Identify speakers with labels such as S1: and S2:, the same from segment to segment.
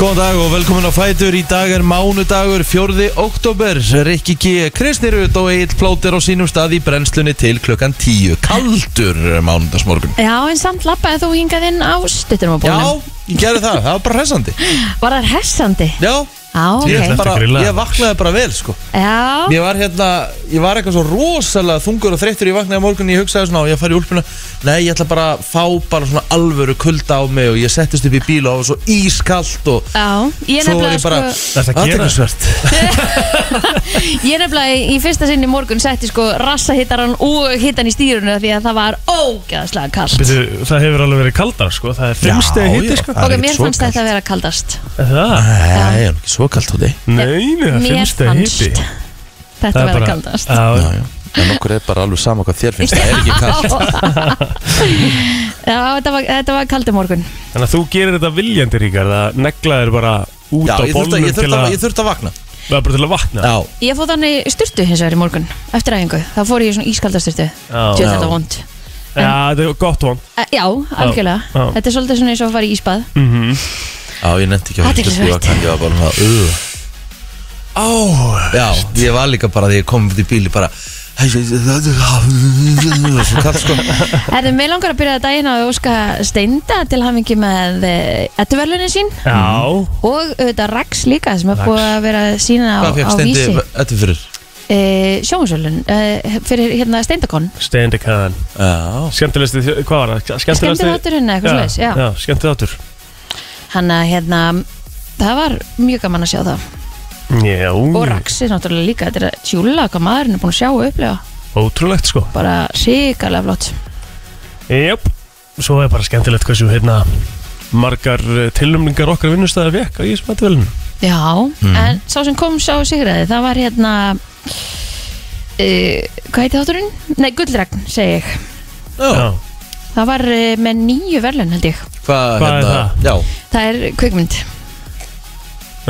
S1: Góðan dag og velkomin á Fætur. Í dag er mánudagur 4. oktober. Rikki G. Kristnirut og Egil Plóter á sínum stað í brennslunni til klukkan 10. Kaldur mánudagsmorgun.
S2: Já, en samt lappaði þú hingað inn á stuttunum á
S1: Já,
S2: bólunum.
S1: ég gerði það. Það var bara hressandi.
S2: Var það hressandi?
S1: Já,
S2: Já,
S1: ég,
S2: ok.
S3: ætla-
S1: bara,
S3: Þetta grilla.
S1: ég vaknaði bara vel, sko.
S2: Já,
S1: Ég var hérna, ég var eitthvað svo rosalega þungur og þreyttur. Ég vaknaði morgun, ég hugsaði svona á, ég fari í úlpuna. Nei, ég ætla bara að fá bara svona alvöru kulda á mig og ég settist upp í bíl og það var svo ískalt og...
S2: já. Ég
S1: Svo var
S2: nefnilega,
S1: ég bara,
S2: sko,
S3: Þetta gera
S1: athyglisvert.
S2: ég nefnilega í- í fyrsta sinni í morgun setti sko rassahittaran og hittan í stýrunu því að það var ógæðslega kallt.
S3: Býtu, það hefur alveg verið kaldar sko, það er fimmstegi
S1: Já,
S3: hitti
S1: já,
S3: sko.
S1: það er
S2: Ok,
S1: ekkert
S2: mér
S1: svo
S2: fannst
S1: kalt.
S2: þetta að vera kaldast.
S3: Er Það?
S1: Nei, ég er nú ekki svo kalt úti
S3: Nei, nei, það er
S2: Mér
S3: fimmstegi
S2: fannst
S3: hitti.
S2: þetta að vera kaldast.
S3: Já,
S1: já. En okkur er bara alveg sama hvað þér finnst, það er ekki kallt
S2: Já, þetta var, þetta var kaldi morgun.
S3: þannig að þú gerir þetta viljandi ríkar, það neglaðir bara út
S1: Já,
S3: á
S1: ég þurfti, að,
S3: bólnum
S1: ég,
S3: til
S1: þurfti að,
S3: að,
S1: ég þurfti að vakna
S3: bara bara til að vakna.
S1: Já,
S2: Ég fóð þannig styrtu hins vegar í morgun, eftir æfingu. Þá fór ég í svona ískaldastyrtu.
S3: Já.
S2: Tjóð
S1: Já.
S2: þetta vond.
S3: Já, þetta er gott von.
S2: Eh, Já, algjörlega.
S3: Já.
S2: Þetta er svolítið svona eins og að fara í ísbað.
S3: Mhm.
S1: já ég nefndi ekki að vera
S2: Athyglisvert.
S1: stupið vakna Ég var bara svona, uh.
S3: Ó,
S1: Já, ég var líka bara þegar ég kom upp í bíli bara "Hey, það er Svo kallt sko
S2: Erðu mig langar að byrja daginn á að óska steinda til hamingi með ettuverlunin sín
S3: já,
S2: og auðvitað Rax líka sem er
S3: Rax.
S2: búið að vera sína á,
S1: Hvað fekk
S2: á
S1: stendi
S2: vísi
S1: þetta fyrir?
S2: e, sjónsölun e, fyrir hérna steindakon
S3: steindi kæðan.
S1: Já,
S3: Skemmtilegsti, þjó- hvað var það? Skemmtilegsti.
S2: Skemmtiþátturinn eða hérna, eitthvað svoleiðis, já.
S3: Já, skemmtilegtur.
S2: hann að hérna það var mjög gaman að sjá það
S3: Já,
S2: og Rax er náttúrulega líka þetta er að tjúla hvað maðurinn er búin að sjá og upplega
S3: ótrúlegt sko.
S2: bara sikarlega flott
S3: Jáp, svo er bara skemmtilegt hversu hérna margar tilumningar okkar vinnustæði vekk á Ísmatvölinu.
S2: Já,
S3: Mhm.
S2: en sá sem kom sá sigraði það var hérna e, hvað heiti þátturinn? Nei, Gullragn segi ég
S1: já
S3: Já,
S2: Það var eh, með nýju verðlun held ég
S3: Hvað
S1: Hvað
S3: er
S1: hérna?
S3: það?
S1: Já,
S2: Það er kvikmynd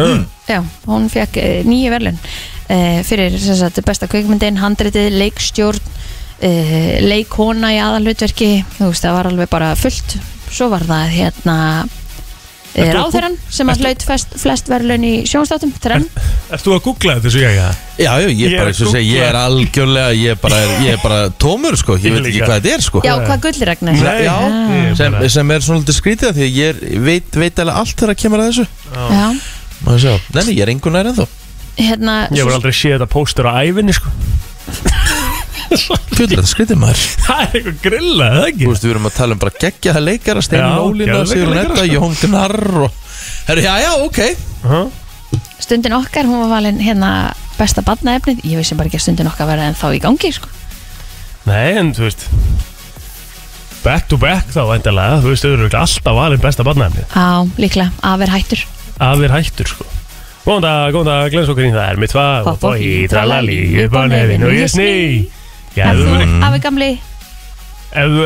S3: Mm.
S2: Já, hún fekk eh, nýju verðlun eh, fyrir sem sagt, besta kvikmyndin handritið, leikstjórn eh, leikona í aðalhutverki þú veist, það var alveg bara fullt svo var það hérna eh,
S3: Ertu að
S2: ráðherran sem að
S3: ertu-
S2: hlaut flest, flest verðlun í sjónstáttum þrenn
S3: Ert þú að googla þetta svo ég að?
S1: já, já, ég
S3: Ég
S1: er bara,
S3: er
S1: eins og segi, ég er
S3: Google.
S1: algjörlega Ég er bara, ég er bara tómur sko Ég
S3: Ég
S1: veit ekki
S3: líka.
S1: hvað þetta er sko
S2: Já, hvað gullragn er
S1: Nei, já.
S3: ég
S1: Sem,
S3: bara-
S1: sem er svona lítið skrítið af því að ég er, veit, veit alveg allt þegar að kemur að þessu
S2: Já,
S1: Má ég sjá. Nei, nei, ég er engun nær ennþá
S2: hérna
S3: Ég
S2: svo-
S3: voru aldrei séð þetta póstur á ævinni sko
S1: Fjöldlega, þetta skritir maður
S3: Það er eitthvað grilla, er það ekki?
S1: Þú veist, við erum að tala um bara geggjaða leikara
S3: Já,
S1: Steinn Ólína,
S3: geðveika
S1: Sigur
S3: leikara,
S1: Netta,
S3: sko.
S1: Jón Gnarr og... Herru, já, já, ok
S3: Ha?
S2: stundin okkar, hún var valin hérna besta badnaefnið, ég vissi bara ekki að stundin okkar verði en þá í gangi sko.
S3: Nei, en þú veist Back to back þá væntalega Þú veist, þau eru örugglega alltaf valin besta barnaefni
S2: á líklega, að vera hættur
S3: Að við hættur sko Góðan dag, góðan dag, glens okkur í það er mitt fag Og
S2: Hopp og
S3: bói,
S2: hí,
S3: tralali, upp á nefin og ég sný Já,
S2: að
S3: þú veist
S2: þú, afi gamli,
S3: Ef þú,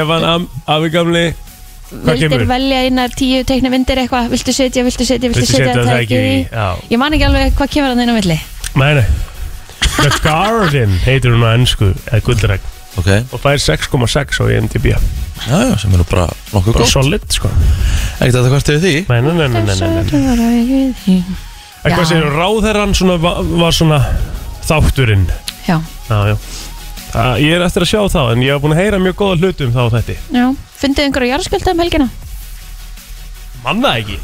S3: ef hann am- afi gamli Hvað
S2: vildir
S3: kemur?
S2: velja einar tíu teikna myndir eitthvað, viltu setja, viltu setja, viltu setja tækið í
S3: Já,
S2: ég man ekki alveg hvað kemur hann inn á milli
S3: nei, nei The Garden heitir hún á ennsku Eða guldregn
S1: Ok, já,
S3: Og fær 6,6 á IMDb
S1: já, sem eru bara nokkuð
S3: Bara
S1: góð
S3: solid sko
S1: Ekkert að það hvert yfir því
S3: Nei, nei, nei, nei, nei, nei, nei. En
S2: Já.
S3: hvað segir ráðherran svona, va- var svona þátturinn
S2: já,
S3: Já, já Æ, Ég er eftir að sjá það en ég hef búin að heyra mjög góða hluti um það á þetta
S2: já, fundið einhverja jarðskjölda um helgina?
S3: Manna ekki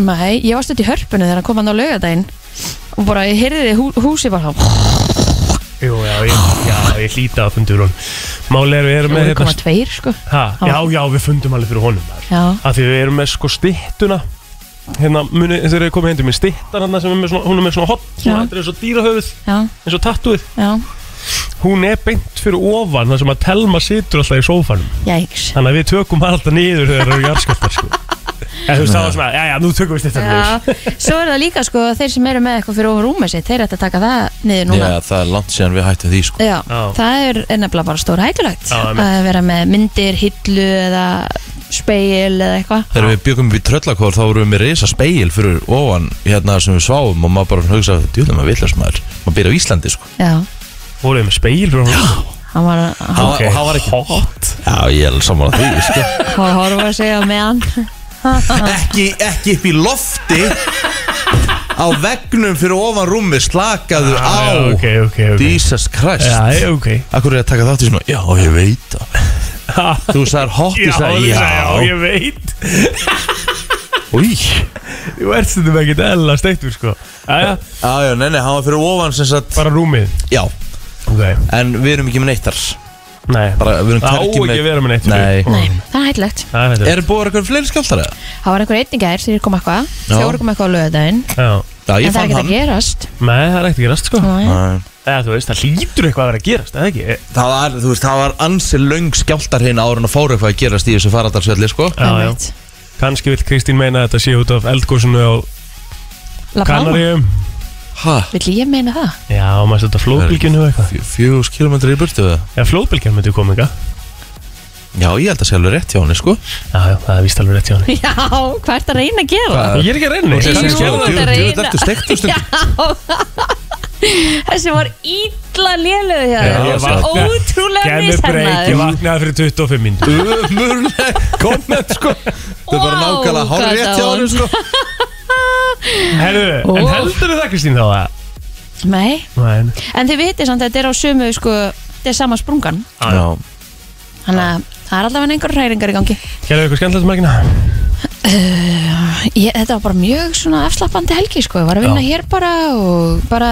S2: Nei, ég var stödd í hörpunni þegar hann kom hann á laugadaginn og bara ég heyrði hú, húsi bara
S3: Jú, já, ég, já, ég hlýta að fundur hún Máli er við erum með hérna
S2: 0,2 sko
S3: ha, Já, já, við fundum alveg fyrir honum þar
S2: já,
S3: Af því við erum með sko styttuna Hérna, muni, þegar við komið hendur með styttan hérna sem er með svona, hún er með svona hot
S2: Já.
S3: svona, Þetta er eins og dýrahöfuð,
S2: já,
S3: eins og tattúið
S2: já
S3: Hún er beint fyrir ofan þar sem að Telma situr alltaf í sófanum
S2: Jæks
S3: Þannig að við tökum hann alltaf niður þegar það eru jarðskjöltar sko. En þú veist það var svona, já já, nú tökum við styrtan
S2: Já,
S3: niður
S2: svo er það líka sko að þeir sem eru með eitthvað fyrir ofur rúmið sitt, þeir ætti að taka það niður núna.
S1: Já, það er langt síðan við hættum því, sko
S2: Já,
S3: Já.
S2: það er er nefnilega bara stóra hættulegt
S3: Já, einmitt.
S2: að vera með myndir, hillu eða speil eða eitthvað.
S1: Þegar við byggum við tröllakór þá vorum við með reysa speil fyrir ofan hérna sem við sváum og maður bara hugsa djúðum að villast maður, maður byrja á Íslandi sko
S2: Já,
S3: Voruð með speil frá hún
S2: hann var að hann
S1: og það var ekki hot Já, ég er alveg saman að því, sko
S2: var að horfa að segja meðan.
S1: ekki, ekki upp í lofti á vegnum fyrir ofan rúmi slakaðu á
S3: Ah, ok, ok, ok
S1: Jesus Christ
S3: Já, já, ok
S1: Akkur er ég að taka þátt í svona Já, ég veit það Þú sagðir hot,
S3: Já,
S1: ég sagði
S3: ég sagði, já,
S1: já
S3: ég veit
S1: Új
S3: Þú ert stundum ekkert eðla steiktur, sko Æja,
S1: Já, já, nei, nei, hann var fyrir ofan sem sagt
S3: bara rúmið
S1: Já,
S3: Ok,
S1: en við erum ekki með neittar
S3: nei
S1: Bara, við erum
S3: Það á
S1: hvergi
S3: ekki að vera með neitt sko.
S1: Nei.
S2: Nei, það er hættilegt
S3: Það er þetta
S1: Er búið að vera eitthvað fleiri skjáltar eða?
S2: Það var einhver einn í gær, þeir kom eitthvað
S1: Já.
S2: Fjóri kom eitthvað á löðaðin
S3: Já
S1: Já,
S2: En það
S1: ég
S2: er
S1: fann
S2: ekkert
S1: hann
S2: að gerast
S3: Nei, það er ekkert að gerast, sko
S2: Nei.
S1: Nei.
S3: Eða, þú veist, það lítur eitthvað að vera að gerast, eða ekki Já,
S1: Það var, þú veist, það var ansi löng skjáltar hérna ára en að fóra eitthvað að gerast í þessu faradarsvelli, sko
S2: Einmitt.
S3: Kanski vil Kristín meina að þetta sé út af eldgósinu á
S2: La Palma,
S3: Kanaríum
S1: Hæ?
S2: vill ég meina það?
S3: Já, maður setja flóðbylginu og eitthvað
S1: Fjögus kilometri í burtu eða?
S3: Já, flóðbylgjan myndi koma enga
S1: Já, ég held að sé alveg rétt hjá henni, sko
S3: Já, já, það er víst alveg rétt hjá henni
S2: Já, hvað ert að reyna að gera?
S1: Hvað?
S3: Ég er ekki að reyna
S2: Jú,
S1: Jú,
S3: neitt.
S1: þetta
S2: þetta er
S1: er
S2: eina.
S1: eina Þetta er steiktur stundum
S2: Þessi var ítla lélöðu hjá
S3: Já,
S2: þér
S3: ég
S2: Svo
S3: vakna-
S2: Ótrúlega
S3: Gæmi breyk, ég
S2: mishennaður
S3: vaknaði fyrir 25 minn
S1: Umurleg komment sko Það er bara
S2: Vá,
S1: nákvæmlega
S2: hvað
S1: hár rétt hjá
S2: dáin.
S1: hann sko
S3: Herðu,
S2: Ó.
S3: en heldur það Kristín þá að
S2: Nei,
S3: Nei,
S2: en þið vitið samt að þetta er á sömu sko, þetta er sama sprungan
S1: Já,
S2: Þannig að það er allavega einhver hræringar í gangi
S3: gerðu eitthvað skemmtilegt um helgina?
S2: ég, Þetta var bara mjög svona afslappandi helgi sko, ég var að vinna hér bara og bara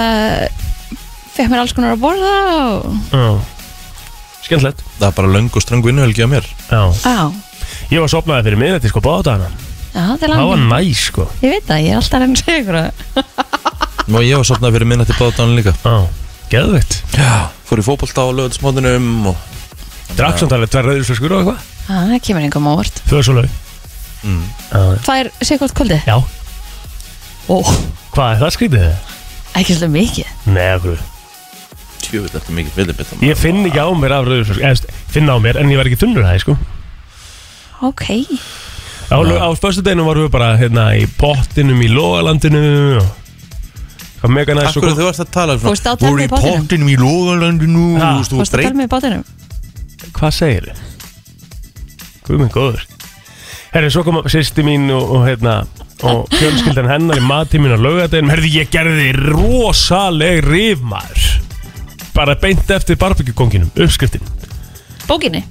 S2: fekk mér alls konar að borða og
S3: Já Skemmtilegt
S1: það er bara löng og ströng vinnuhelgi á mér
S3: Já
S2: á,
S3: Ég var sopnaði fyrir miðnætti sko báðdana
S2: já, það er
S3: Það var
S2: langt
S3: næs sko
S2: Ég veit það, ég er alltaf að reyna að segja ykkur það.
S1: Og ég var sopnað fyrir minnætti báðdán líka
S3: Já Geðveitt
S1: Já Fór í fótbolta á lögðsmóðunum og
S3: Drakk samt alveg tverr rauðisflöskur og eitthvað
S2: Á, Það kemur einhverjum ávart
S3: Fjóða svo laug
S1: Mm.
S3: Já
S2: Tvær sekund kvöldi?
S3: Já.
S2: Ó,
S3: Hvað er það skrítið þið?
S2: ekki svolítið mikið
S3: Nei, okkur
S1: Tjöfull eftir mikið villibit
S3: Ég finn ekki á mér af rauðisflöskur Eða finna á mér en ég var ekki þunnur það sko
S2: Ok,
S3: Á,
S1: Nei.
S3: á spöstudeginum vorum við bara hérna í pottinum í logalandinu og Hvað mega næs
S1: Akkur þú varst að tala um
S2: Fórstu á
S1: svona
S2: tefli í
S1: Voru í
S2: pottinum?"
S1: pottinum í logalandinu
S3: Ha,
S1: og
S2: fórstu
S1: Þú
S2: að
S1: streit
S2: tala með í bátunum?
S3: Hvað segir þið? Guð minn góður Herri, svo kom sýsti mín og, og, hérna, og fjölskyldan hennar í mattíminn á laugadegin Herri, ég gerði rosaleg rifmaður Bara beint eftir barbekjukonginum, uppskriftin
S2: Bókinni?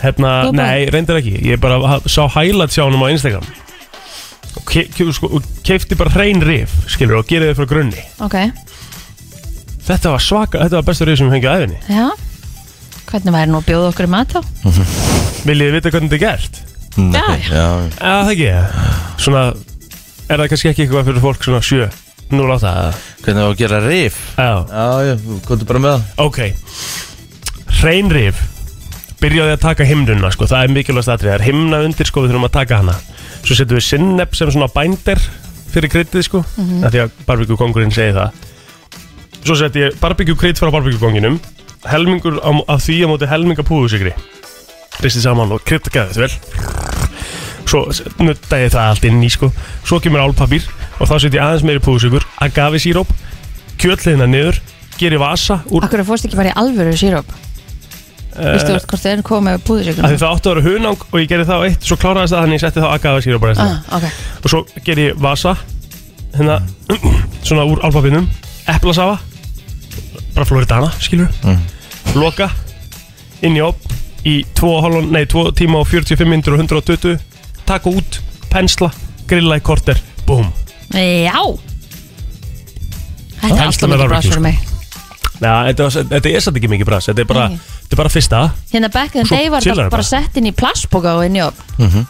S3: Hérna,
S2: Þú bara-
S3: nei, reyndar ekki Ég bara ha- sá highlights hjá honum á Instagram Og, ke ke sko, og keifti bara hrein rif, skilur, og gerði þið frá grunni
S2: Ok,
S3: Þetta var svaka, þetta var bestu rif sem ég fengið á æfinni
S2: já Hvernig væri nú að bjóða okkur í mat þá?
S3: Viljið þið vita hvernig þetta er gert?
S1: Mm,
S2: Já,
S1: ok, Já
S3: Já, það ekki Svona, er það kannski ekki eitthvað fyrir fólk svona sjö Nú láta það
S1: Hvernig var að gera rif
S3: Já,
S1: Já, já, komdu bara með það
S3: ok Hreinrif Byrjaði að taka himnuna, sko Það er mikilvægast atrið, það er himna undir, sko Við þurfum að taka hana Svo setjum við sinneb sem svona bændir Fyrir kryddið, sko mm Því að barbíkjukongurinn segi það Svo setjum ég barbíkjukrydd frá barbíkjukonginum Helmingur á, af því á móti helminga púðusikri Ristið saman og kryddgaði þetta vel svo nutta ég það allt inn í sko svo kemur álpapír og þá setjum ég aðeins meiri púðsugur agave síróp, kjötliðina hérna niður gerir vasa úr
S2: Akkur fórstu ekki bara í alvöru síróp?
S3: uh,
S2: Vistu úr hvort þau enn komið með
S3: að
S2: búðisökunum?
S3: því það áttu að vera hunang og ég gerði það á eitt svo kláraðist það þannig ég setti það agave síróp bara
S2: Ah,
S3: ah.
S2: ok,
S3: og svo gerir ég vasa hérna, svona úr álpapírnum eplasafa bara floridana, skilur
S1: Mm.
S3: loka, inn í opn í 2, hálfan, nei, 2 tíma og 45 minnur og 120 taka út, pensla, grilla í korter búm
S2: já Þetta
S3: Það
S2: er
S3: helst
S2: alltaf
S3: með sko.
S2: mikið
S3: barbecue,
S2: brast fyrir mig
S3: Já, þetta, var, þetta er satt ekki mikið brass Þetta er bara,
S2: Nei.
S3: þetta er bara fyrsta
S2: Hérna back in the
S3: Svo
S2: day var þetta
S3: chillar þetta.
S2: bara sett inn í plastboka og inn í opn
S3: Mhm.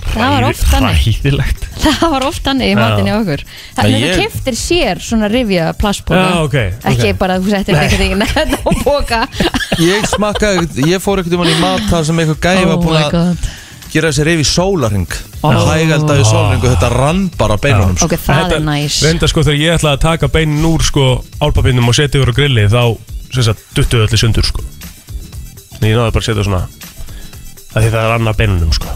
S2: Það var oft þannig.
S3: Ræðilegt
S2: Það var oft þannig í matinni
S3: Já.
S2: á okkur Þannig að
S1: ég-
S2: þú keftir sér svona rifja plastboka
S3: Já, ok,
S2: Ekki
S3: ok.
S2: bara að þú settir ekkert í nefn og boka
S1: Ég smakkaði, ég fór ekkert um hann í mat þar sem eitthvað gæði var búin að
S2: Oh god Oh.
S1: gera þessi rif í sólaring
S2: Ó.
S1: Hægalda
S3: Ah.
S1: í sólaring og þetta rann bara á beinunum sko.
S2: Ok, það er næs
S3: Reynda sko þegar ég ætlaði að taka beinin úr sko álpapinnum og setja yfir á grilli þá sem sagt duttu öllu sundur sko En ég náði bara að setja svona að því það er annað beinunum sko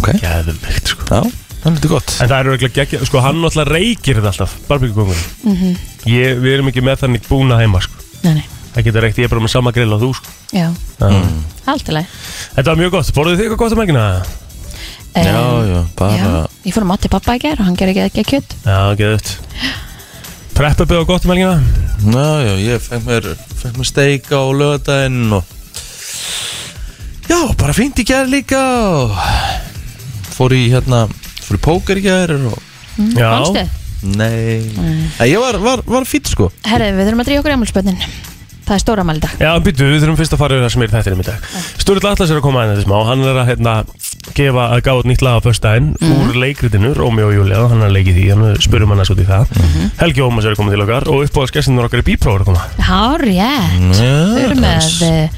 S1: Ok,
S3: Gæðvegt sko
S1: já, þannig þetta er gott
S3: En það er auðvitað geggja, sko hann náttúrulega reykir þetta alltaf Barbíkukongur mm -hmm. Við erum ekki með þannig búna heima sko
S2: Mhm. Nei, nei,
S3: Það getur reykt, ég er bara með sama grill á þú sko
S2: já,
S3: mm.
S2: alltilega
S3: Þetta var mjög gott, borðið þið eitthvað gott um ekki?
S2: Em,
S1: Já, já, bara-
S2: Eh, já. Ég fór að mati pappa í gær og hann gerði ekki ekki kjött
S3: Já, geðut Preppupið og gott um helgina
S1: Ná, já, ég fekk mér, fekk mér steik á lögadaginn og Já, bara fínt í gær líka og fór í hérna, fór í póker í gær og
S2: Mm,
S3: Já,
S2: Fannstu? Mm.
S1: Nei,
S3: Mm.
S1: Nei ég var, var, var fýtt sko
S2: Herðu, við þurfum að dríja okkur í ammalspönnin Það er stóra mæli dag
S3: Já, býtu, við þurfum fyrst að fara yfir það sem er þættir um í dag Sturl Atlas er að koma aðeins smá Hann er að hérna, gefa að gáða út nýtt lag á föstudaginn
S2: Mhm.
S3: Úr leikritinu, Rómi og Júlia Hann er að leiki því, hann spurum hann að svo til það
S2: Mhm.
S3: Helgi Ómas er að koma til okkar Og uppáðaskessinur okkar í bípróf er að koma
S2: Hár, rétt
S3: Ah,
S2: Við erum með uh,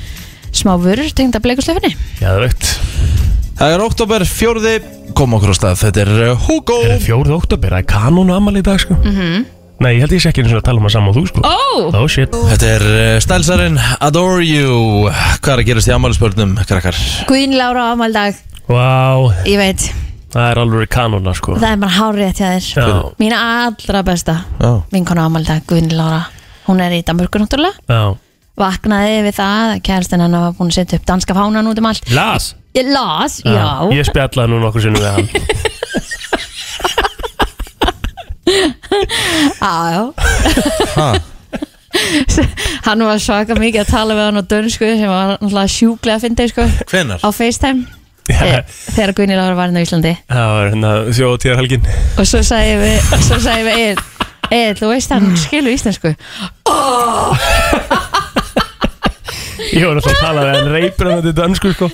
S2: smá vörur tengda bleikuslefinni
S3: Já, það veit
S1: Það er oktober fjórði, kom okkur á stað Þetta er uh, Hugo
S3: Er það fjórið oktober, það er kanónu ammali í dag sko
S2: Mhm.
S3: Nei, ég held ég sé ekki eins og að tala um að saman og þú sko
S2: Ó,
S3: Oh shit
S1: Þetta er uh, stælsarinn Adore You Hvað er að gerast í ammælisbörnum, krakkar?
S2: Guðin Lára á afmældag
S3: Vá,
S2: Ég veit,
S3: það er alveg kanóna sko
S2: það er bara hár rétt hjá þér
S3: Já,
S2: Mín allra besta
S1: Já
S2: vinkona á afmældag, Guðin Lára Hún er í Danmörku náttúrulega
S3: já
S2: Vaknaði við það, kærastinn hennar var búin að setja upp danska fánan út um allt
S3: Las
S2: Ég las,
S3: Ah.
S2: já,
S3: Ég spjallaði nú nokkur sinnum við hann
S2: já, Ah, já.
S1: Ha,
S2: Hann var svaka mikið að tala við hann á dönsku sem var náttúrulega sjúklega að fyndi sko, á
S1: hvenar?
S2: FaceTime
S3: Já,
S2: eh, þegar Guðin Lára var hann á Íslandi
S3: Það var hérna þjóðtíðar helgin
S2: og svo sagði við, svo sagði við Egil, Egil, þú veist hann skilur íslensku
S3: Ég var náttúrulega að tala við hann reipur um þetta dansku sko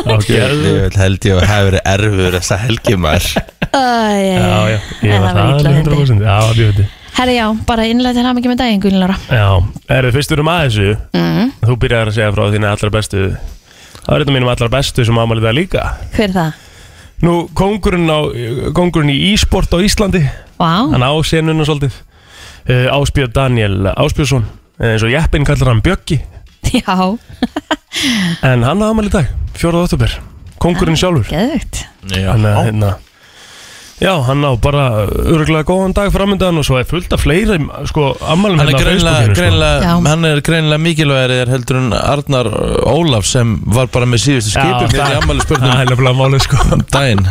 S3: Ok,
S1: Ég held ég að hafa verið erfur þessa helgi maður
S3: já, já
S2: Æ,
S3: Ég
S2: En
S3: var
S2: það
S3: það
S2: var illa
S3: alveg
S2: fyndið.
S3: 100% Já, það bjóði
S2: herri já, bara innlega til hafa ekki með daginn Guðin Lára
S3: Já, erum fyrst við um aðeins
S2: mm.
S3: Þú byrjar að segja frá þínu allra bestu Það er þetta mínum allra bestu sem ámælið það líka
S2: hver er það?
S3: Nú, kongurinn, á, kongurinn í e-sport á Íslandi
S2: Vá,
S3: Hann á senuna svolítið uh, Áspjöð Daniel Áspjöðsson Eh, eins og Jeppin kallar hann Bjöggi
S2: já, Ah.
S3: En hann á ámælið dag, 4. oktober Kongurinn sjálfur
S2: geðvögt
S1: Já,
S3: Þannig að hérna Já, hann á bara örgulega góðan dag framöndan og svo er fullt af fleiri sko, ammælum
S1: Hann
S3: hérna
S1: er
S3: á
S1: greinlega,
S3: Facebookinu,
S1: greinlega,
S2: Já.
S1: hann er greinlega mikilvægir heldur en Arnar Ólaf sem var bara með síðustu
S3: Já,
S1: skipum hérna
S3: það-
S1: í ammælisbörnum
S3: Það er nefnilega málið sko
S1: daginn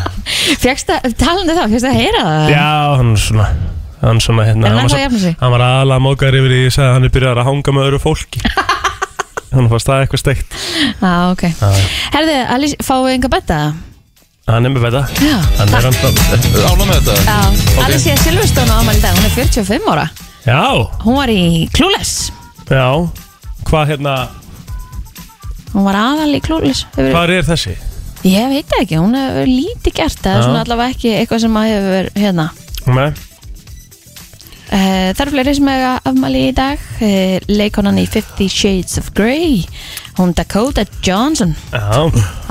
S2: Fjöxta, talandi það, fjöxta að heyra það
S3: Já, hann svona Hann svona hérna
S2: Er hann
S3: var
S2: þá
S3: sa-
S2: að jafna sig?
S3: Hann var aðalega mókar yfir því að hann er byrjar að hanga með öðru fólki Hann fannst það eitthvað steikt
S2: Já, ok Herði, Alice, fáum við enga betta?
S3: Hann er með þetta
S2: Já,
S3: Hann er
S2: takk
S3: hann
S1: Ána með þetta
S2: Já, Alice er Silveston á afmæli í dag, hún er 45 ára
S3: Já,
S2: Hún var í Clueless
S3: já Hvað hérna,
S2: Hún var aðal í Clueless Hefur-
S3: hvað er þessi?
S2: Ég veit það ekki, hún hefur lítið gert Það er
S3: Já.
S2: svona allavega ekki eitthvað sem að hefur hérna
S3: Nei,
S2: Uh, það eru fleiri sem hefur afmæli í dag uh, Leikonan í Fifty Shades of Grey Hún Dakota Johnson
S3: já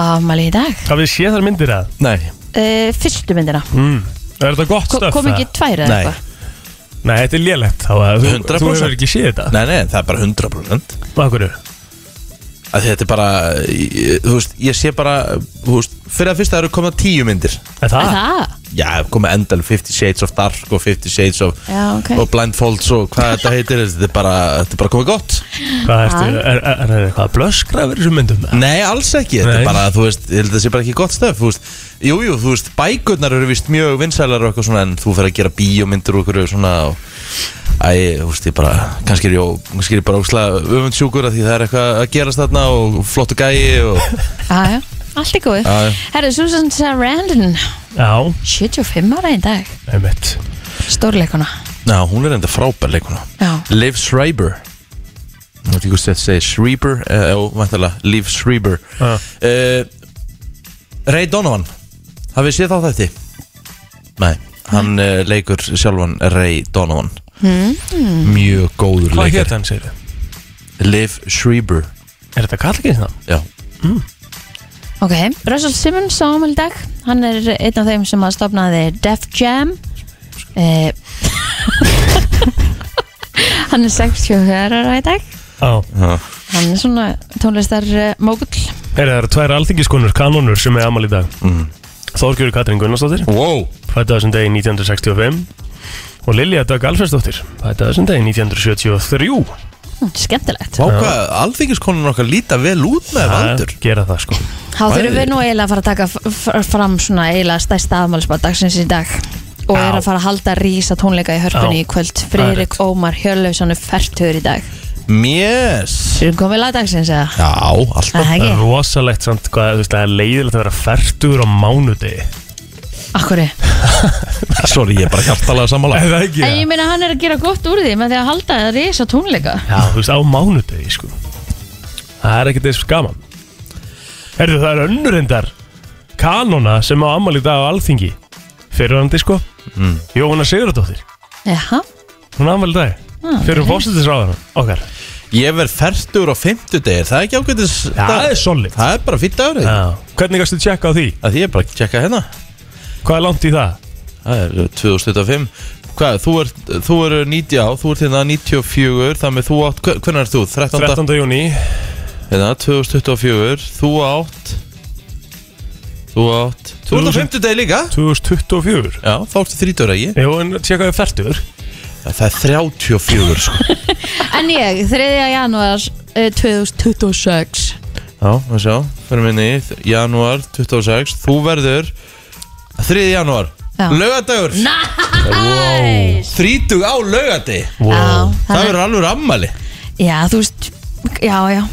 S2: afmæli í dag
S3: Hvað við sé þar myndir að?
S1: Nei,
S2: uh, Fyrstu myndina
S3: Mm. Er þetta gott
S2: Ko
S3: stöf?
S2: Kom ekki tvær eða
S1: Nei.
S2: eitthvað
S3: Nei, þetta er lélegt þá að þú, þú
S1: 100%.
S3: hefur ekki séð þetta
S1: nei, nei, það er bara 100%
S3: Af hverju?
S1: að þetta er bara, ég- þú veist, ég sé bara, þú veist, fyrir að fyrsta eru komið tíu myndir.
S3: Er
S2: Er
S3: það?
S2: Það?
S1: Já, komið endal 50 Shades of Dark og 50 Shades of
S2: Já, ok
S1: og Blindfolds og hvað þetta heitir, þetta er bara, þetta er bara komið gott.
S3: Hvað ertu? Er, er, er, er eitthvað blöskra verið þessum myndum? eða?
S1: Nei, alls ekki, þetta
S3: Nei.
S1: er bara, þú veist, ég held að þetta sé bara ekki gott stöf, þú veist. Jú, jú, þú veist, bækurnar eru vist mjög vinsælar og eitthvað svona en þú fyrir að gera bíómyndir og okkur svona og Æ, þú veist, ég bara, kannski er ég, ó- kannski er ég bara ókslega öfundsjúkur að því það er eitthvað að gerast þarna og flottu gæi og,
S2: Já, já, allt er góð
S1: Já, já.
S2: Herru, Susan Sarandon
S3: Já,
S2: 75 ára í dag
S3: einmitt
S2: Stórleikona
S1: já, hún er enda frábær leikuna.
S2: Já,
S1: Liv Schreiber Ég veit ekki hvað þetta segir Schreiber eh, Jó, vantala Liv Schreiber
S3: Já.
S1: uh, Ray Donovan Hafið þið séð þá þetta? Nei Hann uh, leikur sjálfan Ray Donovan hmm. Mjög góður
S3: Hvað
S1: leikar
S3: hétt hann segir þið?
S1: Liv Schreiber
S3: Er þetta kallkins það?
S1: Já
S2: ok Russell Simmons á afmæli í dag Hann er einn af þeim sem að stopnaði Def Jam uh, Hann er 64 ára í dag
S3: Já
S1: Já.
S2: Hann er svona tónlistar uh, mógull
S3: Er það eru tvær alþingiskonur, kanonur sem er amal í dag mm. Þorgjörg Katrin Gunnarsdóttir
S1: Wow
S3: Fætti þessum degi 1965 Og Lilja Dögg Alfredsdóttir Fætti þessum degi 1973
S2: Hm, Skemmtilegt
S1: Vá hvað, alþingiskonun okkar líta vel út með vandur
S3: Gera það sko
S2: Þá þurfum við nú eiginlega að fara að taka f- f- fram svona eiginlega stærsta afmálsbað dagsins í dag og
S3: Á.
S2: er að fara að halda rísa tónleika í hörpunni
S3: Á.
S2: í kvöld
S3: er
S2: Friðrik Ómar Hjörleifsson er færtur í dag
S1: Mjess
S2: Við erum komið lagdagsins eða?
S1: Já, alltaf
S2: Það ekki?
S3: Rosalegt samt hvað þú veist, það er leiðilegt að vera færtur á mánudegi
S2: Akkur
S1: Sorry, ég er bara hjartalega sammála
S3: það ekki
S2: En ég meina hann er að gera gott úr því með því að halda rísa tónleika
S3: Já, þú veist, á mánudegi sko Það er ekkert eins gaman Herðu, það er önnur endar Kanona sem á ammali dag á Alþingi Fyrirandi sko
S1: Mm.
S3: Jóhanna Sigurðardóttir
S2: Jaha,
S3: Hún á ammali dag
S2: Ah,
S3: Fyrir
S2: ok.
S3: fósættisráðan okkar
S1: Ég verð fertur á fimmtudegi, það er ekki ágætis
S3: Já, það er solid
S1: Það er bara fýtt dagur ja.
S3: Hvernig kannstu tjekka á því?
S1: Því ég er bara að tjekka hérna
S3: Hvað er langt í það?
S1: Það er 2025 Hvað, þú er, þú er 90 á, þú ert hérna 94 Þannig þú átt, hver- hvernig er þú? 13.
S3: 13. júni
S1: Hérna, 2024 Þú átt Þú átt Þú ert á
S3: 2000.
S1: 50 degi líka
S3: 2024
S1: Já, þá ertu 30 ekki
S3: Jú, en tjekkaðu færtur
S1: Já, Það er 34 sko
S2: En ég, 3. janúar eh, 2026
S1: Já, það sjá, fyrir minni Janúar 26, þú verður 3. janúar
S2: Já.
S1: Laugadagur
S2: Æ,
S1: 30 á laugadegi
S2: Já,
S1: Það
S2: þannig-
S1: verður alveg ammali
S2: Já, þú veist, já, já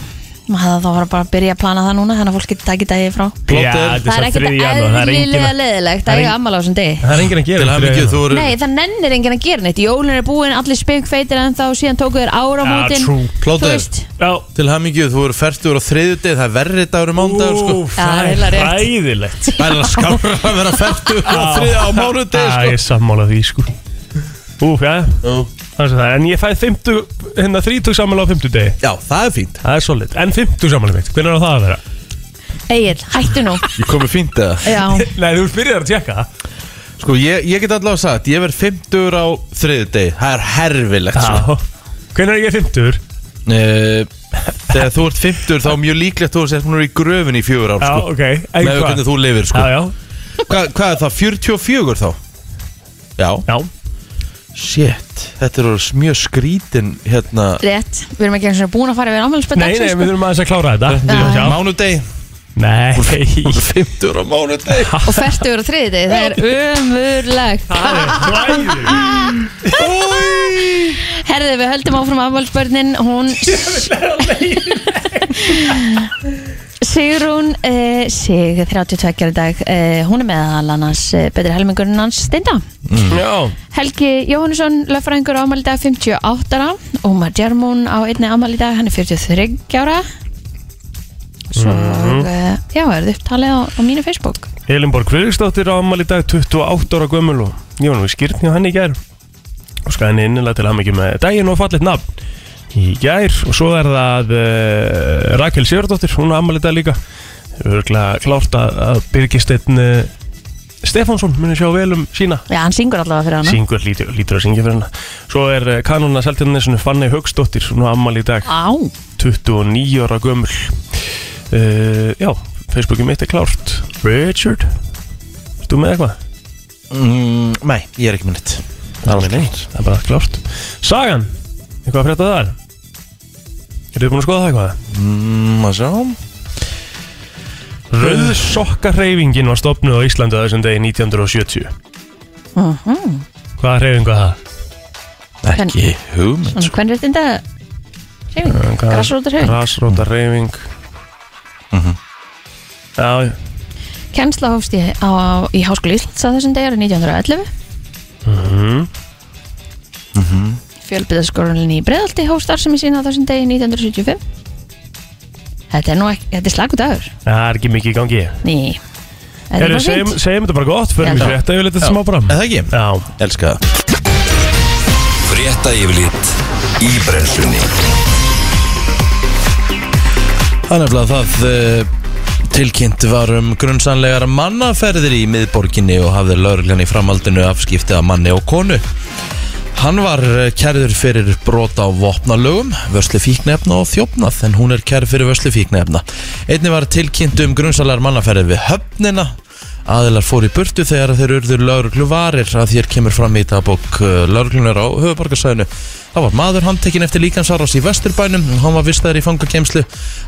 S2: Maður hefði þá bara að byrja að plana það núna þannig að fólk getur takið dagið frá
S1: Plott
S3: Já,
S1: er-
S3: þetta
S2: Það er
S3: er
S2: ekkert
S3: þriði janúar Það er
S2: eðlilega
S3: engin
S2: leðilegt
S3: það
S2: að
S3: er
S2: eiga
S3: engin-
S2: ammala á þessum degi
S3: Það er engin að
S1: Til
S3: gera
S1: hann
S3: þriðja
S1: mikið þú
S3: janúar.
S1: eru
S2: Nei, það nennir enginn að gera neitt Jólun er búin, allir spekfeitir en þá síðan tóku þér
S3: Já,
S2: áramótin
S3: Ah, true.
S2: Þú
S1: Plóter,
S2: veist,
S3: Já
S1: til hamingju, þú eru færtur á þriðjudegi, það er verri dagur um mándagur sko
S3: Ú,
S2: Já,
S3: Það
S2: eiginlega
S3: er
S2: rétt.
S3: ræðilegt
S1: Það er að skára að vera færtur á þriðja á mánudegi
S3: Það
S1: sko
S3: er sammála því sko Úf, já Það er svo það er. En ég fæ 50 Hérna 30 sammála á 50 degi
S1: Já, það er fínt
S3: Það er solid En 50 sammála mitt Hvernig er það að vera?
S2: Egil, hættu nú
S1: Ég komi fínt eða
S2: Já,
S3: Nei, þú byrjar að tjekka það
S1: Sko, ég, ég get allavega sagt, ég verð 50 á þriðjudegi Það er herfilegt sko
S3: Já Hvernig er ég 50?
S1: Eh, Þegar þú ert 50 þá er mjög líklegt þú sért múnir í gröfin í fjögur ár
S3: Já,
S1: sko.
S3: ok En
S1: Með hvernig þú lifir sko.
S3: Já, já
S1: Hva, Hvað er það, 44 þá? Já,
S3: Já
S1: shit Þetta eru mjög skrítin hérna
S2: rétt, við erum ekki eins og búin að fara við ammálspöld
S3: Nei, nei, við
S2: sko.
S3: þurfum aðeins að klára þetta
S2: Já,
S3: Já.
S1: Mánudeg
S3: Nei
S1: 50 á mánudeg
S2: Og færtugur á þriði degi, það er umurlegt
S3: Það er hræðilegt
S2: Herði, við höldum áfram afmálsbörnin Hún Sigrún uh, Sig, 32 í dag uh, Hún er meðal annars uh, betri helmingurinn hans Steinda Mm.
S3: Já
S2: Helgi Jóhannesson, löffræðingur ámæli dag 58 ára Ómar Djermún á einni ámæli dag, hann er 43 ára Svo,
S3: Mm.
S2: eh, já, er þið upptalið á, á mínu Facebook
S3: Elinborg Friðriksdóttir á ammali í dag 28 ára gömul og ég var nú í skýrtni á henni í gær og skaði henni innilega til að mikið með daginn og fallit nafn í gær og svo er það uh, Rakel Sigurdóttir, hún á ammali í dag líka örgulega klárt að, að Birgisteinn uh, Stefánsson muni sjá vel um sína
S2: Já, hann syngur allavega fyrir hana
S3: Syngur, lítur, lítur að syngja fyrir hennar Svo er uh, kanona seltjarnessinu Fanny Haugsdóttir Hún á ammali í dag,
S2: Á,
S3: 29 ára gömul uh, Já, Facebookið mitt er klárt Richard Ertu með eitthvað?
S1: mm, Nei, ég er ekki minn eitt
S3: Það er, neitt, það er bara allt klárt Sagan, eitthvað að frétta þar? Eru þið búin að skoða það eitthvað?
S1: mm, að sjá.
S3: Rauðsokkarreyfingin var stopnuð á Íslandu þessum degi 1970
S2: Mhm.
S3: Hvaða reyfingu var það?
S1: Ekki hugmynd
S2: hann hvernig er þetta Hreyfing,
S3: Eh,
S2: grassrótarhefing
S3: Grasrótarreyfing Já, já.
S2: Kennsla hófst í, á, í Háskóli Íslands á þessum degi árið 1911
S3: Mhm.
S2: Fjölbyðaskórunin í Breiðalti hófst starfsemi sína á þessum degi 1975 Þetta er nú ekki, þetta er slagur dagur
S3: það er ekki mikið í gangi
S2: Ný Þetta er
S3: Eru,
S2: bara
S3: segjum,
S2: fínt
S3: segjum þetta bara gott Förum
S2: Já,
S3: við
S2: já.
S3: frétta yfir litið smá fram
S1: Eða ekki,
S3: Já,
S1: elska það
S4: Frétta yfirlit í brennslunni
S1: Það er nefnilega það eh, tilkynnt var um grunnsanlegar mannaferðir í miðborginni og hafði lauruglan í framhaldinu afskipti af manni og konu. Hann var eh, kærður fyrir brota á vopnalögum, vörslu fíknefna og þjófnað en hún er kærð fyrir vörslu fíknefna. Einni var tilkynnt um grunnsanlegar mannaferðir við höfnina aðilar fóru í burtu þegar þeir urður lauruglu varir að þér kemur fram í dagbók lauruglunar á höfuborgarsæðinu. Það var maður handtekinn eftir líkansárás í Vesturbænum, hann var vistaður í fangakemslu.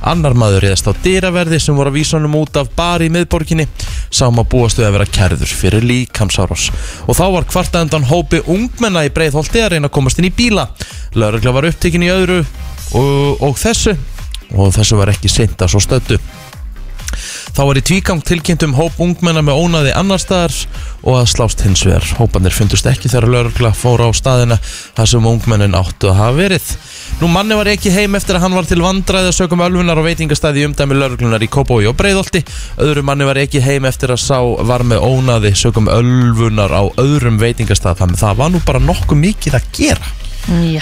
S1: Annar maður reyðast á dyraverði sem voru að vísa honum út af bari í miðborginni, sáum að búastu að vera kærður fyrir líkamsárás. Og þá var kvartaðendan hópi ungmenna í breiðholti að reyna að komast inn í bíla. Laurugla var upptekinn í öðru og, og þessu og þessu var ekki seint að svo stöttu. Þá var í tvígang tilkynnt um hóp ungmenna með ónaði annar staðar og að slást hins vegar. Hópanir fundust ekki þegar lörgla fór á staðina þar sem ungmennin áttu að hafa verið. Nú manni var ekki heim eftir að hann var til vandræða sögum ölfunar og veitingastæði í umdæmi lörglunar í Kópói og Breiðolti. Öðru manni var ekki heim eftir að sá var með ónaði sögum ölfunar á öðrum veitingastæð. Þannig það var nú bara nokkuð mikið að gera.
S3: Já,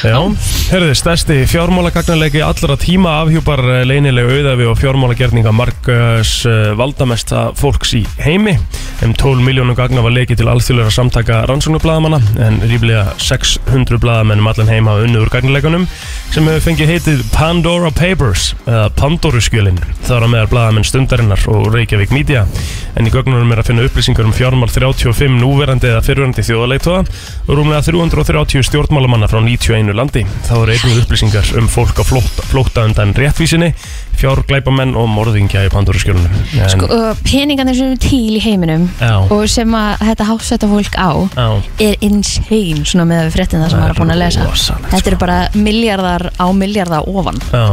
S3: herðu, stærsti fjármálagagnarleiki allra tíma afhjúpar eh, leynileg auðafi og fjármálagerninga markas eh, valdamesta fólks í heimi. Um 12 miljónum gagna var leikið til alþjóðlega samtaka rannsóknublaðamanna en ríflega 600 blaðamenn um allan heim hafa unnið úr gagnarleikunum sem hefur fengið heitið Pandora Papers eða Pandoruskjölin. Það var meðar blaðamenn stundarinnar og Reykjavík Media en í gögnunum er að finna upplýsingar um fjármál 35 núverandi eða fyrrverandi þjóðaleitóa og rúmlega 330 stjórnmálamanna frá 91 landi. Þá eru einnig upplýsingar um fólk á flótta, flótta undan réttvísinni, fjárglæpamenn og morðingja í Pandóruskjölunum. En,
S2: Sko, og peningarnir sem eru til í heiminum
S3: Já.
S2: og sem að þetta hásetta fólk á
S3: á,
S2: er insane svona með fréttina sem
S3: Það
S2: maður er búin að
S3: er
S2: lesa
S3: rosalegt, sko.
S2: þetta eru bara miljardar á miljardar ofan
S3: Já,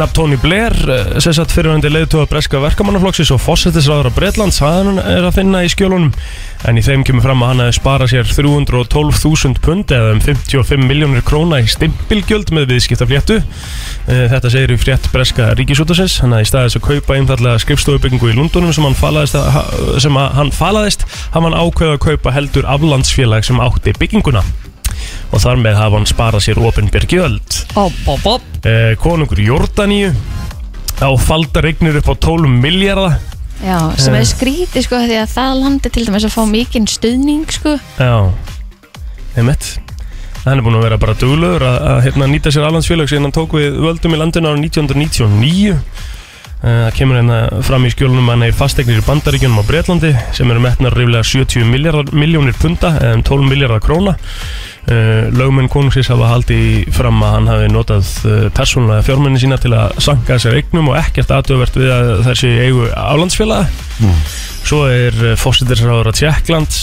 S3: nafn Tony Blair, eh, sem sagt fyrirvændi leiðtóða breska verkamannaflokksins og fósettisraðara Bretlands, hann er að finna í skjölunum. En í þeim kemur fram að hann hefði sparað sér 312.000 pund eða um 55 miljónir króna í stimpilgjöld með viðskiptafléttu. Eh, Þetta segir í frétt breska ríkisútasins, hann hefði staðist að kaupa einfallega skrifstofubyggingu í Lundunum sem hann falaðist, að, ha- sem að, hann falaðist, hann ákveða að kaupa heldur aflandsfélag sem átti bygginguna og þar með hafa hann sparað sér opinber gjöld
S2: op, op, op.
S3: eh, konungur Jórdaníu á faldar eignir upp á 12 miljardar
S2: Já, sem
S3: Eh.
S2: er skrítið sko því að það landi til dæmis að fá mikinn stuðning sko
S3: Já, einmitt Hann er búin að vera bara duglöður að, að hérna, nýta sér alhansfélag sem hann tók við völdum í landinu ára 1999 Eh, Það kemur hérna fram í skjólunum hann er fastegnir í bandaríkjunum á Bretlandi sem eru metnar ríflega 70 miljardar, miljónir punta eða um 12 miljardar króna Uh, lögmenn konungsins hafa haldið fram að hann hafi notað uh, persónulega fjármenni sína til að sanka sér eignum og ekkert aðtöfvert við að þessi eigu álandsfélaga Svo er uh, fósitinsráður að Tjekklands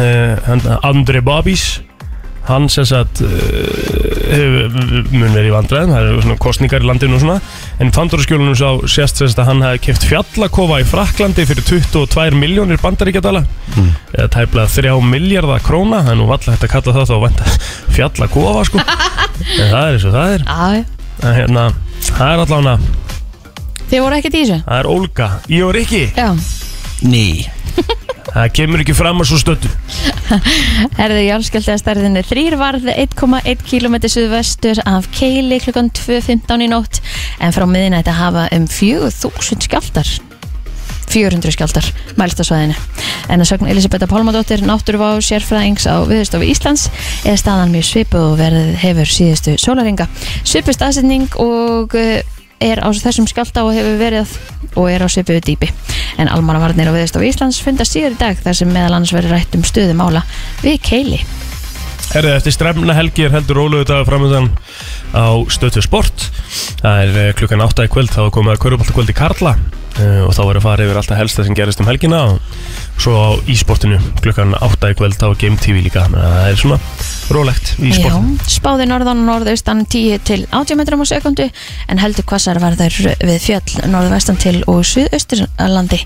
S3: uh, Andri Babis hann sem sagt uh, hefur- mun verið í vandræðum það eru svona kostningar í landinu og svona en Pandorskjólunum sá sérst sem sagt að hann hefði keft fjallakofa í Fraklandi fyrir 22 miljónir bandaríkjadala eða tæplega 3 miljardar króna það er nú valla hægt að kalla það þá vanda fjallakofa sko en það er eins og það er
S2: Já,
S3: en, hérna, það er allavega
S2: þið voru ekkert í þessu
S3: það er ólga í og rikki
S2: Já,
S1: Ný.
S3: það kemur ekki fram að svo stöttu
S2: herðu jálskjöldi að stærðinni þrýr varð 1,1 km suðvestur af Keili klukkan 2.15 í nótt en frá miðinætti hafa um 4.000 skjaldar 400 skjaldar mælst á svæðinu. En að sögn Elisabetta Pálmadóttir, náttúruvá sérfræðings á Viðurstofu Íslands er staðan mjög svipuð og verið hefur síðustu sólaringa. Svipuð staðsetning og eh, er á þessum skjálta og hefur verið og er á svipuðu dýpi. En almannavarnir á Viðurstofu Íslands fundast síður í dag þar sem meðal annars verið rætt um stöðu mála við Keili.
S3: Herðið, eftir stremna helgi er heldur róluðu dagur framöndan á stötu sport. Það er eh, klukkan 8 í kvöld, þá er komið að kvöruboltakvöld í Karla eh, og þá verður farið yfir alltaf helsta sem gerist um helgina og svo á ísportinu klukkan 8 í kvöld, þá er Game TV líka. Þannig að Það er svona rólegt í
S2: Já,
S3: sportinu.
S2: spáði norðan og norðaustan 10 til 80 metrum á sekundu en heldur hvassar varðar við fjöll norðvestan til og suðausturlandi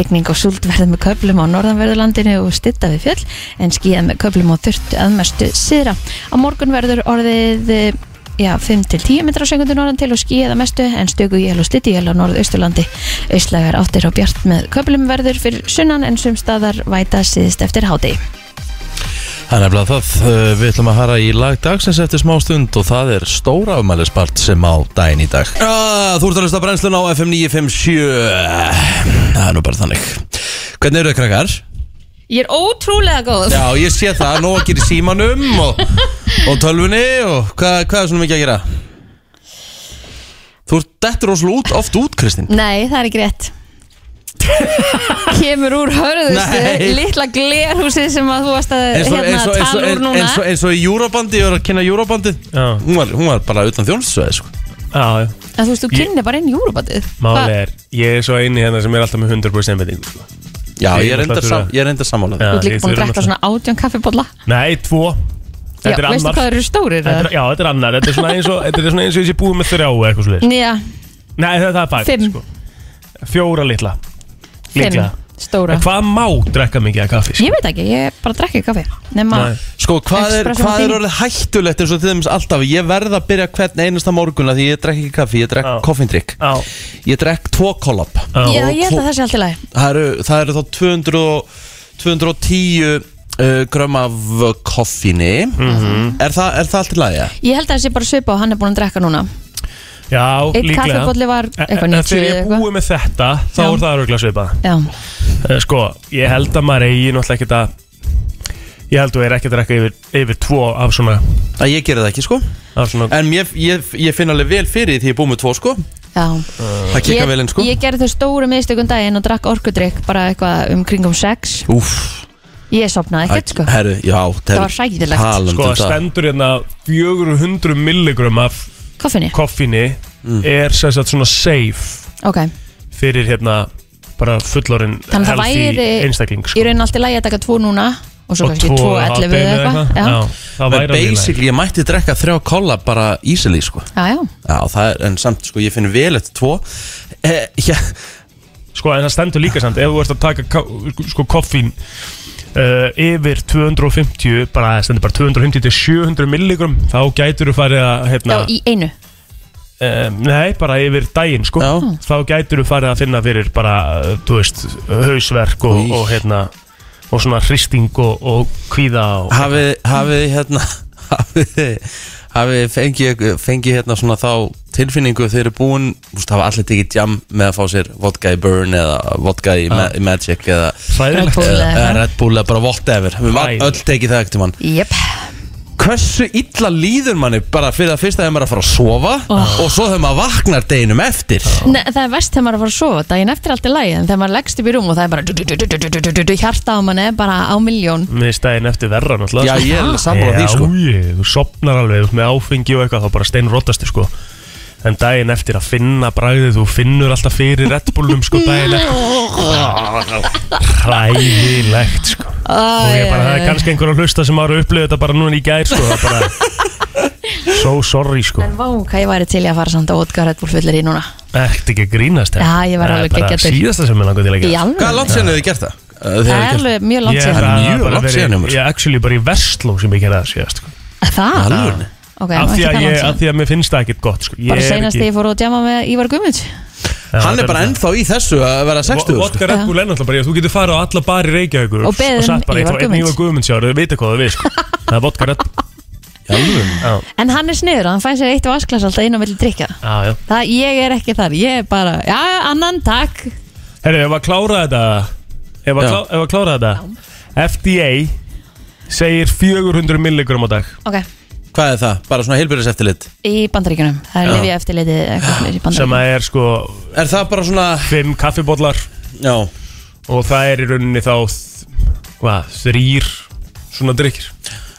S2: Rigning og súld verður með köflum á norðanverðurlandinu og stitta við fjöll en skíðað með köflum og þurft aðmestu síðra. Á morgun verður orðið eh, Já, 5 til 10 metrar á sekundu norðan til og skíða mestu en stöku jél og sliti jél á norðausturlandi. Auðslegar áttir og bjart með köflum verður fyrir sunnan en sum staðar væta síðist eftir hádegi.
S1: Það er nefnilega það, uh, við ætlum að hara í lag dagsins eftir smá stund og það er stóra afmælisbart sem á daginn í dag. Ah, þú ert að hlusta á brennsluna á FM 957, það er nú bara þannig. Hvernig eru þið krakkar?
S2: Ég er ótrúlega góð.
S1: Já, ég sé það, nóg að gera í símanum og, og tölvunni og hvað, hvað er svona mikið að gera? Þú ert dettur rosalega út, oft út, Kristín.
S2: Nei, það er ekki rétt kemur úr hörðustu
S1: Nei.
S2: litla glerhúsi sem að þú varst að
S1: eins og,
S2: hérna,
S1: eins og, eins og,
S2: tala úr núna
S1: eins og, eins og í Júrabandi, ég var að kynna Júrabandi
S3: Já.
S1: hún var, hún var bara utan þjónustsvæði sko.
S3: Já, já.
S2: en þú veist, þú kynni bara inn í júrubatið
S3: Málið er, ég er svo eini hérna sem er alltaf með 100% beinting
S1: Já,
S3: Ég
S1: ég
S3: náttúrulega
S1: er reyndar sam,
S3: þurfa-
S1: ég er reyndar sammála því.
S2: þú ert líka búin að drekka svona átján kaffibólla
S3: Nei, tvo
S2: Já,
S3: Þetta er
S2: veistu
S3: annar
S2: hvað þeir eru stórir?
S3: Þetta er, já, þetta er annar, þetta er svona eins og, þetta er svona eins og ég sé búið með þrjá eða eitthvað svolítið.
S2: Já,
S3: Nei, það, það er fætt,
S2: Fimm.
S3: sko. Fjóra litla.
S2: fimm
S3: Líklega.
S2: stóra
S3: En hvað má drekka mikið af kaffi, sko?
S2: Ég veit ekki, ég bara drekki kaffi Nefna,
S3: Nei.
S1: Sko, hvað er,
S2: Espresso
S1: hvað er
S2: martini.
S1: orðið hættulegt eins og til dæmis alltaf Ég verð að byrja hvern einasta morgun af Því ég drekk ekki kaffi, ég drekk
S3: Já.
S1: koffindrykk
S3: Á,
S1: Ég drekk tvo kollab
S3: á.
S2: ég, ég held
S1: og-
S2: að það sé allt í lagi
S1: Það eru, það eru þá 200, og- 210 uh, grömm af koffini
S3: Mhm.
S1: er, það, er það allt í lagi? ja?
S2: Ég held að það sé bara svipa og hann er búin að drekka núna
S3: Já,
S2: Einn
S3: líklega.
S2: kaffibolli var
S3: En-
S2: eitthvað
S3: en
S2: 90
S3: Þegar ég
S2: eða
S3: er
S2: eitthvað.
S3: búið með þetta, þá
S2: Já.
S3: er það öruglega svipað.
S2: Já,
S3: Eh, Sko, ég held að maður eigi náttúrulega ekkert að Ég held að þú er ekki að drekka yfir, yfir tvo af svona,
S1: Að ég gera það ekki sko
S3: af svona
S1: En ég, ég, ég finn alveg vel fyrir því ég er búið með tvo sko
S2: já
S3: Uh.
S1: Það kikka vel inn sko
S2: ég gerði þau stóru miðstökum daginn og drakk orkudrykk bara eitthvað um kringum sex
S1: Úff,
S2: Ég sopnaði ekkert sko
S1: herru, já
S2: Það var hræðilegt.
S3: Sko,
S1: Sko,
S3: það stendur hérna 400 milligram af
S2: Koffinni,
S3: koffinni er sem sagt svona safe
S2: ok
S3: fyrir hérna bara fullorinn
S2: Þannig að það
S3: healthy
S2: væri
S3: einstakling
S2: Í
S3: sko.
S2: raunin allt í lagi að taka tvo núna Og svo
S3: og
S2: kannski tvo
S3: á
S2: ellefu
S3: hádeginu
S2: eða eitthvað Já,
S3: Já, það væri
S1: En
S3: alveg í lagi.
S1: basically, ég mætti drekka þrjá kolla bara easily sko
S2: já, já
S1: Já, það er, en samt sko, ég finn vel eftir tvo eh, Já,
S3: Sko, en það stendur líka samt ef þú ert að taka ka- sko koffín uh, yfir 250 bara, það stendur bara 250 til 700 milligram þá gætur þú farið að hérna,
S2: Já, í einu
S3: Eh, nei, bara yfir daginn sko
S1: Já.
S3: Þá gætur þú farið að finna fyrir bara, eh, þú veist, hausverk og,
S1: Í.
S3: og hérna Og svona hristing og, og kvíða og
S1: hafið, hafið, hérna Hafið, hafið fengið, fengið hérna svona þá tilfinningu þegar þeir eru búin Þú veist, hafa allir tekið jam með að fá sér vodka í Burn eða vodka í Ma Magic eða
S3: Hræðilegt.
S2: Bull eða
S1: eða- eða
S2: eitthvað.
S1: Red Bull eða bara whatever Við varum öll tekið það ekkert mann
S2: Jep,
S1: Hversu illa líður manni bara fyrir að fyrst að þegar maður er að fara að sofa og svo þegar maður vaknar deginum eftir
S2: Nei, það er vest þegar maður er að fara að sofa daginn eftir allt í lagi en þegar maður leggst upp í rúm og það er bara du- du- du- du- du- du- du- du- du- hjarta á manni er bara á miljón
S3: Með stæðin eftir verra
S1: Já,
S3: náttúrulega
S1: ég er sammála því sko
S3: Já, ég, þú sopnar alveg þú ert með áfengi og eitthvað þá bara steinrottastu sko En daginn eftir að finna bragðið þú finnur alltaf fyrir Red Bullum sko daginn eftir Hræðilegt sko
S2: Æ, sko.
S3: og ég bara, það er kannski einhver að hlusta sem ára upplifið þetta bara núna í gær sko, það er bara so sorry sko
S2: En vá, hvað ég væri til í að fara samt á Ótgar Red Bull fyllir í núna
S3: ekkert ekki að grínast hérna.
S2: Já, ég var
S3: Það er
S2: alveg
S3: bara
S2: geggjaður.
S3: síðasta sem ég langar til að
S2: Í
S3: gera
S1: Hvað
S2: alveg,
S1: er langt síðan hefur þið gert það? Eh, þið
S2: það
S1: hafið
S2: er
S1: gert-
S2: alveg mjög langt
S3: Ég
S1: Það
S2: síðan
S1: er
S3: að
S1: mjög
S3: bara
S1: langt
S3: verið-
S1: síðan, Emil.
S3: Ég er actually bara í Vestló sem ég gerði það síðast sko.
S2: Það?
S1: Alvörunni?
S2: Ok,
S3: af,
S2: nú
S3: því
S2: ekki
S3: að
S2: það
S3: ég,
S2: langt
S3: af
S2: síðan
S3: því að mér finnst það ekkert gott sko. Ég
S2: Bara
S3: er
S2: senast
S3: ekki-
S2: þegar ég fór út djama með Ívar Guðmund
S3: Já,
S1: Hann
S3: þetta
S1: er bara
S3: það.
S1: ennþá í þessu að vera 60 sko.
S3: Vodka Red Bull er náttúrulega bara ég, þú getur farið á alla bari Reykjavíkur
S2: Og beðið um
S3: satt bara, ég
S2: Ívar
S3: fá einn
S2: Guðmunds.
S3: Ívar Guðmunds sjá, þau vita hvað þau við sko. það er vodka Red Bull
S1: Í alvörunni?
S3: Já,
S2: En hann er sniður, hann fæ sér eitt vasklas alltaf inn á milli drikja
S3: já, já.
S2: Það, ég er ekki þar, ég er bara, já, annan, takk
S3: Herru, ef að klára þetta Ef að,
S1: Já.
S3: klá, ef að klára þetta FDA segir 400 milligram á dag
S2: Ok,
S1: Hvað er það? Bara svona heilbyrðis eftirlit
S2: í bandaríkjunum, það er
S1: Já.
S2: lifið eftirlitið eitthvað svoleiðis í
S3: sem
S2: bandaríkjunum
S3: að er sko
S1: Er það bara svona
S3: 5 kaffibóllar
S1: Já
S3: og það er í rauninni þá þ- hvað, þrýr svona drikkir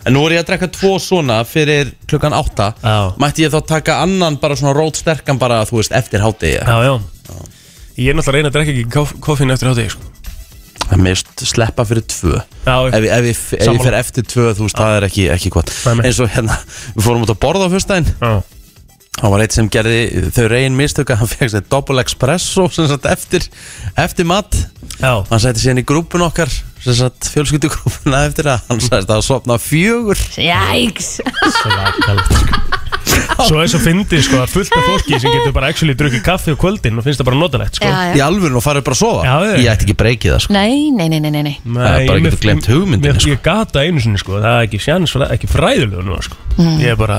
S1: En nú er ég að drekka tvo svona fyrir klukkan átta
S3: Já.
S1: Mætti ég þá taka annan bara svona rót sterkan bara þú veist eftir hátegi
S3: Já, já Ég er náttúrulega að reyna að drekka ekki koffín eftir hátegi sko.
S1: Það mist sleppa fyrir tvö
S3: Já,
S1: Ef, ég- ef, ég, ef ég
S3: Sammála.
S1: fer eftir tvö þú veist það er ekki, ekki gott
S3: Nei, nei.
S1: Eins og hérna við fórum út að borða á fyrstæðin
S3: já
S1: Það var eitt sem gerði þau reyn mistök að hann fekk sér double espresso sem sagt eftir, eftir mat
S3: Já,
S1: Hann sætti síðan í grúpun okkar sem sagt fjölskyldugrúpuna eftir að hann sætti að sopna fjögur
S2: Jæks
S3: svakalegt sko. Svo er svo fyndið sko að fullt af fólki sem getur bara actually drukkið kaffi á kvöldin og finnst það bara notalegt sko
S2: Já,
S1: í
S2: já
S1: alvörun og farið bara að sofa
S3: Já, já.
S1: Ég ætti ekki breykið það sko
S2: Nei, nei, nei, nei, nei, nei.
S3: Nei,
S1: Það er bara
S3: ég-
S1: getur gleymt hugmyndinni,
S3: mér-
S1: sko.
S3: Ég gata einu sinni sko, það er ekki sjans, ekki fræðilegu nú sko
S2: Mm.
S3: Ég er bara,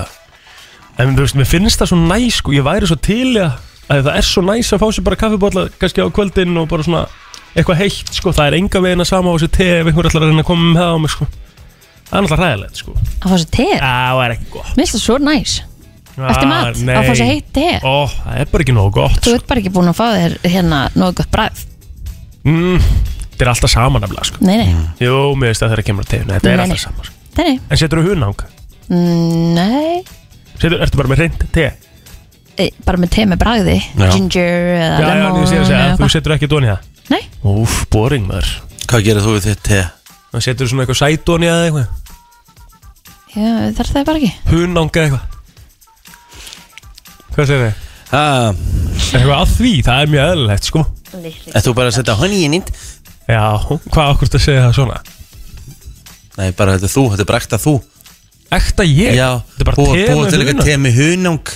S3: en þú veist, mér finnst það svo næ sko, ég væri svo til í að, að það er svo næs að fá sér bara kaffibólla kannski á kvöldin og bara svona eitthvað heitt sko, það er enga veginn að sama á sér te ef einhver ætlar að reyna að koma með það á mig sko Það er náttúrulega hræðilegt sko
S2: Að fá sér te Mér
S3: Það var ekki gott
S2: finnst það svo næs Eftir mat,
S3: Ah,
S2: að fá sér
S3: nei.
S2: heitt te
S3: Ó, það er bara ekki nógu gott
S2: Þú
S3: sko.
S2: ert bara ekki búin að fá þér hérna nógu gott bræð
S3: mm, Þetta er alltaf saman aflega sko.
S2: Nei, nei,
S3: Jú, mér veist að þeirra kemur að teguna Þetta
S2: Mm. Nei,
S3: er
S2: nei.
S3: alltaf saman sko.
S2: nei, nei,
S3: En setur þú hunang?
S2: Mm, nei.
S3: Setur, ertu bara með reynd te?
S2: E, Bara með te með bragði
S1: Já.
S2: Ginger eða
S3: Já, já,
S2: lemon
S3: ég sé að segja
S2: eða
S3: Þú
S2: eitthvað.
S3: setur ekki dónið það?
S2: Nei,
S3: Úf, boring maður
S1: Hvað gerir þú við þitt te?
S3: Það setur svona eitthvað sædónið eða eitthvað
S2: já, þarf það bara ekki
S3: Hunang eða eitthvað Hvað segir þið?
S1: Ah,
S3: Er eitthvað að því? Það er mjög eðlilegt sko
S1: ert þú bara að setja honey in it?
S3: Já, hvað okkur þetta segja það svona?
S1: Nei, bara þetta er þú, þetta er bara ekta þú
S3: Ekta ég?
S1: Já,
S3: Þetta er bara te
S1: búa, búa til
S3: með
S1: eitthvað
S3: hunang
S1: te með hunang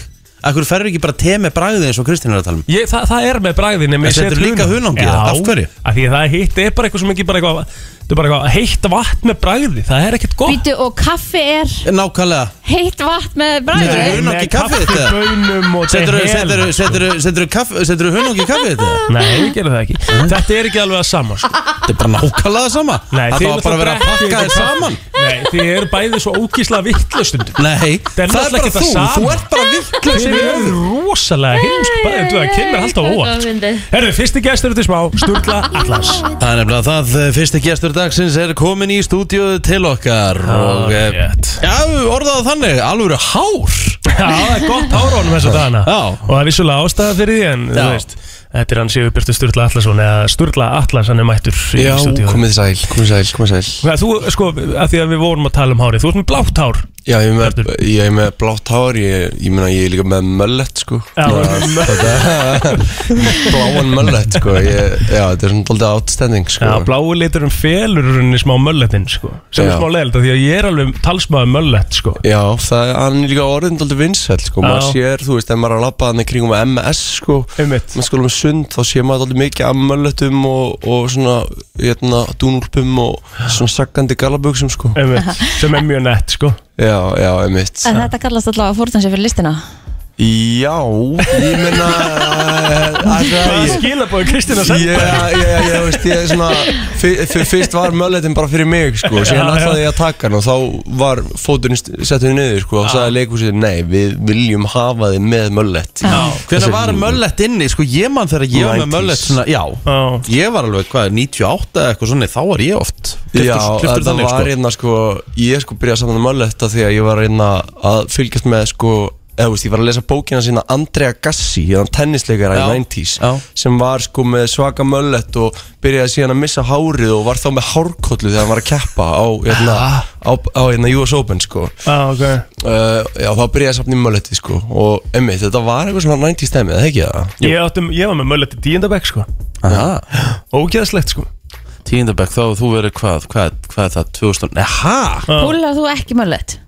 S1: Akkur ferur ekki bara te með bragði eins og Kristín er að tala um
S3: Ég, það, það er með bragðin
S1: En setur líka hunang í það? Af hverju?
S3: Af því að það er heitt, það er bara eitthvað sem ekki bara eitthvað Það er bara eitthvað heitt vatn með bragði, það er ekkert gott
S2: Býtu og kaffi er
S1: Nákvæmlega
S2: heitt vatn með
S1: Nei,
S2: bragði
S1: nei. hunang í kaffið þetta?
S3: Bönum og
S1: Setur
S3: te- hel.
S1: þú hunang í kaffið þetta?
S3: Nei, ég gerði það ekki Þetta er ekki alveg að sama sko.
S1: Þetta er bara nákvæmlega það sama
S3: Nei,
S1: Þetta var bara að vera að pakka þér saman
S3: Nei, þið eru bæði svo ókíslega vittlustundum
S1: Nei, það er
S3: náttúrulega
S1: bara
S3: ekki það
S1: þú,
S3: sama.
S1: þú ert bara vitlaus
S3: Þið
S1: í
S3: eru
S1: höfðinu.
S3: rosalega heimsk Bæði, þú það kemur alltaf á óvart sko. Herru, fyrsti gestur til smá, Sturla Atlas
S1: Það er nefnilega það, eh, fyrsti gestur dagsins er komin í stúdíu til okkar og eh,
S3: Ah, rétt.
S1: Já, orðaðu þannig, alvöru hár
S3: Já, það er gott háránum þess að dana
S1: Já.
S3: Og það er vissulega ástæða fyrir því En þú
S1: Já.
S3: veist, þetta er hann séu Björnstur Sturla Atlasson Eða Sturla Atlas, hann er mættur í stúdíóið.
S5: komið sæl, komið sæl, komið sæl
S3: Hvað, Þú, sko, að því að við vorum að tala um hárið Þú ert með blátt hár
S5: Já, ég er með,
S3: Ertu-
S5: ég er með blátt hár, ég, ég meina ég er líka með möllett sko
S3: Já.
S5: Þetta- Bláan möllett sko, ég, já þetta er svona doldið outstanding sko
S3: Já, bláu liturinn felur runni smá mölletin, sko Sem er
S5: Já.
S3: smá leiðilegt, af því að ég er alveg talsmaður möllett, sko
S5: Já, það er hann er líka orðin doldið vinsæl sko,
S3: Já.
S5: maður sér, þú veist, ef maður er að labba hann í kringum MS sko
S3: Einmitt.
S5: Maður skóla með sund, þá sér maður doldið mikið af möllettum og, og svona, hérna, dúnúlpum og svona saggandi galabugsum sko
S3: Einmitt, sem er mjög nett, sko
S5: Já, já, emitt
S2: En þetta kallast allavega að fórtan sér fyrir listina
S5: Já, ég meina,
S3: Það
S5: alltaf
S3: er skilabóðu Kristina
S5: Já,
S3: Sandberg
S5: já, já, já, veist, ég svona fyr, fyr, Fyrst var mölletin bara fyrir mig, sko Síðan
S3: Já,
S5: ætlaði ég að taka hann og þá var fóturinn st- settur niður, sko Og sagði leikhúsið, nei, við viljum hafa þið með möllett
S1: Hvernig var möllett inni, sko ég man þegar ég var
S5: 90s.
S1: með möllett svona, já
S3: Já.
S1: Ég var alveg, hvað, 98 eða eitthvað svona, þá var ég oft
S5: Já,
S1: kliftur
S5: þetta
S1: þannig,
S5: var
S1: sko.
S5: hérna, sko Ég sko byrjaði saman með möllett af því að ég var hérna að fylgjast með, sko eða, þú veist, ég var að lesa bókina sína Andrea Gassi, hérna tennisleikara
S1: Já,
S5: í 90s
S1: já.
S5: sem var sko með svaka möllett og byrjaði síðan að missa hárið og var þá með hárkollu þegar hann var að keppa á, hérna, á, á hérna US Open sko.
S3: Já, ok
S5: uh, Já, þá byrjaði ég að safna í mölleti sko. og emmi, þetta var eitthvað svona 90 stemmi, eða ekki það?
S3: Ég, áttum, ég var með möllett í díundabæk sko
S1: Aha,
S3: Ógeðslegt sko
S1: tíundabæk, þá hefur þú verið hvað, hvað, hvað er það, 2000, nei, ha?
S2: Púlar þú ekki möllet?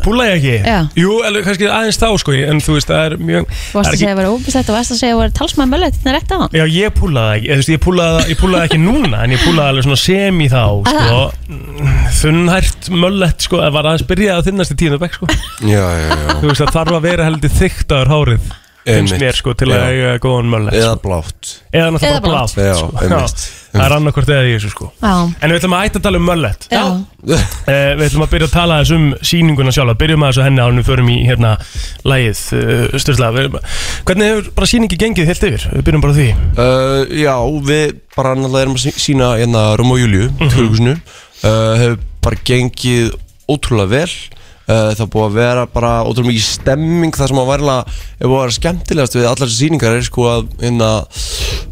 S3: Púla ég ekki?
S2: Já.
S3: Jú, alveg kannski aðeins þá sko En þú veist, það er mjög
S2: Þú varst
S3: það er
S2: að
S3: ekki-
S2: segja að vera óbistætt og varst að segja að vera talsmaður möllet Þetta er rétt á hann
S3: Já, ég púlaði það ekki, eða, þú veist, ég púlaði, ég púlaði það ekki núna En ég púlaði alveg svona semi þá sko. Þunnhært möllett sko, Það var aðeins byrjað að þinnast í tíundu bekk sko.
S5: Já, já, já,
S3: Þú veist, það þarf að vera heldur þyktaður hárið Finnst
S5: Einmitt.
S3: mér sko til að
S5: Já.
S3: eiga góðan möllett
S5: eða
S3: sko.
S5: blátt
S3: Eða náttúrulega
S2: Eða
S3: bara
S2: blátt.
S3: blátt
S5: Já,
S3: sko.
S5: einmitt.
S3: Það er annarkvort eða í þessu sko
S2: Já,
S3: En við ætlum að ætta að tala um möllett
S2: já,
S3: Eh, Við ætlum að byrja að tala aðeins um sýninguna sjálf Byrjum aðeins á henni ánum við förum í hérna Lægið, uh, styrla Hvernig hefur bara sýningi gengið heilt yfir? Við byrjum bara á því
S5: Uh, já, við bara náttúrulega erum að sí- sína hérna Róm og Júliu, Tölgusinu uh, hefur bara gengið ótrúlega vel uh, það er búið að vera bara ótrúlega mikið stemming það sem að verla, er búið að vera skemmtilegast við allar þessar síningar er sko að hérna,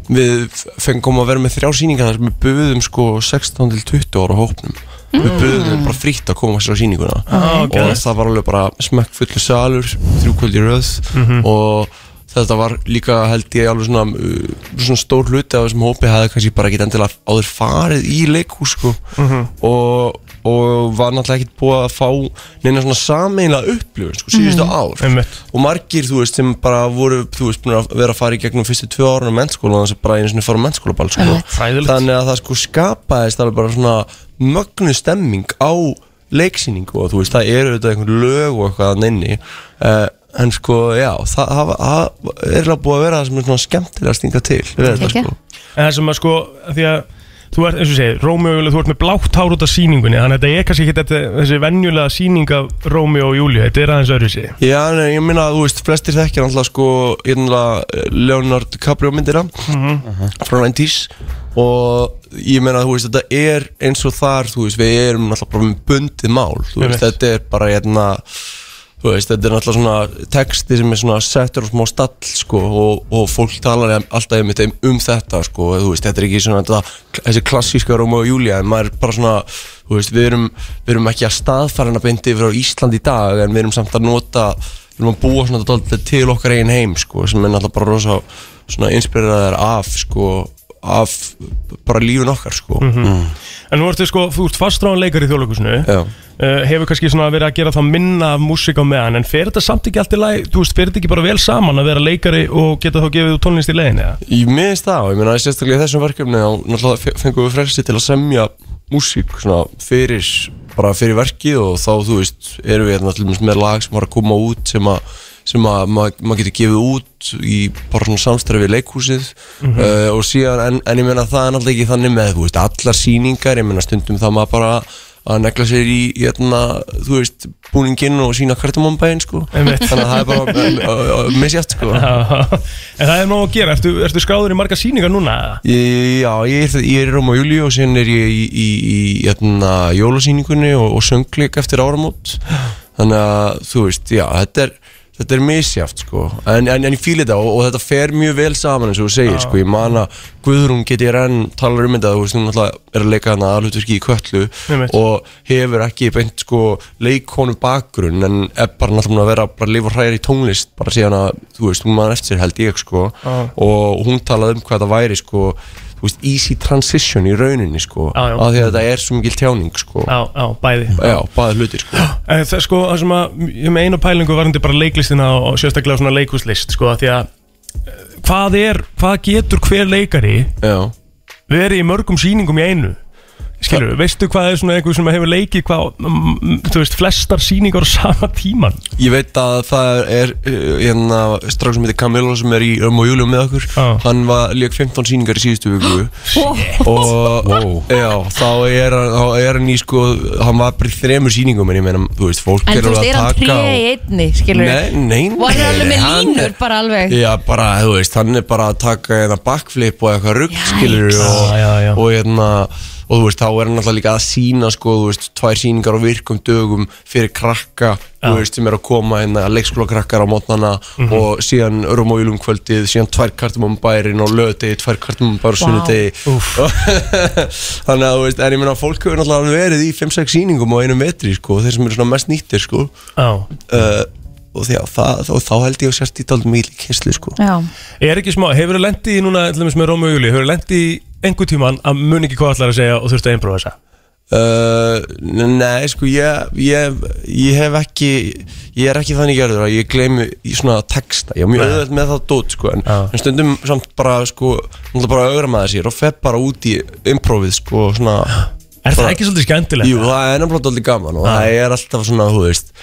S5: við fengum að vera með þrjá síningar þar sem við buðum sko 16 til 20 ára hópnum við buðum þeim bara frítt að koma sér á síninguna
S3: Mm. Ah, ok.
S5: og það var alveg bara smekk fullu salur, þrjú kvöld í röð og þetta var líka held ég alveg svona, uh, svona stór hluti af þessum hópi hefði kannski bara ekkit endilega áður farið í leikhús sko
S3: Mhm.
S5: og, og var náttúrulega ekkit búið að fá neina svona sameinlega upplifun sko, síðustu ár
S3: Mhm. Einmitt.
S5: og margir þú veist sem bara voru þú veist búin að vera að fara í gegnum fyrstu tvö árunum mennskóla og þannig að bara einu svona fara á mennskólaball sko.
S2: Einmitt.
S3: Hræðilegt.
S5: þannig að það sko skapaðist alveg bara svona mögnu stemming á leiksýningu og þú veist það eru auðvitað einhvern lög og eitthvað að nynni uh, en sko já það, það, það er alveg búið að vera það sem er svona skemmtilega að stinga til við þetta
S2: Ekki.
S5: sko
S3: En það sem að sko, af því að þú ert, eins og ég segi, Rómeo og Júlíu, þú ert með blátt hár út af síningunni Þannig að þetta er kannski ekki þetta, þessi venjulega síning af Rómeo og Júlíu Þetta er aðeins öðru sig
S5: Já, nei, ég minna að þú veist, flestir þekkir alltaf sko, hérna, Leonard Caprio myndina frá 90s og ég meina þú veist, þetta er eins og þar, þú veist, við erum alltaf bara með bundið mál, þú veist,
S3: Einmitt.
S5: þetta er bara hérna, þú veist, þetta er alltaf svona texti sem er svona settur á smá stall, sko, og, og fólk talar alltaf einmitt um, um þetta, sko, og, þú veist, þetta er ekki svona þetta, þessi klassíska Róma og Júlía, en maður er bara svona, þú veist, við erum, við erum ekki að staðfæra hana bindi yfir á Ísland í dag, en við erum samt að nota, við erum að búa svona dálítið til okkar eigin heim, sko, sem er alltaf bara rosa, svona, inspireraðar af, sko, af bara lífin okkar sko
S3: En nú ertu sko, þú ert fastráðan leikar í þjóðleikusinu
S5: Já.
S3: uh, hefur kannski svona verið að gera það minna af músík á meðan en fer þetta samt ekki allt í lagi, þú veist, fer þetta ekki bara vel saman að vera leikari og geta þá gefið út tónlist í leiðin eða?
S5: Ég minnist það og ég meina sérstaklega í þessum verkefni og náttúrulega fe- fengum við frelsi til að semja músík svona fyrir bara fyrir verkið og þá þú veist erum við hérna til dæmis með lag sem var að koma út sem að sem að ma- maður getur gefið út í bara svona samstæri við leikhúsið uh, og síðan en, en ég meina það er náttúrulega ekki þannig með þú veist allar sýningar ég meina stundum þá maður bara að negla sér í hérna, þú veist búninginn og sína kartamombæinn sko
S3: Einmitt.
S5: þannig að það er bara misjátt sko
S3: en það er nóg að gera, ertu, ertu skráður í marga síningar núna? eða?
S5: Ég- Já, ég er, ég er í Róm og Júli og síðan er ég í, í, í jæna, jólasýningunni og, og söngleik eftir áramót Þannig að, þú veist, já, þetta er, þetta er misjáft, sko En, en, en ég fíl þetta og, og þetta fer mjög vel saman eins og þú segir, sko Ég man að Guðrún geti enn talar um þetta, þú veist, hún alltaf er að leika hana aðlutverki í köllu
S3: Einmitt.
S5: Og hefur ekki beint, sko, leikonu bakgrunn En er bara náttúrulega búin að vera bara að lifa hræðir í tónlist Bara síðan að, þú veist, hún man eftir sér held ég, sko
S3: Já.
S5: og hún talaði um hvað það væri sko, þú veist, easy transition í rauninni sko,
S3: Já, já.
S5: af því að þetta er svo mikil tjáning sko,
S3: Já, já, bæði
S5: já, bæði hlutir sko.
S3: En það sko, það sem að ég með einu pælingu varandi bara leiklistina og sérstaklega svona leikhúslist sko, af því að eh, hvað er, hvað getur hver leikari
S5: já,
S3: verið í mörgum sýningum í einu skilur, veistu hvað er svona einhver sem hefur leikið hvað, mm, mm, þú veist, flestar sýningar á sama tíman
S5: ég veit að það er uh, hérna, strax sem heitir Camilo sem er í um og júlum með okkur
S3: Já.
S5: hann var líka 15 síningar í síðustu viku
S2: Shit.
S5: og já, þá er, hann- þá er hann í sko, hann var bara í þremur sýningum en ég meina, þú veist, fólk
S2: En
S5: er
S2: þú veist,
S5: alveg
S2: er
S5: að
S2: hann
S5: taka
S2: tré í
S5: og-
S2: einni, skilur
S5: Nei, nei,
S2: Og hann er
S5: nei,
S2: alveg með
S5: hann er-
S2: línur, bara alveg
S5: Já, bara, þú veist, hann er bara að taka hérna backflip og eitthvað rugg,
S2: Jæks.
S5: skilur og,
S3: Já, já, já.
S5: og hérna og þú veist, þá er hann alltaf líka að sína sko, þú veist, tvær síningar á virkum dögum fyrir krakka, þú veist, sem er að koma hérna, leikskóla krakkar á mótnana
S3: Mhm.
S5: og síðan örum og júlum kvöldið síðan tvær kartumum bærin og löti tvær kartumum bærin og
S2: Vá.
S5: sunnudegi þannig að, þú veist, en ég meina fólk hefur náttúrulega verið í 5-6 síningum á einum vetri, sko, þeir sem eru svona mest nýttir, sko
S3: Já,
S5: uh, og, því, að það, og þá held ég að sérst í daldum mikil kynslu, sko
S2: Já,
S3: Ég er ekki smá, hefur þú lendið í núna til dæmis með Rómi og Júli, hefur þú lendið í einhver tíman að mun ekki hvað allar að segja og þurftu að einbróða þessa
S5: Uh, nei, sko, ég, ég, ég hef ekki, ég er ekki þannig gerður að ég gleymi í svona texta, ég er mjög
S3: Nei.
S5: auðveld með það dót, sko, en,
S3: Já.
S5: en stundum samt bara, sko, náttúrulega bara augra maður sér og fer bara út í improvið, sko, svona,
S3: Er það
S5: Bara-
S3: ekki svolítið skemmtilegt?
S5: jú, það er náttúrulega alltaf gaman og það er alltaf svona, þú veist,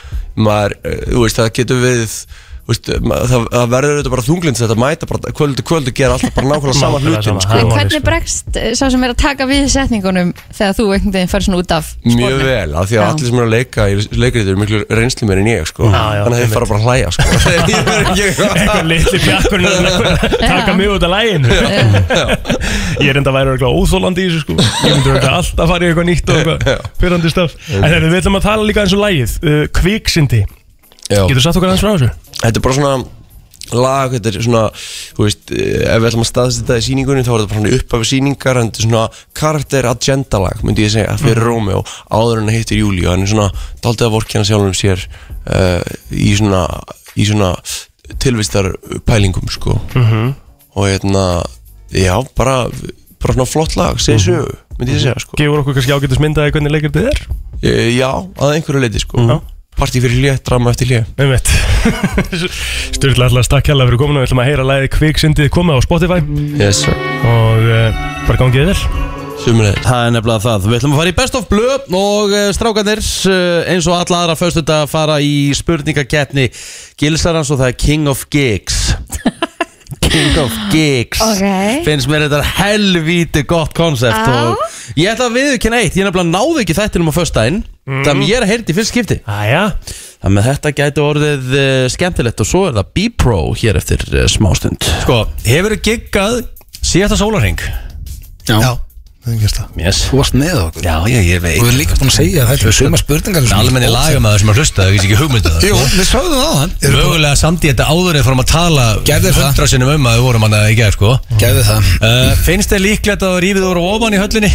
S5: maður, uh, þú veist, það getur við, þú veist, maður, það, það verður auðvitað bara þunglind þetta mæta bara kvöldu kvöldu gera alltaf bara nákvæmlega sama
S3: Nákvæmlega
S5: hlutin,
S3: sama,
S5: sko.
S3: ha.
S2: en
S3: Rómeo,
S2: hvernig
S3: sko.
S2: bregst eh, sá sem er að taka við setningunum þegar þú einhvern veginn fær svona út af
S5: Mjög
S2: spornum?
S5: vel, af því að
S2: Já.
S5: allir sem eru að leika í leikriður eru miklu reynslu meir en ég sko.
S3: Já, já,
S5: Þannig að þeir fara bara að hlæja sko. Ég er ekki-
S3: Eitthvað litli bjakkurinn að taka mig út af læginu Ég er enda að væri eitthvað óþólandi í þessu sko Ég myndi að alltaf fara í eitthvað nýtt og eitthvað pyrrandi staf En þegar við ætlum að tala líka eins og lægið uh, Kviksindi,
S5: Já.
S3: getur sagt okkar aðeins frá þessu?
S5: Þetta er bara svona lag, þetta er svona þú veist, eh, ef við ætlum að staðsetja það í síningunni þá er þetta bara svona upphafi síningar en þetta er svona karakter agenda lag myndi ég
S3: Mhm.
S5: segja, fyrir Rómeó áður en að hittir Júli og hann er svona daldið að vorkjana sjálfum sér uh, í svona, í svona tilvistar pælingum sko
S3: Mhm.
S5: -hmm. og hérna já, bara, bara svona flott lag
S3: Mhm.
S5: segið sögu, myndi ég segja sko
S3: Gefur okkur kannski ágætis myndaði hvernig leikur þetta er?
S5: Eh, Já, að einhverju leiti sko
S3: Já.
S5: Partí fyrir hlið, drama eftir hlið
S3: Nei mitt Sturla allar stakkjala fyrir komuna Við ætlum að heyra lægið Kviksindi komið á Spotify
S5: Yes sir
S3: Og uh, bara gangið þér
S5: Sumulegir
S1: Það er nefnilega það. Við ætlum að fara í best of blö og eh, strákarnir eh, eins og alla aðra föstu að fara í spurningakeppni Gilsarans og það er King of Gigs. King of Gigs
S2: Ok.
S1: Finnst mér þetta helvíti gott konsept
S2: Já.
S1: og ég ætla að viðurkenna eitt, ég nefnilega náði ekki þættinum á föstudaginn mm. Þannig ég er að heyrði í fyrst skipti
S3: Æja,
S1: Þannig að þetta gæti orðið uh, skemmtilegt og svo er það B-Pro hér eftir uh, smástund
S6: Sko, hefur þið giggað síðasta sólarhing?
S7: Já, það er gerst það
S6: Yes
S7: Þú varst með okkur
S6: Já, ég,
S7: Og við
S6: ég veit
S7: erum líka búin að segja að þetta er suma spurningar sem-
S6: Almenni lagamæður sem að hlusta, það er ekki hugmyndið
S7: Jú, við sögðum það á hann
S6: Mögulega samt í þetta áður eða fórum að tala
S7: Gerðu það.
S6: hundra sinnum um að við vorum hann að í gerð sko
S7: Gæði það
S6: uh, Finnst þið líklegt að rífið voru ofan í höllinni?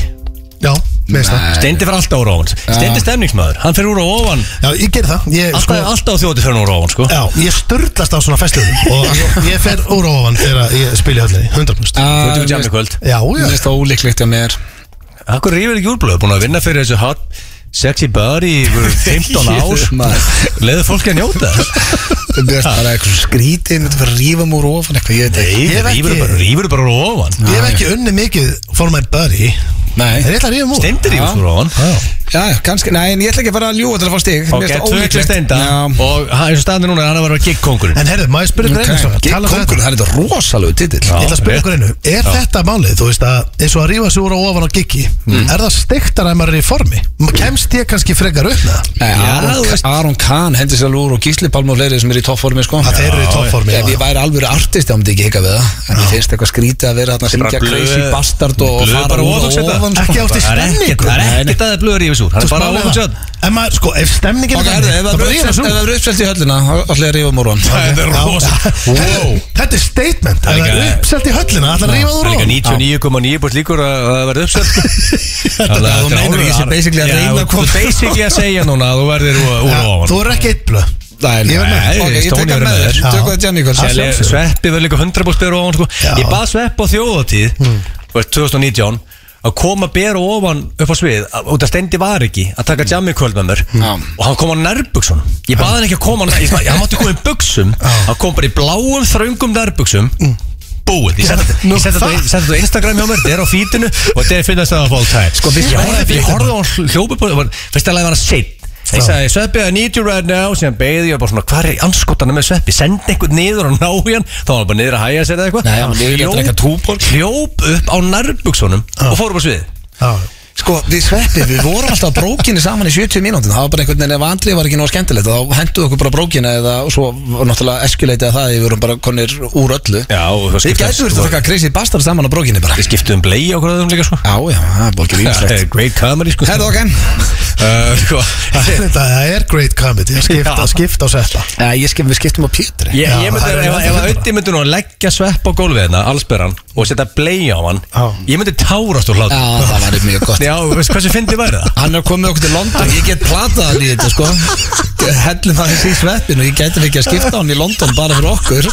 S7: Já, meðist það
S6: Steindi fyrir alltaf úr ofan Steindi stemningsmæður, hann fyrir úr á ofan
S7: Já, ég ger það Ég,
S6: Alltaf,
S7: sko,
S6: alltaf þjóti fyrir úr á ofan sko
S7: já, ég störtlast á svona festum Og ég- ég fer úr á ofan þegar ég spila í höllinni
S8: Ah,
S7: 100%
S6: Þú ert í jam í kvöld
S7: Já, já Mér finnst ólíklegt að mér
S6: Akkur rífið ekki úrblöð, búin að vinna fyrir þessu hot sexy body í yfir 15 ár Leðu fólki að njóta þess
S7: Þetta er bara eitthvað skrítið Þetta fyrir að rífa múr ofan eitthvað Ég veit ekki Ég hef
S6: Rífur bara,
S7: ekki-
S6: rífur bara úr ofan
S7: ég hef ekki unni mikið For my buddy
S8: Nei
S7: En ég ætla að rífa múr
S6: Steindi rífur úr ofan
S8: Já, já, kannski, nei, en ég ætla ekki að fara að ljúa til að fá stig
S6: Ok,
S8: Mér finnst
S6: tvö
S8: það
S6: til
S8: ólíklegt.
S6: steinda
S8: Já
S6: Og hann- eins og staðan er núna, hann er að vera giggkongurinn
S7: En herðu, maður spyrir okay.
S8: Ok,
S7: einu
S8: Gigg kongurinn, það er þetta rosalegu titill
S7: Ég ætla að spyrja
S6: rétt.
S7: ykkur einu, er þetta málið, þú veist að eins og að rífa sig úr á ofan á giggi
S1: Mm.
S7: er það steiktar að maður er í formi? Ma- Kemst ég kannski frekar upp með það?
S8: Nei, Aron- Aron Kahn hendur sér lúr og Gísli Palm og fleiri sem eru í toppformi sko
S7: Að þeir eru í toppformi,
S8: Ef
S7: já.
S8: ég væri alvöru artist, þá myndi ég ekki hika við það En mér finnst eitthvað skrítið að vera þarna að syngja
S6: bara
S8: crazy
S6: blöð-
S8: bastard og
S6: blöð bara
S8: fara úr
S6: ofan, setja.
S8: og sko. ofan
S7: Ekki átti
S6: Það er ekkert-
S7: stemningu
S6: það er ekkert að það er blöður rífis úr Það er bara ofan sjöðan
S7: sko. En maður, sko, ef stemningin
S8: Ok, herðu, ef
S7: það
S8: það
S7: bara rífa sig úr.
S8: verður uppselt í höllina þá ætla ég að rífa um múr hann
S6: Þetta er rosa
S7: Herðu, Þetta er statement, ef
S6: er
S7: það er
S6: líka-
S7: uppselt í höllina, ætla að rífa
S6: Það
S7: úr
S6: er
S7: ofan
S6: líka 99,9% líkur að að það verði uppsett Þannig að þetta
S8: þú
S6: er
S8: meinar
S6: ára-
S8: ég sé basically að
S6: Já,
S8: reyna að
S6: þú- Þú basically að segja núna að þú verðir úr úr
S7: Ja,
S6: ofan
S7: Þú er ekki eitt blöð
S8: Nei,
S7: Ég verð með.
S8: nei, ok,
S6: Nei,
S8: ég tek
S6: Stóni
S8: hann
S6: verður
S8: með
S6: með
S8: þér
S6: þér.
S8: Tökum það Jenny Kvöld
S6: Sel- Sveppi verður líka 100% bera ofan sko.
S7: Já.
S6: Ég bað Svepp á þjóðatíð þú veist, 2019 að koma bera ofan upp á svið að- út af stendi var ekki að taka jammi kvöld með mér og hann kom á nærbuksun ég bað hann ekki að koma ég sagði, hann mátti koma í buksum hann kom bara í bláum þröngum nærbuksum
S8: Mm.
S6: búið, ég setti þetta- ég setti þetta ég setti þetta á Instagram hjá mér, þetta er á feedinu og þetta er finnast það á all time sko, ég horfði- ég horfði á hann hljópa fyrst að leiða hann að sitt ég sagði, Sveppi, I need you right now síðan beigði ég bara svona, hvað er anskotanum með Sveppi sendi einhvern niður og ná í hann þá var hann bara niður að hæja sér eða eitthvað
S8: Nei, hann var niður í að
S6: Hljóp-
S8: drekka
S6: hljóp upp á nærbuksunum og fór upp á svið
S8: Sko, við sveppið, við vorum alltaf á brókinni saman í 70 mínútin Það var bara einhvern veginn, ef andrið var ekki nóg skemmtilegt Þá henduðu okkur bara brókinna eða Og svo var náttúrulega eskuleitið að það Við vorum bara konir úr öllu
S6: já, og það
S8: Við
S6: skiptum-
S8: gætum verið að taka crazy bastard saman á brókinni bara
S6: við skiptum blei á hverjum líka sko
S8: Já, já, það er bókið
S6: Það
S8: ímslegt
S6: er great comedy sko
S8: Herðu okkar
S6: Uh, sko,
S7: Þetta er great comedy, að skipta,
S6: Já.
S7: að skipta og setja
S8: Já, ég skip, við skiptum á Pétri
S6: Ég,
S7: Já,
S6: ég myndi,
S7: það er
S6: ef,
S7: alveg
S6: ef að
S7: fullt.
S6: Ötti myndi nú að leggja svepp á gólfið hérna, allsperran og setja blei á hann ég myndi tárast úr
S8: Já,
S6: hlátt
S8: það væri mjög gott
S6: Já, veist hversu fyndi væri það?
S8: Hann er komið okkur til London, ég get platað hann í þetta sko Hellum það þessi í sveppin og ég gæti ekki að skipta hann í London bara fyrir okkur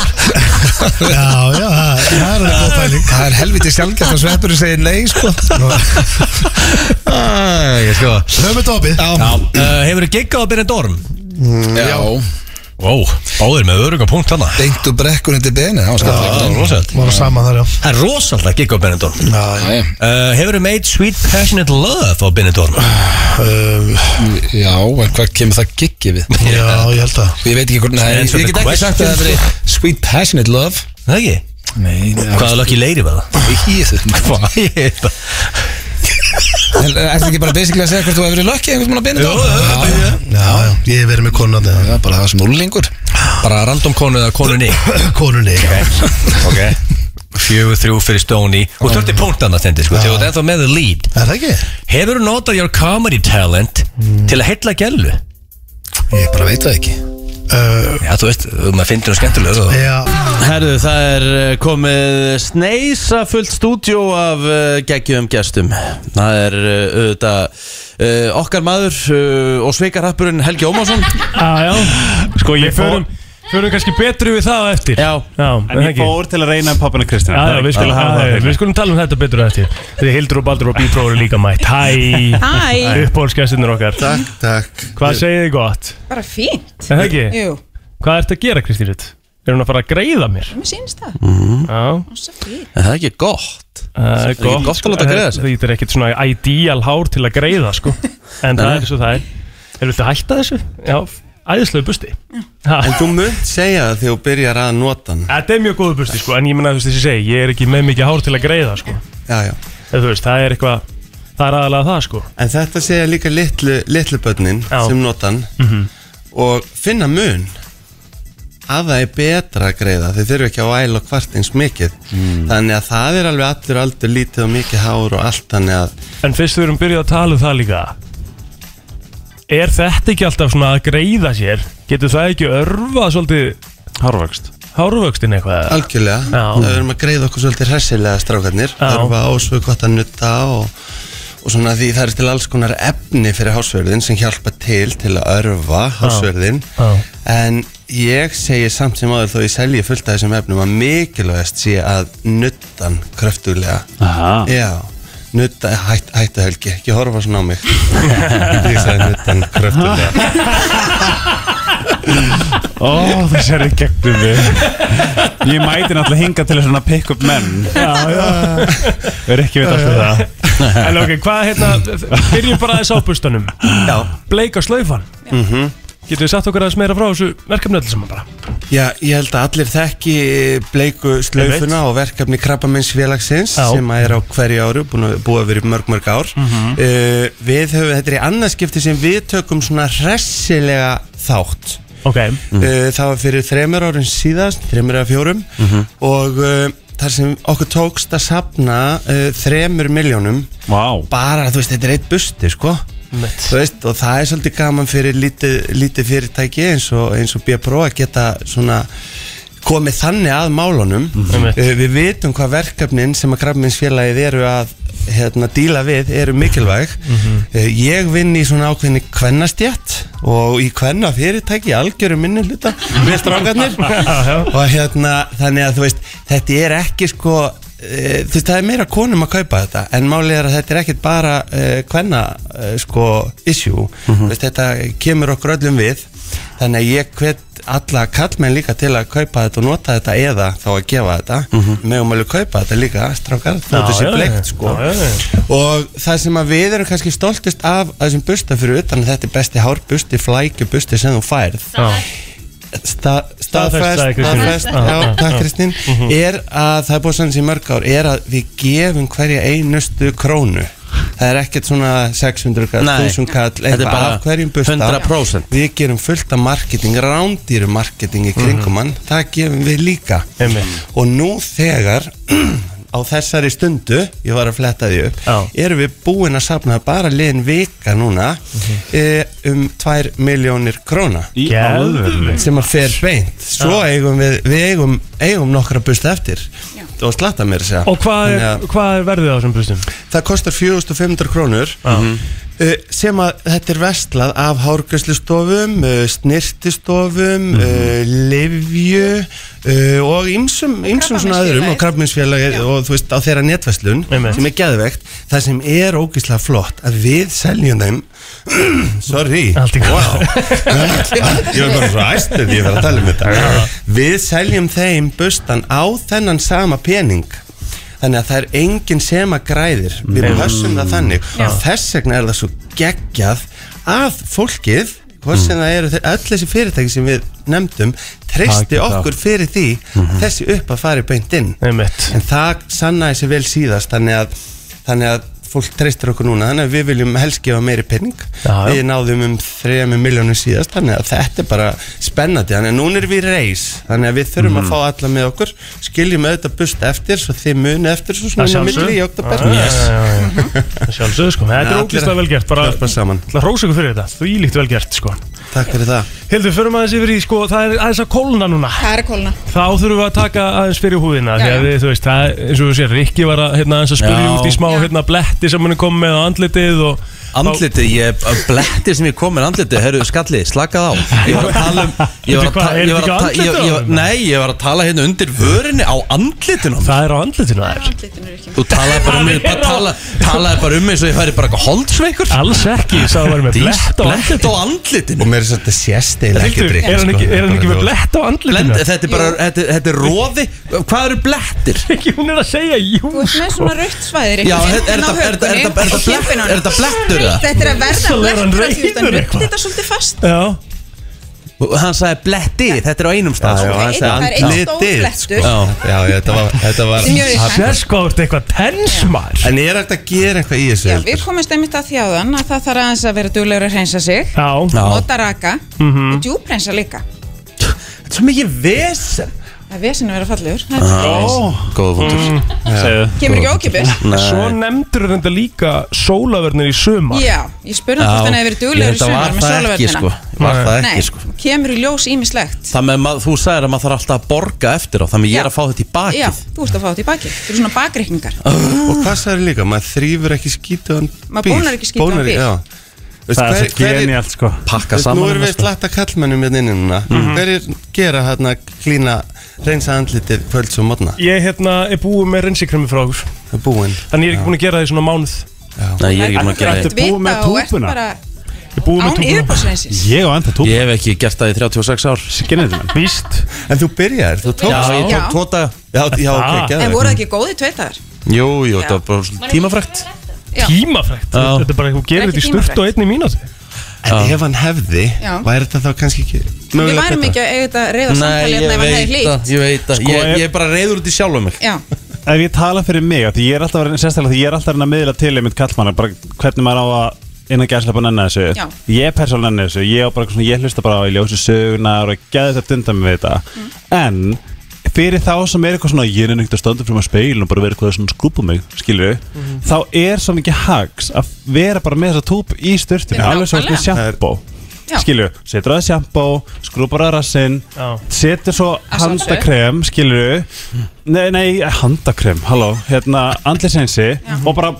S7: Já, já, það það er góð pæling
S8: Það er helviti sjálfgæft að sveppurinn segir nei sko
S6: Æ, ég sko
S7: Höfum við dopið
S6: Já, uh, hefur þið giggað að byrja dorm?
S8: Mm, Já,
S6: Vó, báðir með öruga punkt hana
S8: beint og brekkur undir beni Það var skallið
S6: er rosalt
S7: Mára saman þar, já
S6: Það er rosalt að gigga á Benidorm uh,
S7: Já,
S8: Nei,
S6: Hefur þið made sweet passionate love á Benidorm?
S7: um,
S8: Uh, Já, en hvað kemur það giggi við?
S7: já ég held að
S8: Ég veit ekki hvernig það er
S6: Answer
S8: Ég
S6: the
S8: get ekki sagt að það
S6: question.
S8: veri Sweet passionate love
S6: Það ekki?
S8: Nei,
S6: Hvaða lökki leiri var það?
S8: hvað?
S6: Hvað? Ég veit það
S8: Er þetta ekki bara basically að segja hvort þú hefur verið lökkið einhvern veginn að beina þetta? Já,
S7: Já, já, ég hef verið með konan
S8: já, bara það sem úrlingur
S6: Bara random konu eða konunni
S7: Konunni, já
S6: Ok Fjögur þrjú fyrir Stoney Og þurfti punkt annað þendi sko Þegar þú ert ennþá með the lead
S7: Er það ekki?
S6: Hefur þú notað your comedy talent Til að heilla gælu?
S8: Ég bara veit það ekki
S7: Uh,
S6: Já þú veist ef Maður finnir hún skemmtilega
S1: Eh,
S6: þá-
S7: já,
S1: Herðu, það er eh, komið sneisa fullt stúdjó af uh, geggjum gestum Það er uh, auðvitað uh, okkar maður uh, og sveikarhappurinn Helgi Ómarsson
S3: já, já Sko, ég förum, förum kannski betru við það á eftir
S1: Já.
S3: já
S9: En ég fór til að reyna pappina Kristján
S3: Já, já, við skulum hafa það hérna. Við skulum tala um þetta betur á eftir Þegar Hildur og Baldur og B-Pro eru líka mætt Hæ,
S2: Hæ,
S3: uppbólskestinur okkar
S9: Takk, takk
S3: Hvað segir þið gott?
S10: Bara fínt
S3: Er það ekki?
S10: Jú,
S3: Hvað ertu að gera, Kristín Rutt? Er hún að fara að greiða mér?
S10: mér sýnist það
S3: Já,
S10: Svo fínt
S1: En það er ekki gott
S3: það er
S1: ekki gott að láta greiða sér?
S3: Þetta er ekkit svona ideal hár til að greiða, sko En það er svo það er Er þetta hætta þessu? Já, æðislegu busti Ha.
S10: En þú munt segja það þegar þú byrjar að nota hann
S3: Þetta er mjög góðu busti sko, en ég menna þú veist þessi segi, ég er ekki með mikið hár til að greiða sko
S10: Já, já
S3: Eða, þú veist, það er eitthvað, það er aðalega það sko
S10: En þetta segja líka litlu, litlu börnin
S3: Já.
S10: sem nota hann
S3: Mhm.
S10: og finna mun að það er betra að greiða þeir þurfi ekki að væla og kvart eins mikið
S5: Hmm.
S10: þannig að það er alveg allur aldur lítið og mikið hár og allt þannig að
S3: En fyrst við erum byrjuð að tala um það líka Er þetta ekki alltaf svona að greiða sér? Getur það ekki örfað svolítið
S10: Hárvöxt
S3: hárvöxtin eitthvað? eða?
S10: Algjörlega,
S3: Já.
S10: við erum að greiða okkur svolítið hressilega strákarnir Örfa ásvöð gott að nutta og, og svona því það er til alls konar efni fyrir hásverðin sem hjálpa til til að örfa hásverðin
S3: Já.
S10: En ég segi samt sem áður þó ég selji fullt af þessum efnum að mikilvægast sé að nuttan kröftuglega
S9: Aha.
S10: Já, nutta, hætt, hættu helgi, ekki horfa svona á mig Ég sagði nuttan kröftuglega
S9: Ó, þessi er í gegnum við Ég mæti náttúrulega hinga til svona pick up menn
S3: Já, já
S9: Við erum ekki veit allt um það
S3: En ok, hvað hérna, byrjum bara aðeins á bustunum
S10: Já
S3: Bleika slaufan
S10: Mhm.
S3: Getur við sagt okkur aðeins meira frá þessu verkefni allir saman bara
S10: Já, ég held að allir þekki bleiku slaufuna og verkefni krabbamennsfélagsins
S3: Já.
S10: sem að er á hverju áru, búin að búa verið mörg mörg ár
S3: Mhm.
S10: uh, Við höfum, þetta er í annarskipti sem við tökum svona hressilega þátt
S3: Ok
S10: uh, Það var fyrir þremur árum síðast, þremur eða fjórum
S9: Mhm.
S10: og uh, þar sem okkur tókst að sapna uh, þremur miljónum
S9: wow.
S10: bara, þú veist, þetta er eitt busti, sko Þú veist, og það er svolítið gaman fyrir lítið, lítið fyrirtæki eins og, eins og B-Pro að geta svona komið þannig að málunum
S3: Einmitt.
S10: Eh, við vitum hvað verkefnin sem að krafminsfélagið eru að hérna, díla við eru mikilvæg
S3: Mhm.
S10: Eh, ég vinn í svona ákveðinni kvennastjætt og í kvenna fyrirtæki algjörum minni hluta við strákarnir og hérna þannig að þú veist þetta er ekki sko Uh, þú veist, það er meira konum að kaupa þetta en málið er að þetta er ekkit bara uh, kvenna uh, sko issue
S3: Mhm.
S10: Þú veist, þetta kemur okkur öllum við þannig að ég hvet alla kallmenn líka til að kaupa þetta og nota þetta eða þá að gefa þetta mm -hmm. meðum alveg kaupa þetta líka strákar,
S3: Mhm. Já,
S10: þóttu
S3: já,
S10: sér
S3: já.
S10: bleikt sko
S3: Já, já, já.
S10: og það sem að við erum kannski stoltist af af þessum busta fyrir utan að þetta er besti hárbusti, flækjubusti sem þú færð Sta, staðfest,
S3: sagði Kristín.
S10: staðfest
S3: Já, Mhm. já,
S10: já, takk
S3: já.
S10: Kristín er að það er búið sanns í mörg ár er að við gefum hverja einustu krónu það er ekkert svona 600 kall,
S1: Nei,
S10: 1000 kall
S1: þetta er
S10: eitthvað
S1: bara
S10: af hverjum busta
S1: 100%.
S10: við gerum fullt af marketing, rándýru marketing í kringum
S1: Mhm.
S10: hann, það gefum við líka
S3: Einmitt.
S10: og nú þegar á þessari stundu, ég var að fletta því upp
S3: Já.
S10: erum við búin að sapna bara liðin vika núna eh, um 2 miljónir króna
S9: Í
S3: Geðveikt.
S9: alvörunni.
S10: sem að fer beint svo eigum við, við eigum, eigum nokkra busta eftir og slatta mér að segja
S3: Og hvað
S10: Þannig
S3: er,
S10: að
S3: hvað er verðið á þessum bustum?
S10: það kostar 4500 krónur uh, sem að þetta er vestlað af hárgjöslustofum, uh, snirtistofum
S3: Mhm.
S10: uh, livju uh, og ýmsum, ýmsum svona öðrum og krafminsfélagi og þú veist á þeirra netverslun
S3: Einmitt.
S10: sem er geðvegt, það sem er ógislega flott að við seljum þeim sorry
S3: Allt í
S10: wow.
S3: góðu.
S10: ég var bara svo æstur því ég var að tala um þetta við seljum þeim bustan á þennan sama pening þannig að það er enginn sem að græðir við hössum það þannig og þess vegna er það svo geggjað að fólkið hvað
S3: Mm.
S10: sem það eru, öll þessi fyrirtæki sem við nefndum, treysti
S9: Takið það.
S10: okkur fyrir því að þessi upp að fari beint inn
S3: Mhm. Einmitt
S10: en það sannaði sér vel síðast þannig að, þannig að fólk treystir okkur núna þannig að við viljum helst gefa meiri penning
S3: Já, já.
S10: við náðum um 3 miljónum síðast þannig að þetta er bara spennandi þannig að núna er við reis þannig að við þurfum
S3: Mhm.
S10: að fá alla með okkur skiljum auðvitað bust eftir svo þið muni eftir svo svona inn á milli í
S3: Ah,
S10: oktober
S11: Mhm.
S3: Sjálfsög sko, þetta er
S10: Allir
S3: ógæslega vel gert Bara
S10: hjálpa saman.
S3: ætla að hrósa ykkur fyrir þetta, því líkt vel gert sko
S10: takk fyrir það
S3: Hildur, förum aðeins yfir í sko, það er aðeins að kólna núna
S11: Það er að kólna
S3: Þá þurfum við að taka aðeins fyrir húðina Því að
S11: Já, já.
S3: við, þú veist, það, er- eins og þú sér, Rikki var að, hérna, aðeins að spyrja
S1: Já.
S3: út í smá hérna, bletti sem hann er komið með á andlitið og
S1: Andlitið, ég, blettir sem ég kom með andlitið, herru, skalli, slakað á Ég var að tala um ég var
S3: Veitu
S1: að
S3: hvað,
S1: ta-
S3: er
S1: ég var
S3: þetta
S1: að ta-
S3: ekki á
S1: ég- ég-
S3: andlitið á honum?
S1: Nei, ég var að tala hérna undir vörinni á andlitinu á mér.
S3: Það er á andlitinu það er
S11: Andlitinu er ekki
S1: Þú talaði bara um mig, bara tala, talaði bara um mig svo ég færi bara eitthvað holdsveikur
S3: Alls ekki, sá það var með blett á
S1: Blett á
S10: og
S3: andlitinu
S1: andlitinu sko.
S10: mér er svolítið sérstegil ekki sko.
S3: Hildur,
S10: drikk
S3: er hann ekki, er hann ekki með blett á
S1: Blend,
S3: andlitinu?
S1: þetta er bara, þetta, er- þetta er roði Hvað eru blettir?
S3: Ekki, hún er að segja, sko. jú
S11: Þú ert með svona rautt svæðir
S1: Já, er þetta- er þetta- er þetta- er þetta- er þetta blett- er þetta blettur eða?
S11: Þetta er að verða
S3: Svo er hann
S11: blettur af því að
S3: rauður
S11: Þetta er
S3: eitthvað.
S11: þetta svolítið fast
S3: Já,
S1: Hann sagði bletti, þetta er á einum stað sko.
S10: Já, já, hann sagði Það er einn stór andlitið. blettur.
S1: Já,
S10: já, þetta var, þetta var
S3: Sérskóður þetta eitthvað tensmar
S10: En ég er ekkert að gera eitthvað í þessu
S11: Já,
S10: heldur.
S11: við komumst einmitt að þjáðan að það þarf aðeins að vera duglegur að hreinsa sig
S3: Já.
S10: Já.
S11: Nota raka
S10: Mhm.
S11: Og djúprensa líka
S3: Mm. Þetta er svo mikið vesen
S11: Það er vesen að vera fallegur Það
S1: Ah.
S11: er-
S1: Góða
S3: fóttur
S11: Kemur ekki ókeypis? Nei.
S3: Mm. Svo nefndur þetta líka sólaverðnir í sumar
S11: Já, ég spurði hann
S1: Já,
S11: hvort hann hefur verið
S1: ég
S11: duglegur í
S1: held að var
S11: sumar með
S1: það ekki,
S11: sólavörnina
S1: sko. Var það ekki, sko.
S11: Nei, kemur í ljós ímislegt
S1: Það með, mað, þú sagðir að maður þarf alltaf að borga eftir á Þannig ég er að fá þetta í bakið
S11: Já, þú ert að fá þetta í bakið Þú eru svona bakreikningar
S10: Og hvað sagður líka, maður þrýfur ekki skítuðan
S11: Maður
S10: bíl
S11: bónar ekki skítugan
S10: Bónar-
S11: bíl.
S10: já. Veist,
S9: Það er
S10: hver-
S9: svo
S10: hver
S9: genialt, sko. Pakka
S10: Veist,
S9: saman
S10: Nú erum
S9: hérna,
S10: við
S9: sko.
S10: slatta kallmennum hérna innina
S9: Mhm.
S10: Hverjir gera hérna klína reynsa andlitið kvölds og modna?
S3: Ég hérna er búið með rensikremi frá okkur
S10: Það er búinn
S3: Þannig ég er ekki búin að gera það í svona mánuð
S1: Nei, ég er ekki búin að gera
S3: Ertu búin með túpuna? Ég er búin með
S11: Án yfirborðsreinsis.
S1: Ég hef enda tópa Ég hef ekki gert það í 36 ár
S9: Skinnið þetta
S3: Víst
S10: En þú byrjar, þú tókst
S1: Já, ég
S11: Já.
S1: tók tóta
S10: Já, já, ok, Ah.
S11: En voru það ekki góði tveitaðar?
S1: Jú, jú, þetta
S11: Já.
S1: var bara svona tímafrækt
S11: Já.
S3: Tímafrækt? Þetta er bara eitthvað
S11: Það er
S3: gerir
S11: ekki
S3: þetta í sturt
S11: tímafrekt.
S3: og einni mínúti
S10: En ef hann hefði,
S11: Já.
S10: væri þetta þá kannski ekki
S11: Við
S10: mögulega
S11: værum
S10: betra?
S11: ekki að eiga þetta reyða samtali hérna ef hann hefði hlýtt
S1: ég veit
S9: Sko,
S1: Ég-
S9: ef-
S1: ég er bara reyður út í sjálfum mig
S11: Já,
S9: Ef ég tala fyrir mig, af því ég er alltaf að reyna, sérstaklega því ég er alltaf að reyna að miðla til einmitt kallmannar, bara hvernig maður á að innan gæðslepa nenni þessu
S11: Já.
S9: Ég er persónulega nenni þessu, ég, á bara, eitthvað svona, ég hlusta bara á í ljósi sögunar og geða þetta dundan með þetta
S11: Mm.
S9: En fyrir þá sem er eitthvað svona, ég er einhvern veginn að standa fyrir maður speil og bara vera eitthvað svona skrúpa mig, skilju
S11: Mhm.
S9: Þá er svo mikið hags að vera bara með þessa túp í styrtunni,
S11: Já,
S9: alveg svo
S11: nákvæmlega.
S9: með sjampó
S11: Já.
S9: skilju, setur að sjampó skrúpar að rassinn setur svo
S11: Að sjálfsögðu.
S9: handakrem skilju, nei, nei handakrem, halló, hérna andliseinsi og bara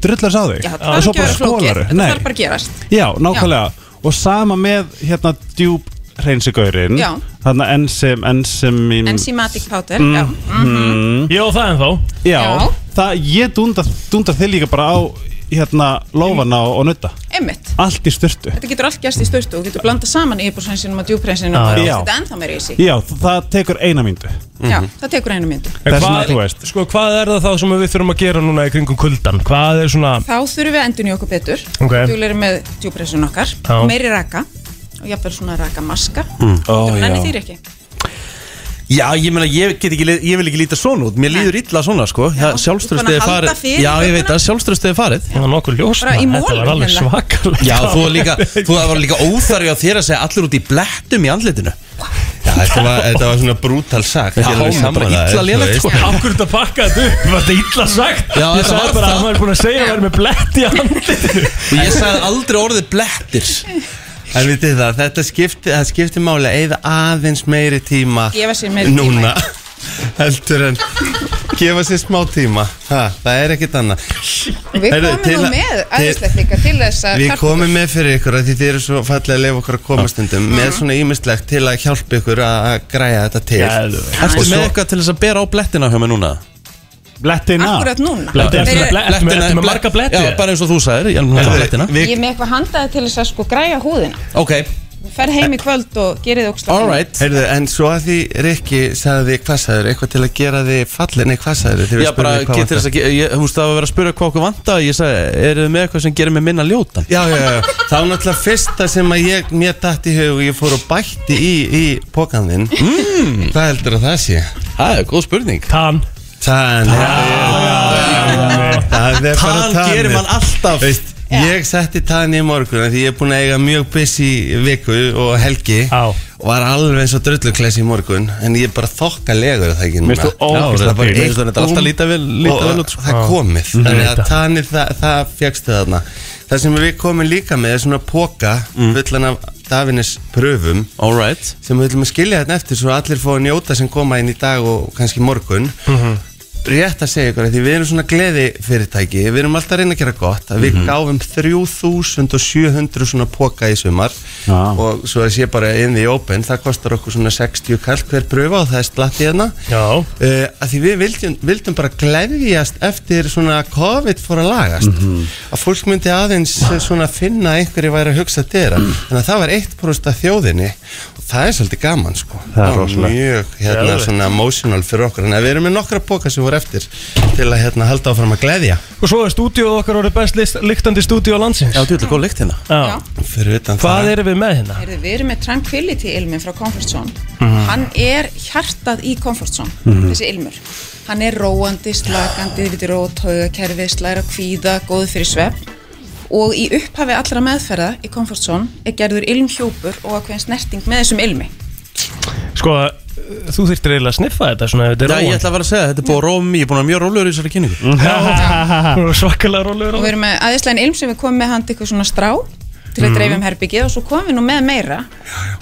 S9: drullar sá þig
S11: Já, það
S3: Ah,
S11: þarf
S9: og svo
S11: ekki að
S9: bara
S11: vera flókið
S9: skólar
S11: Þetta þarf bara að gerast
S9: já, nákvæmlega, og sama með hérna djúb hreinsigaurin
S11: Já.
S9: þarna enzim, enzim
S11: Enzymatic powder, já Mhm.
S9: mm.
S3: Ég á það ennþá
S9: já,
S11: Já.
S9: Það, ég dundar dunda þig líka bara á hérna lófana og, og nutta
S11: Einmitt
S9: allt í styrtu
S11: Þetta getur allt gerst í störtu og getur blanda saman yfirborðsreinsinum og djúpreinsinum
S3: Ah,
S11: og
S9: Já,
S11: það
S9: já.
S11: þetta ennþá meira í sig
S9: já, það tekur eina myndu
S11: Já, það tekur einu myndu
S9: Mhm. Þess vegna þú veist.
S3: Sko, hvað er það þá sem við þurfum að gera núna í kringum kuldan? Hvað er svona
S11: Þá þurfum við að endun í okkur betur
S3: Ok.
S11: Duglegri með djúpreinsinum okkar
S3: Já.
S11: Meiri raka og jafnvel svona raka maska
S1: Mm. Ó,
S11: Þetta nenni
S1: já.
S11: þýr ekki
S1: Já, ég meina, ég, get ekki, li- ég vil ekki líta svona út Mér líður illa svona, sko
S11: þú
S1: Sjálfströstið
S11: ert
S1: er
S11: búin að
S1: farið
S11: halda fyrir
S1: Já, ég veit að sjálfströstið er farið
S3: Það var nokkuð ljós
S11: Bara í maður. Þetta var mólum alveg hérna.
S3: svakalegt
S1: Já, þú var líka, þú var líka óþarfi á þér að segja allir út í blettum í andlitinu
S10: Já, þetta var, þetta var svona brútal sagt
S1: Já, hún er bara illa lélegt, sko.
S3: Akkur þetta pakka þetta upp, var þetta illa sagt
S1: Já,
S3: Ég
S1: þetta var
S3: sagði bara
S1: það.
S3: að maður er búin að segja að maður er með blett í andlitinu
S1: Og ég sagði aldrei orðið blettir
S10: En við þið það, þetta skipti, það skipti máli að eyða aðeins meiri tíma
S11: Gefa sér meiri tíma,
S10: Núna Heldur en Gefa sér smá tíma ha, Það er ekkit annað
S11: Við
S10: Heyrðu,
S11: komum
S10: til
S11: nú
S10: að-
S11: með
S10: til-
S11: aðeinslegt líka til þess að
S10: Við
S11: hjálpa
S10: komum
S11: ykkur.
S10: með fyrir ykkur að því þið eru svo fallega að leifa okkur að koma stundum með svona ímislegt til að hjálpa ykkur að að græja þetta til
S3: Geðveikt.
S1: Ertu
S10: Og
S1: með
S10: svo-
S1: eitthvað til þess að bera á blettina hjá mig núna?
S9: Blettina?
S11: Akkúrat núna.
S1: Blettina,
S11: Ertu með-
S1: blettina,
S3: ertu með- ertu með marga bletti?
S1: Já, bara eins og þú sagðir, ég er með blettina
S11: Ég er með eitthvað handaði til þess að sko græja húðina
S1: Ok,
S11: Fer heim í kvöld og gerið ógst
S1: alright
S10: Heyrðu, en svo að því Rikki sagði hvað sagður, eitthvað til að gera þig fallin, nei hvað sagður
S1: Já, bara getur þess að, ég- þú veist, það var að vera að spura hvað okkur vanta Ég sagði, eru þið með eitthvað sem gerir mig minna ljótan?
S10: Já, já, já, það var náttúrulega fyrsta sem að ég, mér datt í hug og ég fór og bætti í, í pokan þinn mm. Hvað heldur að það sé?
S1: Það er góð spurning
S3: Tann
S10: Tann, já, já, já Það er bara
S1: Tann gerir mann alltaf.
S10: Veist, Ég setti tann í morgun af því ég er búin að eiga mjög busy viku og helgi
S3: Já.
S10: og var alveg eins og drulluklesi í morgun en ég er bara þokkalegur að það ekki núna
S9: Mér finnst þú
S10: Já,
S9: ógeðslega
S10: það er bara
S9: fín.
S10: eitt
S9: Mér finnst
S1: þetta alltaf
S10: búm
S1: líta vel- líta
S10: og
S1: vel út, sko.
S10: Það er komið,
S3: Ég
S10: þannig
S3: veit
S10: að
S3: það.
S10: tanið það, það fegstu þarna Það sem við komum líka með er svona póka fullan af Davines pröfum
S1: Alright
S10: sem við ætlum að skilja þarna eftir svo allir fá að njóta sem koma inn í dag og kannski morgun
S3: Mhm.
S10: rétt að segja ykkur að því við erum svona gleði fyrirtæki við erum alltaf að reyna að gera gott að við gáfum 3700 svona póka í sumar
S9: Já.
S10: og svo að sé bara in the open það kostar okkur svona 60 kall hver pröfa og það er slatt hérna. í þarna
S3: Já
S10: uh, að því við vildum, vildum bara gleðjast eftir svona COVID fór að lagast
S9: Mhm.
S10: að fólk myndi
S9: Mm.
S10: aðeins eh, svona finna að einhverju væri að hugsa dyrra þannig að það var 1% af þjóðinni og það er svolítið gaman sko
S9: Það er rosalegt.
S10: mjög hérna
S9: Geðveikt.
S10: svona emotional fyrir okkur en við erum með nokkra póka sem voru eftir til að hérna halda áfram að gleðja
S3: Og svo er stúdíóð okkar orðið best list, lyktandi stúdíó landsins
S10: Já, þú ert góð lykt hérna
S3: Já.
S10: fyrir utan
S3: Hvað erum við með hérna?
S11: Heyrðu, við erum með Tranquility ilmin frá Comfort Zone
S10: Mm.
S3: Mhm.
S11: hann er hjartað í Comfort Zone
S3: Mhm.
S11: þessi ilmur hann er róandi, slakandi, við rótauga kerfi, slæra kvíða, góð fyrir svepp og í upphafi allra meðferða í Comfort Zone er gerður ilmhjópur og ákveðin snerting með þessum ilmi
S3: Sko, þú þurftir eiginlega að sniffa þetta svona ef þetta er
S1: Já, ég ætla að vera að segja, þetta er búið að róa mig, ég er búin að vera mjög rólegur í þessari kynningu
S3: Já, svakalega rólegur
S11: og við erum með aðeinslegin ilm sem við komum með hann til ykkur svona strá til að
S10: Mhm.
S11: dreifum herbyggið og svo komum við nú með meira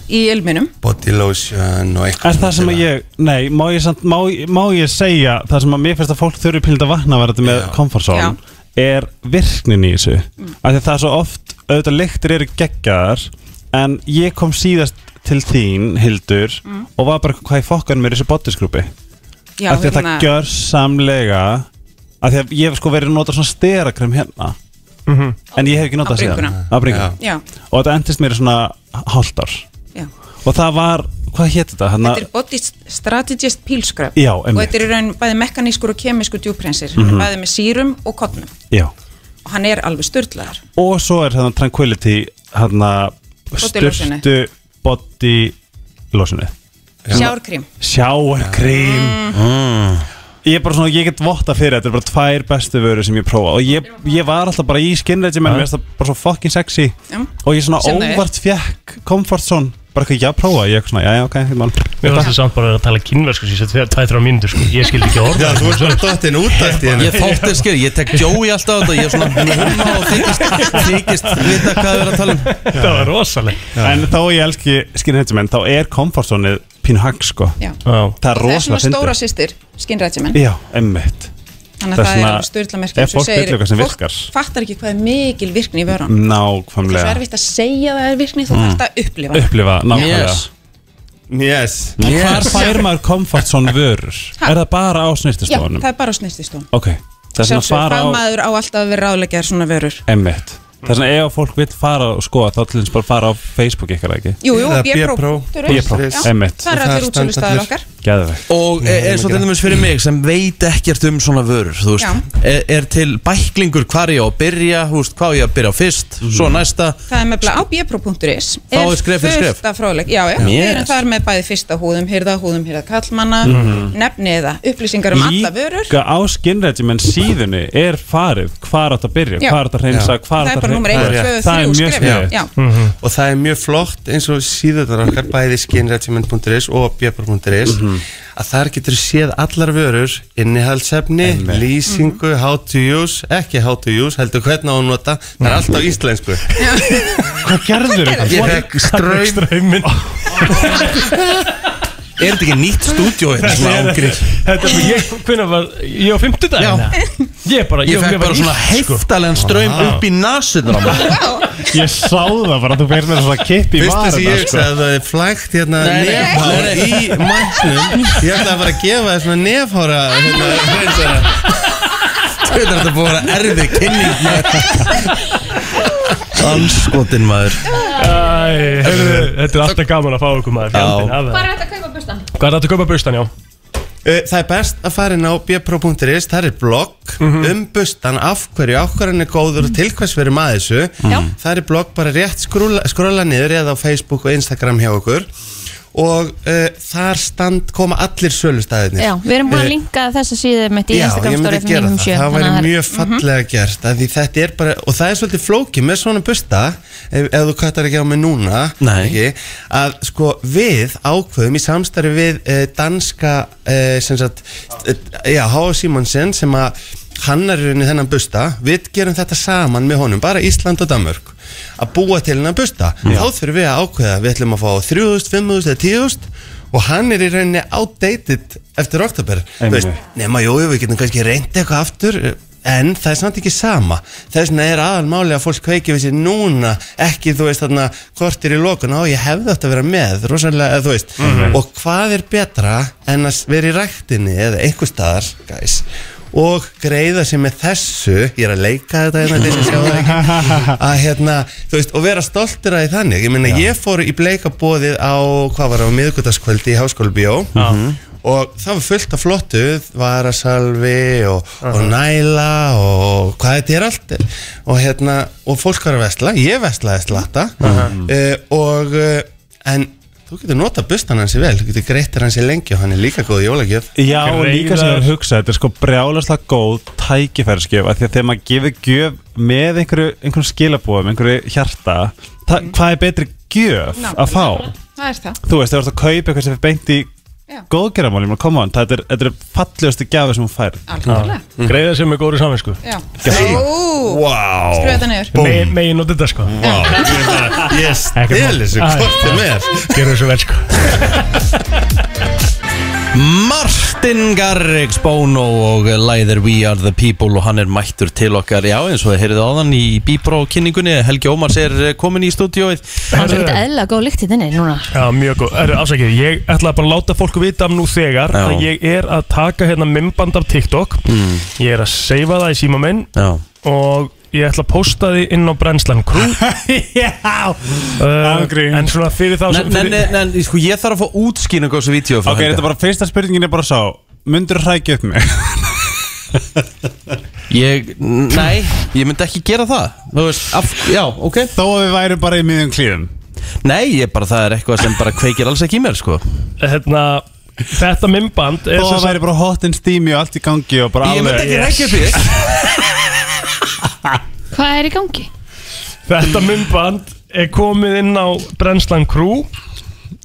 S11: í ilminum
S10: body lotion og eitthvað
S9: Er það sem að ég, nei, má ég, samt, má, má ég segja það sem að mér finnst að fólk þurfi pílita vatna að vera þetta með komfortzón er virknin í þessu
S11: Mm.
S9: af því að það er svo oft, auðvitað lyktir eru geggjaðar en ég kom síðast til þín, Hildur og var bara hvað í fokkanum er í þessu boddisgrúpi
S11: Mm. Já,
S9: af því að
S11: hérna-
S9: það gjör samlega af því að ég hef sko verið að nota svona sterakrem hérna
S3: Mhm.
S9: en ég hef ekki notað
S11: Á bringuna.
S9: síðan Á bringuna.
S11: Já. Já.
S9: og þetta endist mér í svona hálft ár
S11: Já.
S9: og það var, hvað hétt þetta? Hérna-
S11: Þetta er Body Strategist pílskröf
S9: Já,
S11: og
S9: einmitt.
S11: þetta er í raun bæði mekanískur og kemískur djúprensir,
S9: Mhm.
S11: bæði með sírum og kottnum
S9: Já.
S11: og hann er alveg störtlaður.
S9: og svo er hérna Tranquility hérna
S11: Bodylotionið.
S9: styrtu body losinu
S11: Sjárkrím.
S9: sjárkrím
S3: Mm.
S9: ég er bara svona, ég get votta fyrir þetta er bara tvær bestu vöru sem ég prófa og ég, ég var alltaf bara í skinregimen
S3: Já.
S9: mér finnst það bara svo fucking sexy
S11: Já.
S9: og ég svona
S3: Sem það er.
S9: óvart fjekk comfort zone bara eitthvað, já, prófa, ég er svona, já, já, ok, ég mál
S3: Mér fannst það samt bara að vera að tala kínversku síðan tveir, tveir, þrjá mínútur sko. Ég skildi ekki orða
S9: Já, þú ert bara
S10: dottinn út allt í einu.
S1: Ég þátt þér skil, ég tek Joey alltaf á þetta Ég er svona húma og þykist, þykist vita hvað við erum að tala um
S3: Það var rosaleg
S9: en þá ég elski skinregimen, þá er comfort zone pínu hagg, sko
S11: Já.
S9: það er
S11: Og það er svona
S9: rosalega fyndið.
S11: stóra systir, Skin Regimen.
S9: Já, emmitt
S11: Þannig að það er alveg störtlamerkjum
S9: Ef fólk veitir eitthvað sem virkar
S11: fattar ekki hvað er mikil virkni í vörun. Það er svo
S9: Nákvæmlega
S11: erfitt að segja að það er virkni, þú
S9: Mm.
S11: þarft að upplifa. það.
S9: Upplifa, nákvæmlega
S10: Yes. Yes
S9: En hvar fær maður komfort svona vörur?
S11: Ha?
S9: Er það bara á
S11: Já,
S9: snirtistofunum?
S11: það er bara snýstistón.
S9: Ok, það er svona að fara á
S11: Fagmaður á alltaf að vera ráðleggjar svona vörur.
S9: Emmitt Það er svona ef að fólk vil fara og skoða þá til þess bara fara á Facebook ykkar ekki
S11: Jú, jú, B-Pro.
S9: B-Pro,
S11: Já,
S9: emmitt
S11: það er allir útsölustaðir okkar.
S9: Gæðvegt
S1: Og er, er svo til dæmis fyrir mig sem veit ekkert um svona vörur Þú veist, er, er til bæklingur hvar ég á að byrja Þú veist, hvað á ég að byrja á fyrst,
S9: Mhm.
S1: svo næsta
S11: Það er nefnilega á bjepro.is
S1: Þá er skref fyrir skref.
S11: Fullt af fráleik, já, já,
S1: Yes.
S11: við erum þar með bæði fyrsta húðum, hýrða húðum, hýrða kallmanna
S9: Mhm.
S11: nefni eða upplýsingar um alla vörur
S9: Líka á skinregimen síðunni er farið Hvar átt að byrja,
S11: Já.
S9: hvar átt að hreinsa
S11: Já. Það
S9: Hvar
S11: er
S9: átt
S11: bara
S9: að
S11: númer eitt,
S9: hreinsa
S11: tvö, þrjú
S9: Það er mjög Mhm.
S11: skref. Já.
S9: sniðugt
S11: Já.
S10: Mhm. og það er mjög flott eins og síðunar okkar bæði skinregimen.is og bjöpar.is að þar getur séð allar vörur innihaldsefni, lýsingu how to use, ekki how to use heldur hvernig á að nota, það er allt á íslensku
S9: Hvað gerður
S10: Ég fekk ströym
S3: ströyminn
S1: Er þetta ekki nýtt stúdíó hérna sem
S3: Þetta er-
S1: ágrið?
S3: Þetta er ég, hvernig var, ég á hérna. fimmtudagina Ég bara,
S1: Ég fekk bara svona heftalen ströym upp í nasunar á mér
S9: sko. Ég sá það bara, þú fyrir með svona kipp í sko.
S10: Fyrst þess
S9: varana
S3: sko.
S10: að ég hugsaði að það er flægt hérna
S9: Nei, nei,
S10: nefhár
S9: nei,
S10: í
S9: nei.
S10: mæknum Ég ætlaði bara að gefa þess með nefhára hérna, hreinsara.
S1: Þú veit að þetta búið að vera erfið kynning Anskotin maður
S3: Æ, heyrðu, Þetta er alltaf gaman að fá okkur maður fjandinn af það.
S2: Bara þetta kaupa bustan
S3: Hvað er þetta að kaupa bustan, já?
S10: Uh, Það er best að fara inn á bpro.is Það er blogg
S3: Mhm.
S10: um bustan Af hverju, af hverju hann er góður og til hvers verið maður þessu
S2: Já.
S10: Það er blogg bara rétt skróla, skróla niður Eða á Facebook og Instagram hjá okkur Og uh, þar stand koma allir Eh, sölustæðinir
S2: Já, við erum búin að linka þessa síðu mitt í
S10: Já,
S2: Instagram
S10: ég myndi
S2: story
S10: gera það,
S2: 597,
S10: það
S2: þannig að
S10: væri mjög
S2: er- Mhm.
S10: fallega gert af því þetta er bara, og það er svolítið flókið með svona busta, ef, ef þú kattar ekki á mig núna, ekki, að sko við ákveðum í samstarfi við eh, danska eh, sem sagt, eh, já, H.A. Simonsen sem að hannar í rauninni þennan busta, við gerum þetta saman með honum, bara Ísland og Danmörk að búa til hennan busta þá þurfum við að ákveða, við ætlum að fá 3.000, 5.000 eða 10.000 og hann er í rauninni outdated eftir oktober, þú
S9: Einmitt.
S10: veist, nema jú, jú, við getum kannski reyndi eitthvað aftur en það er samt ekki sama þess vegna er aðalmáli að fólk kveiki við sér núna ekki þú veist þarna kortir í lokun á ég hefði átt að vera með rosalega, eða, þú veist og hvað er betra en að vera í ræktinni eða einhver staðar guys, og greiða sér með þessu ég er að leika þetta hérna þeir sem sjá það ekki, að hérna, þú veist, og vera stoltur að því þannig, ég meina ég fór í bleikabóðið á, hvað var það, á miðgutaskvöldi í Háskólabíó og það var fullt af flottu varasalvi og, og næla og hvað þetta er allt og hérna, og fólk var að vesla ég veslaði slata uh, og, uh, en þú getur notað bustan hans í vel, þú getur greittir hans í lengi og hann er líka góð jólagjöf
S9: Já, og líka sem ég var að hugsa, þetta er sko brjálaslega góð tækifærisgjöf af því að þegar maður gefur gjöf með einhverju, einhverju skilabóðum, einhverju hjarta þa- hvað er betri gjöf að fá?
S11: Mhm. Það er það
S9: Þú veist, þegar þú ert að kaupa eitthvað sem er beint í góðgerðamáli, maður koma hann, þetta er, þetta er fallegustu gjafi sem hún fær
S11: Algjörlega.
S9: Greiða sem er góður saminsku
S11: Já.
S9: Gæði.
S11: Ó,
S9: Vá.
S11: Skrifa þetta niður.
S3: Megin megi nota þetta sko
S10: Ég
S3: stel
S10: þessu hvort sem er.
S3: Gerðu þessu vel sko
S1: Martin Garrix Bono og læðir We Are The People og hann er mættur til okkar já eins og þið heyrið áðan í Bíbró kynningunni Helgi Ómars er eh, kominn í stúdíóið
S2: Það er svo eitthvað eðla góð lykt í þinni núna
S3: Já, mjög góð. Erðu, afsakið, ég ætla bara að láta fólku vita um nú þegar
S1: Já.
S3: að ég er að taka hérna mymband af TikTok
S1: Mm.
S3: Ég er að seifa það í síma minn
S1: Já.
S3: og ég ætla að posta því inn á Brennslan Crew Já uh, En svona fyrir þá
S1: Nei,
S3: sem
S1: nei,
S3: fyrir
S1: nei, nei, sko ég þarf að fá útskýningu á þessu vídeo
S9: Ok, þetta er bara fyrsta spurningin er bara sá Mundur hrækja upp mig?
S1: Ég, nei, ég myndi ekki gera það Þú veist, af, já, ok
S9: Þó að við værum bara í miðjum klíðum
S1: Nei, ég bara, það er eitthvað sem bara kveikir alls ekki í mér, sko
S3: Hérna, þetta mymband
S9: Þó að væri bara hot and steamy og allt í gangi og bara
S1: Ég
S9: alveg-
S1: myndi ekki
S9: Yes.
S1: rekja fyrir
S2: Hvað er í gangi?
S3: Þetta mymband er komið inn á Brennslan Crew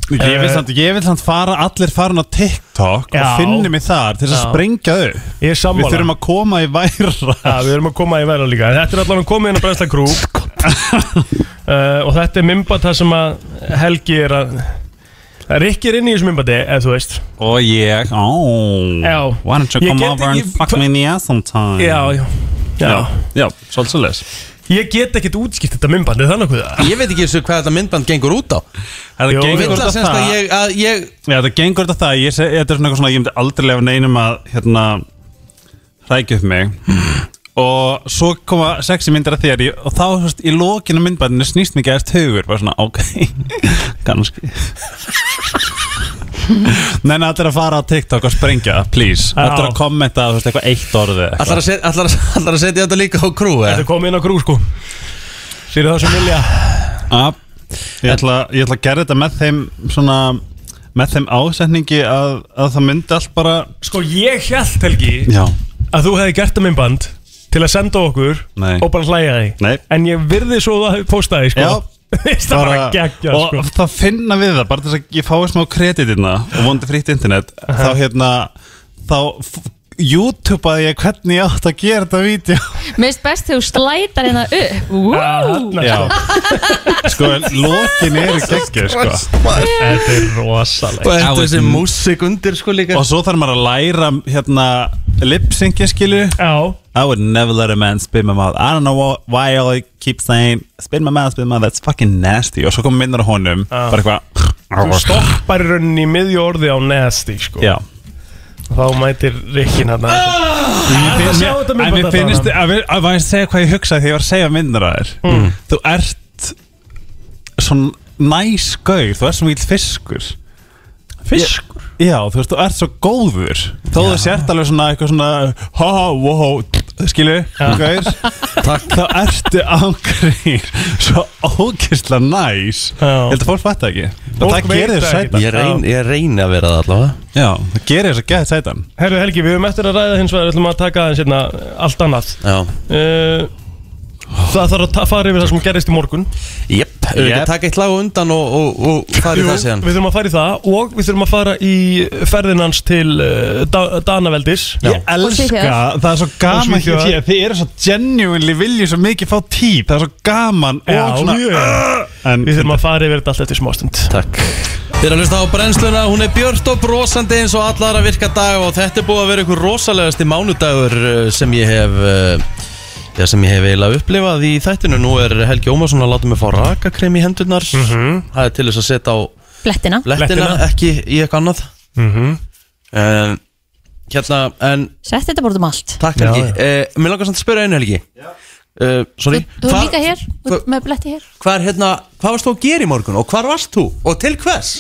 S3: Eh,
S9: Ég vil samt- ég vil samt fara allir farin á TikTok
S3: Já.
S9: og finni mig þar til þess að
S3: Já.
S9: sprengja upp
S3: Ég er sammála
S9: Við þurfum að koma í væra Já,
S3: við þurfum að koma í væra líka Þetta er allavega komið inn á Brennslan Crew uh, Og þetta er mymband það sem að Helgi er að Rikki er inn í þessu mymbandi, ef þú veist
S9: Og ég, oh
S3: Já.
S9: Why don't you
S3: Ég
S9: come
S3: get-
S9: over and
S3: ég-
S9: fuck me in the ass sometime
S3: Já, já. Já.
S9: Já, svolítið svolítið
S3: Ég get ekkert útskipt þetta mymbandi, þannig að
S1: Ég veit ekki þessu hvað þetta myndband gengur út á
S9: Þetta
S1: Jó,
S9: gengur
S1: vill
S9: út á
S1: það semst
S9: það.
S1: að sko, ég, að ég
S9: Já, þetta gengur þetta það ég, seg- Þetta er svona eitthvað svona, ég myndi aldrei lefa neinum að hérna, hrækja upp mig og svo koma sexy myndir að þér í- og þá, þú veist, í lokinu myndbændinu snýst mikið aðeins hugur, bara svona, ok kannski Nei, nei, allir að fara á TikTok og sprengja, please Allir að kommenta, þú veist, eitthvað eitt orðið eitthvað.
S1: Ætlar að set- ætlar að- ætlar að setja þetta líka á krú, eða?
S3: Þetta er komið inn á krú, sko Fyrir það sem vilja
S9: Já, ég ætla, ég ætla að gera þetta með þeim svona, með þeim ásetningi að, að það myndi allt bara
S3: Sko ég held Helgi
S9: Já.
S3: Að þú hefði gert það mymband Til að senda okkur
S9: Nei.
S3: Og bara hlæja þig
S9: Nei.
S3: En ég virði svo það postaði, sko
S9: Já.
S3: Það var að gegja,
S9: og
S3: sko
S9: það finna við það, bara til þess að ég fái smá kreditina og vondi frýtt internet þá hérna, þá f- YouTube-aði ég hvernig ég átt að gera þetta vídeo
S2: Mist best þegar þú slætar hérna upp Woo!
S9: Já. Sko, lokin eru geggjur, sko
S3: Þetta er rosalega
S1: Og þetta er þessi músík undir, sko, líka
S9: mm. Og svo þarf maður að læra, hérna, lip-syngi, skilju
S3: Já
S9: I would never let a man spin my mouth I don't know what, why I keep saying Spin my mouth, spin my mouth, that's fucking nasty Og svo kom minnur á honum,
S3: Já.
S9: bara eitthvað
S3: Þú stoppar í rauninni í miðju orði á nasty, sko
S9: Já
S3: Þá mætir Rikkin hérna
S9: Mér
S3: Þetta
S9: Ah! finnst-
S3: sjá þetta
S9: En mér
S3: myndband þetta
S9: finnst,
S3: þarna.
S9: að við- að maður segja hvað ég hugsaði þegar ég var að segja myndir að þér
S3: Mm.
S9: Þú ert Svona næs gaur Þú ert svo mjög fiskur
S3: Fiskur?
S9: Já, þú veist, þú ert svo góður Þó þú sért alveg svona eitthvað svona Ha ha, wow, skilu Gaur Þá ertu ángrýr Svo ógeðslega næs Ég held að fólk fatta ekki Það,
S3: Fólk
S9: það
S3: veit
S9: gerir þér
S3: það ekki.
S9: sætan
S1: Ég reyn- ég reyni að vera það allavega
S9: Já, það gerir þér sætan sætan
S3: Herru Helgi, við höfum eftir að ræða hins vegar ætlum að taka aðeins hérna allt annað
S1: Já.
S3: uh, Það þarf að ta- fara yfir það sem gerist í morgun
S1: Jep, Ef við ekki taka eitt lag á undan og, og, og fara í það síðan
S3: Við þurfum að fara í það og við þurfum að fara í ferðinans til uh, da Danaveldis
S9: Ég elska, það er svo gaman hér því að þið eru svo genuinely viljið svo mikið fá típ, það er svo gaman
S3: Já,
S9: og svona
S3: en, Við þurfum að fara yfir þetta allt eftir smástund
S1: Takk Þið er að hlusta á brennsluna, hún er björt og brosandi eins og allar að virka dag og þetta er búið að vera einhver rosalegasti mánudagur eh, sem ég hef eh, Já, sem ég hef eiginlega upplifað í þættinu Nú er Helgi Ómarsson að láta mig fá rakakrem í hendurnar Það er til þess að setja á
S2: Blettina
S1: Mhm. blettina, ekki í eitthvað annað
S3: mm -hmm.
S1: um, Hérna, en
S2: Sett þetta bara út um allt
S1: Takk Helgi uh, Mér langar samt að spyrja einu Helgi uh, Sorry
S2: Þú er
S1: Hva-
S2: líka hér, þú ert með bletti hér
S1: Hvað er hérna, hvað varst þú að gera í morgun og hvar varst þú og til hvers?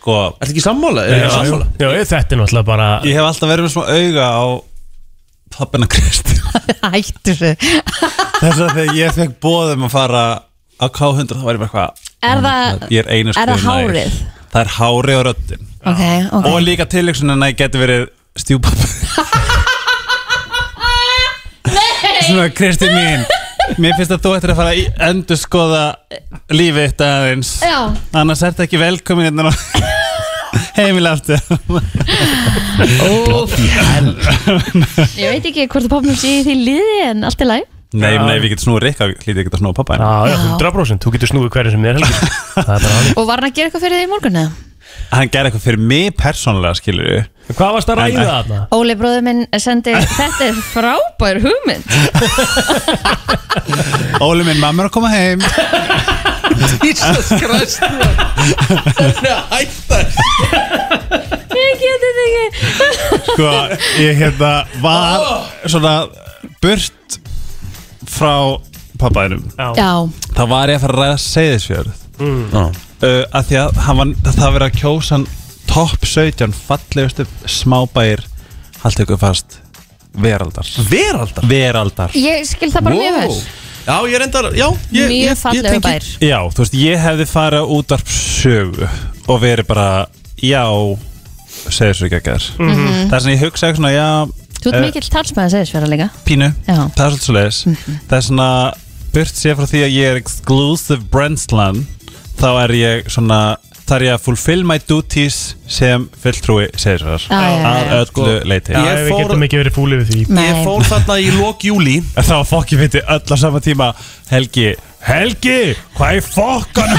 S9: Sko
S1: Ertu ekki sammála?
S3: Já, já, já, ég- þetta er náttúrulega bara
S9: Ég hef alltaf verið með svona auga á pappina Kristi
S2: Hættu þau
S9: Þess að þegar ég fekk bóðum að fara á K100 þá var ég bara hvað
S2: Er það,
S9: Ég er einu
S2: er það
S9: skrifi nær.
S2: hárið?
S9: Það er hárið og röddin
S2: Ok, ok
S9: Og líka tilöksunin að ég geti verið stjúpappi Svona Kristi mín Mér finnst að þú ættir að fara í endur skoða lífið þetta aðeins
S2: Já.
S9: Annars ertu ekki velkomin hérna á heimilega aftur
S2: Bloody hell Ég veit ekki hvort að popnum sé í því liði en allt er læg
S9: Nei,
S3: Já.
S9: nei, við getum snúið Rikka, hlítið getum snúið pappa
S3: Já, já,
S2: Já.
S3: 100% Þú getur snúið hverju sem er helgi Það er bara hann
S2: Og var hann að gera eitthvað fyrir þig í morgun eða?
S9: Hann gerði eitthvað fyrir mig persónulega, eh, skilur við
S3: Hvað varst að ræða þarna?
S2: Óli bróður minn sendi Þetta er frábær hugmynd
S9: Óli minn, mamma er að koma heim
S1: Jesus Christ
S2: Ég geti þetta ekki
S9: Sko, ég hérna var svona burt frá pappaðinum
S2: Já,
S9: Þá var ég að fara að ræða Seyðisfjörð
S3: Mm.
S9: uh, að Því að hann var, það var verið að kjósa hann topp 17 fallegustu smábæir Haldið ykkur fast Veraldar Veraldar? Veraldar
S2: ég skil það bara mjög vel
S1: Já, ég reyndar, já ég,
S2: Mjög
S1: ég,
S2: fallegur
S1: tengi-
S2: bær.
S9: Já, þú veist, ég hefði farið á útvarpsögu og verið bara, já, segir svo ekki að gerð. Mm
S2: Mhm.
S9: Það er svona, ég hugsa eitthvað svona, já,
S2: Þú ert
S9: eh,
S2: mikill talsmaður segðisverða líka
S9: pínu,
S2: Já. Mhm.
S9: það er svolítið svo Það er svona, burt sér frá því að ég er exclusive brandslan, þá er ég svona, það er ég að fulfill my duties sem fulltrúi segir svo
S2: Já, já, já,
S9: að
S2: já.
S1: Sko,
S9: öllu leiti.
S3: Já,
S1: Ég
S3: við
S1: fór-
S3: getum ekki verið fúlið við því
S1: Ég fór þarna í lok júli
S9: En þá fokk ég fyndi öll á sama tíma Helgi, Helgi, hvað er fokkan?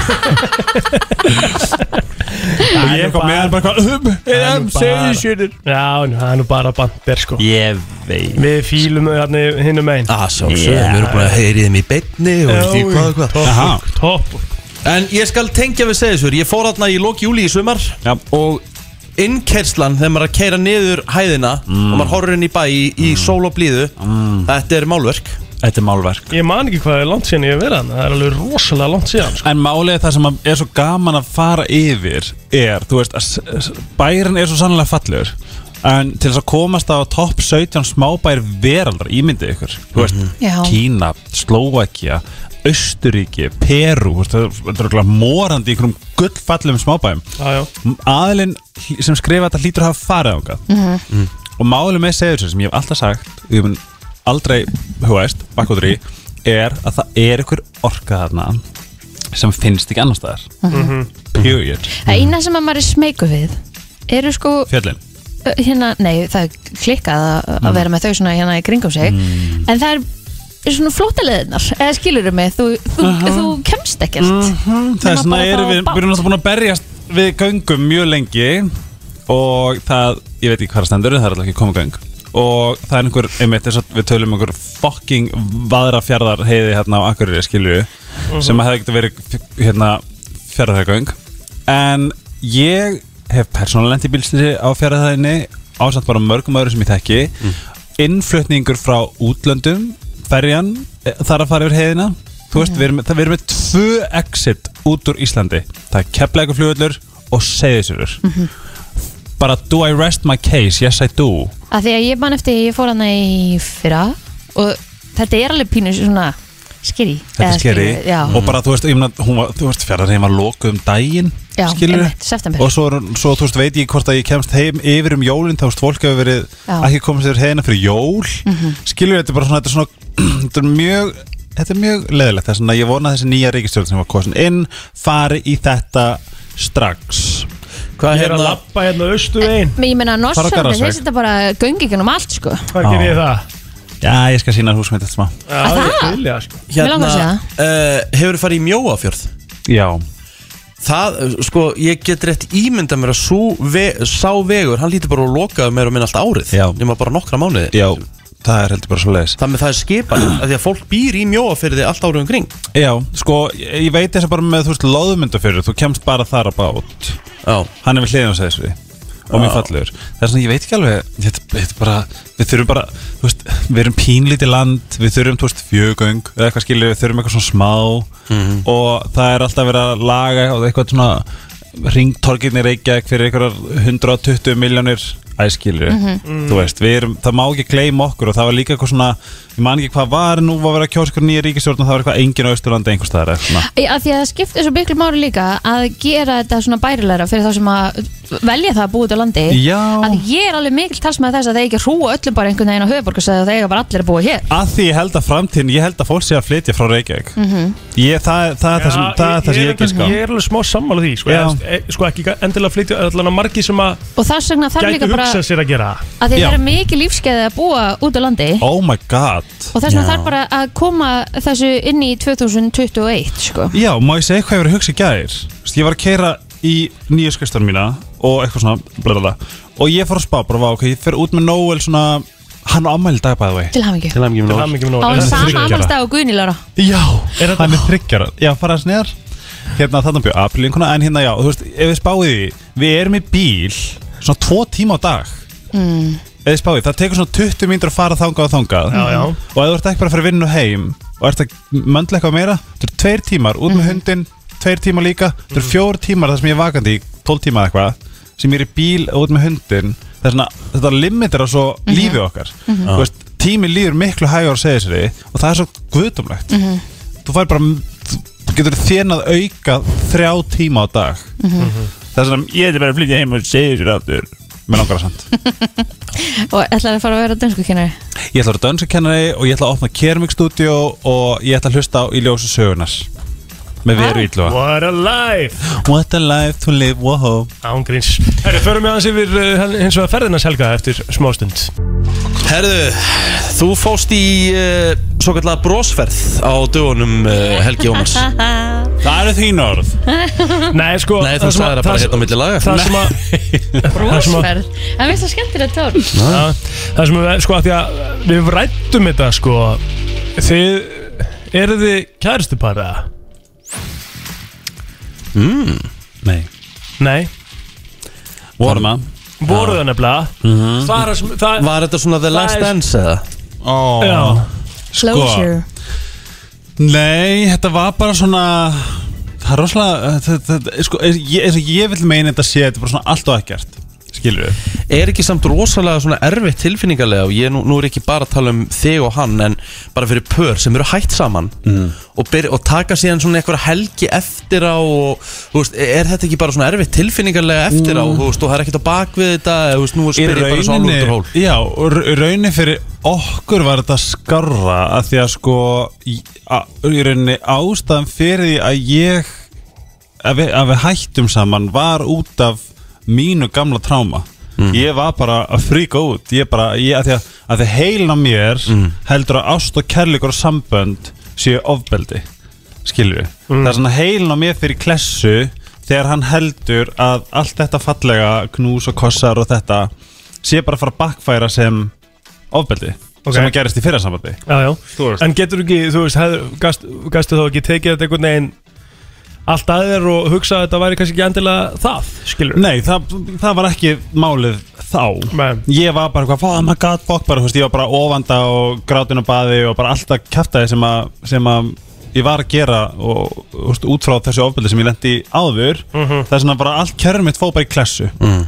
S9: og ég kom með hann bara hvað um, um, segðu sér
S3: Já, nú, það er nú bara bandir sko
S9: Ég veit
S3: Við fílum hann hinnum einn
S1: Ah, svo, við erum búin að heyri þeim í beinni og veist ég hvað, hvað
S9: Aha.
S3: Topp
S1: En ég skal tengja við Seyðisfjörð Ég fór þarna í lok júli í sumar
S9: Já.
S1: Og innkerslan þegar maður er að keira niður hæðina
S9: Mm.
S1: og maður horfir inn í bæ í, í sól og blíðu Þetta er málverk
S9: Þetta er málverk
S3: Ég man ekki hvað er langt síðan ég hef verið hann Það er alveg rosalega langt síðan sko.
S9: En málið er það sem er svo gaman að fara yfir er, þú veist, að s- s- bærin er svo sannlega fallegur en til þess að komast á topp 17 smábær veraldar, ímyndið ykkur þú veist,
S2: Já.
S9: Kína, Slóvakia Östuríki, Perú þú veist, það er okkur morandi í einhverjum gullfallum smábærum
S3: Já, já
S9: aðilinn hl- sem skrifa þetta hlýtur að hafa farið ánga
S2: Mhm.
S9: og málið með segjur sem ég hef alltaf sagt og ég mun aldrei, þú veist, bakkvöldur í er að það er ykkur orka þarna sem finnst ekki annars staðar period
S1: Mm.
S2: Það eina sem að maður er smeyku við eru sko
S9: fjöllin
S2: ö, hérna, nei það er klikkað að,
S9: Mm.
S2: að vera með þau svona hérna í kringum sig en það er svona flótaleðinar eða skilur mig, þú, þú, þú kemst ekkert
S9: þess
S2: Nema
S9: vegna
S2: bara þá á
S9: erum við, við erum náttúrulega búin að berjast við göngum mjög lengi og það, ég veit ekki hvað það stendur en það er alltaf ekki komið göng og það er einhver, einmitt þess að við tölum um einhver fucking vaðrafjarðar heiði hérna á Akureyri skilju sem að hefði ekkert verið f- hérna fjarðarhegöng en ég hef persónulega lent í bílstýri á fjarðarhæðinni ásamt bara mörgum öðru sem ég þekki innflutningur frá útlöndum ferjan eh, þarf að fara yfir heiðina þú veist, við erum, það, við erum með tvö exit út úr Íslandi það er keplæku flugvöllur og segðisverur bara do I rest my case, yes I do
S2: að því að ég man eftir, ég fór hana í fyrra og þetta er alveg pínu svona skeri
S9: þetta er skeri og bara þú veist, ég meina, hún var, þú veist fjarrarinn var lokuð um daginn
S2: Já,
S9: skilurðu?
S2: einmitt, september.
S9: og svo, er hún- svo þú veist, veit ég hvort að ég kemst heim yfir um jólin, þá veist, fólk hefur verið
S2: Já.
S9: ekki komist yfir heina fyrir jól mm
S2: Mhm.
S9: skilur þetta er bara svona, þetta er svona þetta er mjög, þetta er mjög leðilegt þess að ég vona að þessi nýja ríkistjórn sem var kosin inn fari í þetta strax
S1: Hvað
S3: Ég er að
S1: hérna,
S3: lappa hérna austu veginn
S2: Men ég meina,
S9: Fara á
S2: Norsandi,
S9: Garðarsveg.
S2: þeir setja bara göngi gennum allt sko
S3: Hvað gerir ég það?
S9: Já, ég skal sína húsmynd eftir smá
S3: Já,
S2: Að
S3: ég
S2: það?
S3: vilja sko
S2: Mig langar að
S1: hérna
S2: segja
S1: uh, Hefur farið í mjóafjörð?
S9: Já
S1: Það, eh, sko, ég get rétt ímynda mér að sú ve sá vegur, hann lítur bara að loka mér og minn allt árið
S9: Já.
S1: nema bara nokkra mánuði
S9: Já, það er heldur bara svo leiðis
S1: Þannig það er skipan, af því að fólk býr í mjóafjörði allt árið um umkring
S9: Já, sko, ég ég veit þess að bara með, þú veist, loðmyndafjörður Þú kemst bara þar að bát
S1: Já,
S9: Hann er við hliðin á segðisverði og mjög fallegur það er svona, ég veit ekki alveg þetta, þetta er bara, við þurfum bara þú veist, við erum pínlítið land við þurfum, þú veist, fjögöng eða eitthvað skilur, við þurfum eitthvað svona smá
S1: Mhm.
S9: og það er alltaf verið að laga og eitthvað svona ringtorkinni reykjaðek fyrir einhverjar 120 miljónir æskilur,
S12: Mhm.
S9: þú veist við erum, það má ekki gleyma okkur og það var líka eitthvað svona, ég man ekki hvað var nú var að vera að kjósa ykkur nýja ríkistjórn og það var eitthvað engin á Östurlandi einhvers staðar eða eitthvað svona.
S2: Í- Af því að það skiptir svo bygglu máli líka að gera þetta svona bærilegra fyrir þá sem að velja það að búa út á landi
S9: Já.
S2: að ég er alveg mikil talsmaði þess að það ekki hrúa öllum bara einhvern veginn á höfuborgarsæði og það eiga bara allir að búa hér
S9: að því ég held að framtíðin, ég held að fólk sé að flytja frá Reykjavík
S2: Mhm.
S9: ég, það, það er það sem, það er það sem ég ekki sko
S3: Ég er alveg smá sammála því sko,
S9: Já.
S3: eða, e, sko ekki endilega flytja allan að margi sem að
S2: og þess vegna þarf
S3: gæti
S2: líka bara
S3: hugsað sér að gera
S2: að því það er mikil lífskeiði að búa út á landi
S9: oh my god
S2: og þess vegna þarf bara að koma þessu inn í 2021 sko.
S9: já, má ég segja hvað ég verið að hugsa í gæðir ég var að keira í nýju skrifstofn mína og eitthvað svona blablabla og ég fór að spá bara, vá, ok, ég fer út með Noel svona, hann á ammæli í dag bæði
S2: Til hamingju. Til
S9: hamingju
S3: Til hamingju með
S2: á sama amalstag og Guðnilara
S9: Já, er hann er þryggjara Já, fara þess neðar Hérna þannig bjó, april einhverna En hérna já, þú veist, ef við spáið því Við erum í bíl svona tvo tíma á dag
S2: mm.
S9: Ef við spáið, það tekur svona 20 mínútur að fara þangað og þangað
S3: Já, já.
S9: Og ef þú ert ekki bara að fara að vinna og heim Og ert að möndla eitthvað meira Þetta eru tveir tímar, út með hundin Tveir tímar líka, þetta eru fjór tímar þar sem ég er vakandi í 12 tímar eitthvað Sem ég er í bíl og út með hundin Það er svona, þetta limitir á svo lífið okkar
S12: Mhm.
S9: Þú veist, tími líður miklu hægur að segja sér Og það er svo guðdumlegt
S2: Mm,
S12: Mhm.
S9: þú fær bara þú getur þénað auka þrjá tíma á dag
S2: Mhm.
S9: það er svona, ég er bara að flytja heim og segja sér aftur með langar að samt
S2: og ætlaði að fara að vera dönsku kynari
S9: ég ætla að vera dansakennari og ég ætla að opna Kermik Studio og ég ætla að hlusta á í ljósu sögunar með veru ítlúa
S3: What a life
S9: What a life to live, wow
S3: Án gríns Herri, förum við aðeins yfir uh, hins vegar ferðinans helga eftir smástund
S1: Herðu, þú fóst í uh, svo kallega brósferð á dögunum uh, Helgi Ómars
S9: Það eru þín orð
S3: Nei, sko
S1: Nei,
S3: það sem
S1: þú
S3: að-
S1: sagði það bara
S3: það sem-
S1: hérna á milli laga
S3: það sem að- það sem að-
S2: Brósferð, það finnst það skemmtilegt tórn
S3: Já, Það sem við, sko, af því að við rættum þetta, sko Þið, eru þið kæristu bara?
S9: mm. Nei
S3: Nei
S9: Vorum að
S3: Voru það nefnilega
S9: Mhm.
S3: það, er sem- það,
S1: Var þetta svona The
S3: það
S1: Last
S3: er-
S1: Dance eða?
S9: oh.
S3: Já.
S9: Sko. Closure. Nei, þetta var bara svona Það er rosalega þetta- þetta- sko, eins ég, eins og ég vil meina þetta sé Þetta er bara svona allt og ekkert Skilur við
S1: Er ekki samt rosalega svona erfitt tilfinningarlega og ég nú, nú er ekki bara að tala um þig og hann en bara fyrir pör sem eru hætt saman mm. og, byr, og taka síðan svona eitthvað helgi eftir á og þú veist, er þetta ekki bara svona erfitt tilfinningarlega eftir á
S9: Mm.
S1: þú veist, og það er ekkert á bakvið þetta eða, þú veist, nú
S9: Í
S1: spyr ég bara svo alveg út úr hól
S9: rauninni Já, og ra- rauninni fyrir okkur var þetta skarra að Því að sko í, a, í rauninni ástæðan fyrir því að ég að við, að við hættum saman var út af mínu gamla tráma Ég var bara að fríka út Ég bara, ég, að því að, að því að heilna mér heldur að ást og kærleikur og sambönd séu ofbeldi Skilju Það er svona heilin á mér fyrir klessu Þegar hann heldur að allt þetta fallega Knús og kossar og þetta Sé bara að fara að bakfæra sem Ofbeldi
S3: Ok.
S9: Sem að gerist í fyrra sambandi
S3: Já, já, en getur ekki, þú veist, hefur, gast, gastu þá ekki tekið þetta einhvern veginn allt að þér og hugsa að þetta væri kannski ekki endilega það, skilur
S9: Nei, það, það var ekki málið þá Ég var bara eitthvað, oh my god, fuck bara, þú veist, Ég var bara ofanda og grátin og baði Og bara alltaf kæftæði sem að, sem að Ég var að gera og, þú veist, út frá þessu ofbeldi sem ég lendi áður
S12: Mhm.
S9: Það er svona bara allt kjörn mitt fóð bara í klessu
S1: Mm.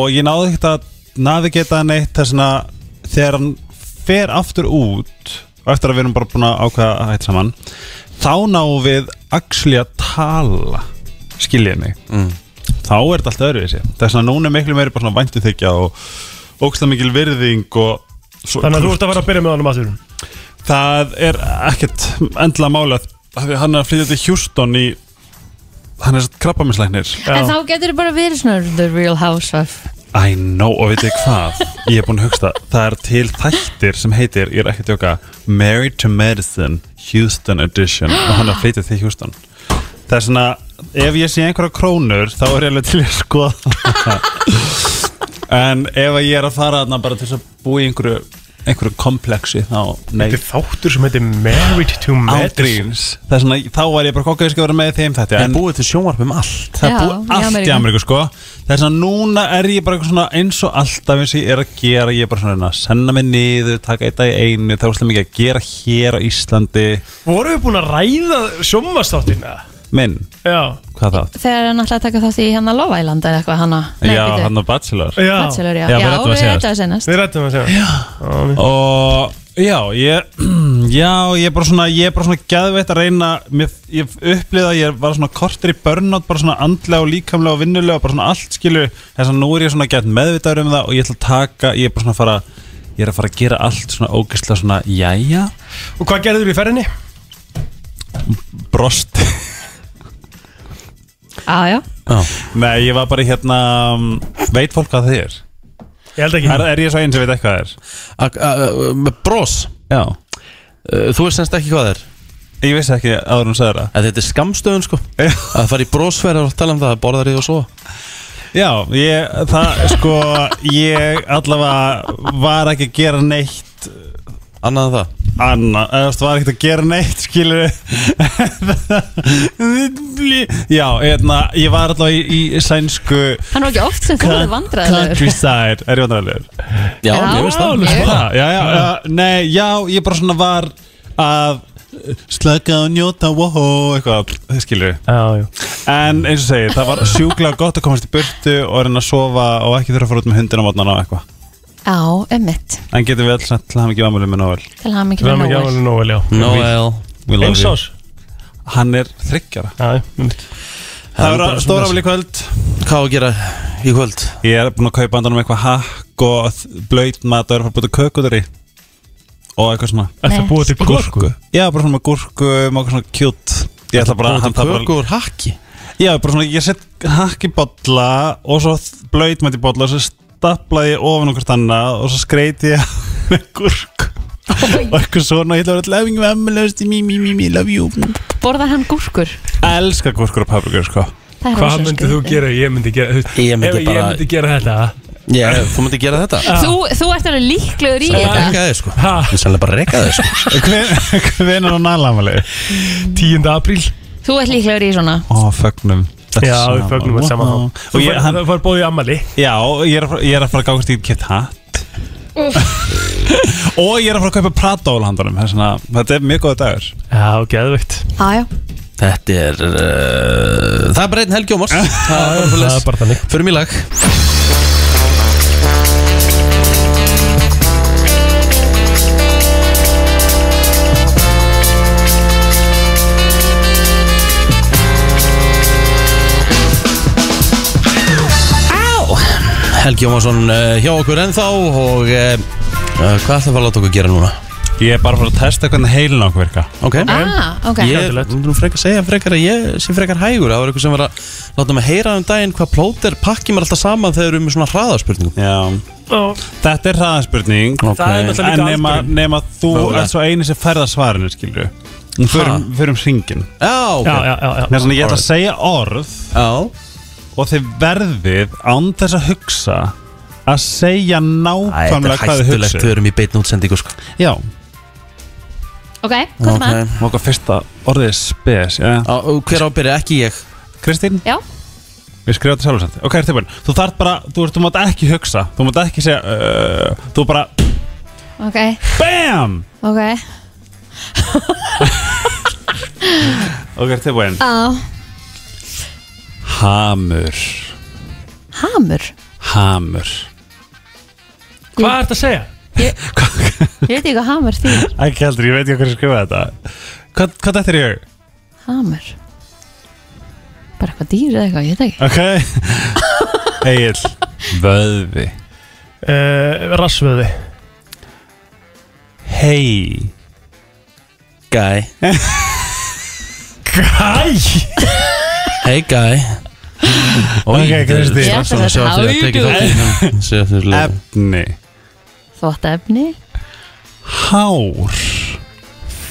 S9: Og ég náði ekkert að navigata neitt Það er svona Þegar hann fer aftur út Og eftir að við erum bara búin að ákveða að hætta saman Þá náum við Axli að tala Skiljiði mig Þá er þetta allt öðruvísi Það er svona núna er miklu meiri bara svona væntu þykja Og ógstlega mikil virðing og svo-
S3: Þannig að þú ert að fara að byrja með honum aftur
S9: Það er ekkert endla mála Hann er að flytja til Houston í Hann er krabbaminslæknir
S2: En þá getur þið bara verið svona The Real Housewife
S9: I know, og veitu hvað Ég er búin að hugsa, það er til þættir sem heitir, ég er ekki að tjóka Married to Medicine Houston Edition og hann er að flytja til Houston Það er svona, ef ég sé einhverja krónur þá er ég alveg til að skoða það. En ef að ég er að fara þarna bara til þess að búa í einhverju einhverju kompleksi þá nei
S3: Þetta er þáttur sem heitir Married to
S9: Án
S3: Medicine
S9: gríns Þess vegna, þá var ég bara kokkað að vera með í þeim þetta
S1: En búið til sjónvarp um allt
S9: Það
S1: Já,
S9: er búið
S1: í
S9: allt í
S1: Ameríku.
S9: Ameríku sko Þess að núna er ég bara eitthvað svona eins og alltaf eins og ég er að gera Ég er bara svona að reyna að senna mig niður, taka eitt dag í einu Það var slega mikið að gera hér á Íslandi
S3: Vorum við búin að ræða sjómasþáttina?
S9: Minn,
S3: Já
S9: hvað þátt?
S2: Þegar hann ætlaði að taka þátt í hann að lofa í landa eða eitthvað hann að
S9: já, hann á Bachelor
S2: Já. Bachelor, já. Já,
S9: ræddum
S2: við
S9: það síðast.
S2: ræddum það seinast.
S3: Við rættum að segja
S9: og já, ég já, ég er bara svona, ég er bara svona gæðveitt að reyna, mér, ég upplýða að ég var svona kortir í burnout, bara svona andlega og líkamlega og vinnulega, bara svona allt skilur þess að nú er ég svona gætt meðvitaður um það og ég ætla að taka, ég er bara svona að fara ég er að fara að gera allt svona ógeðslega svona jæja,
S3: Og hvað gerður í ferðinni?
S9: brost
S2: Já, já
S9: nei, ég var bara í hérna um, veit fólk hvað það er?
S3: Ég held
S9: Er, er ég svo einn sem veit eitthvað það er? Með bros? Já
S1: Þú veist semst ekki hvað það er
S9: Ég vissi ekki áður hún sagði það
S1: Þetta er skamstöðun sko Að fara í brósferð og tala um það, borðar þig og svo
S9: Já, ég, það, sko, ég allavega var ekki að gera neitt
S1: Annað en það?
S9: Annað, eða þú veist, var ekki að gera neitt, skilur Já, hérna, ég var allavega í, í sænsku
S2: Hann var ekki oft sem þú voru vandræðilegur
S9: Countryside, er ég vandræðilegur?
S2: Já, Já, mér finnst það.
S9: alveg
S2: mjög.
S9: það. Já, já, já, nei, já, ég bara svona var að uh, slaka og njóta, woho, eitthvað, það skilur
S3: Já, já
S9: En eins og segi, það var sjúklega gott að komast í burtu og reyna að sofa og ekki þurfa að fara út með hundin á mótnana og eitthvað
S2: Já, emmitt
S9: En getum við alls til hann ekki vamalum með Noel
S2: Til hann mikið með Nóel
S3: Noel, já
S9: Noel, we love
S3: Eins
S9: you.
S3: árs?
S9: Hann er þryggjara
S3: Það
S9: Það verður
S1: bara
S9: stóra
S1: svona-
S9: afli í kvöld Hvað á að gera í kvöld? Ég er búinn að kaupa andan um eitthvað hakk og þ- blaut mat og er að fara að búta kökuður í Og eitthvað svona
S3: Ertu að búa til gúrku?
S9: Já, bara svona með gúrku, með eitthvað svona kjút Ég ætla bara
S1: Búa til
S9: hann þarf bara-
S1: köku úr hakki?
S9: Já, bara svona, ég sett hakk í bolla og svo blaut mat í bolla og svo staplaði ég ofan okkur annað og svo skreiti ég með gúrku og eitthvað svona, ég ætla að vera lefing með emmilegust í mí, mí, mí, mí, love you
S2: Borðar hann gúrkur?
S9: Elskar gúrkur og paprikur, sko
S2: Það er
S3: Hvað
S2: rosa
S3: myndið þú
S2: skrítið.
S3: gera? Ég myndi gera þú veist,
S1: Ég myndi
S3: ef
S1: bara-
S3: Ég myndi gera þetta
S1: Já, þú myndi gera þetta?
S2: Þú, þú ert alveg líklegur í
S1: Sennilega
S2: þetta
S1: reka þig sko Ég sennilega bara reka þig sko
S9: Hvernig er hún aðlamalið?
S3: 10. apríl
S2: Þú ert líklegur í svona
S9: Ó, fögnum
S3: Já, við fögnum að saman
S9: Wow.
S3: þá
S9: Og ég, hann,
S3: Það var bóðið ammali
S9: já, og ég er, að fara- ég er að fara að gáðast í kipt hatt Og ég er að fara að kaupa prata á handanum svona, Þetta er mjög góða dagur
S3: Já, geðvögt
S2: Já, já
S1: Þetta er uh, Það er bara einn helgi á mors Það
S3: það er bara þannig
S1: Förum í lag Helgi Jómasson uh, hjá okkur ennþá og uh, uh, hvað ætlaðu að láta okkur gera núna?
S9: Ég er bara að fara að testa hvernig heilin okkur virka
S1: Ok,
S2: Ah, ok
S1: Ég myndi nú frekar segja frekar að ég sé frekar hægur Það var eitthvað sem var að láta mig heyra um daginn hvað plóter pakki mér alltaf saman þegar við erum með svona hraðarspurningum
S9: Já
S3: Ó,
S9: Þetta er hraðanspurning
S1: Ok. Það er náttúrulega
S9: En
S1: líka
S9: nema,
S1: aldurinn.
S9: nema þú
S1: Mögulega.
S9: er svo eini sem færða svarinu, skilur við Við förum- við förum hringin
S1: Já, ok
S3: Já, já, já, já.
S9: Það er svona, ég ætla að segja orð
S1: Já
S9: Og þið verðið án þess að hugsa Að segja
S1: Æ, Þetta
S9: nákvæmlega
S1: er
S9: hvað þið
S1: hættulegt, við
S9: hugsa
S1: erum í beitn útsendingu sko.
S9: Já,
S2: Ok, hvað er maður?
S9: Nóka fyrsta orðið er spes já.
S1: Á, og Hver ábyrði ekki ég?
S9: Kristín?
S2: Já
S9: Við skrifum þetta sjálfur samt Ok, ertu búinn Þú þarf bara, þú, þú mátt ekki hugsa Þú mátt ekki segja uh, Þú bara
S2: Ok,
S9: BAM
S2: ok
S9: Ok, ertu búinn
S2: Á
S9: Hamur
S2: Hamur
S9: Hamur
S3: Hvað ert að segja?
S2: Ég veit ekki hvað hamur þýr
S9: Ekki heldur, ég veit ekki hvernig skrifa þetta Hvað, hvað þetta er ég?
S2: Hamur Bara eitthvað dýr eða eitthvað, ég veit ekki
S9: Ok Egil Vöðvi
S3: Uh, Rassvöði
S9: Hei
S1: Gæ
S3: Gæ
S1: Hey gæ
S9: Ok, Kristín.
S2: Ég ætla að þetta hafi djúpi.
S1: Kristín
S9: Eh. Efni
S2: Þvottefni
S9: Hár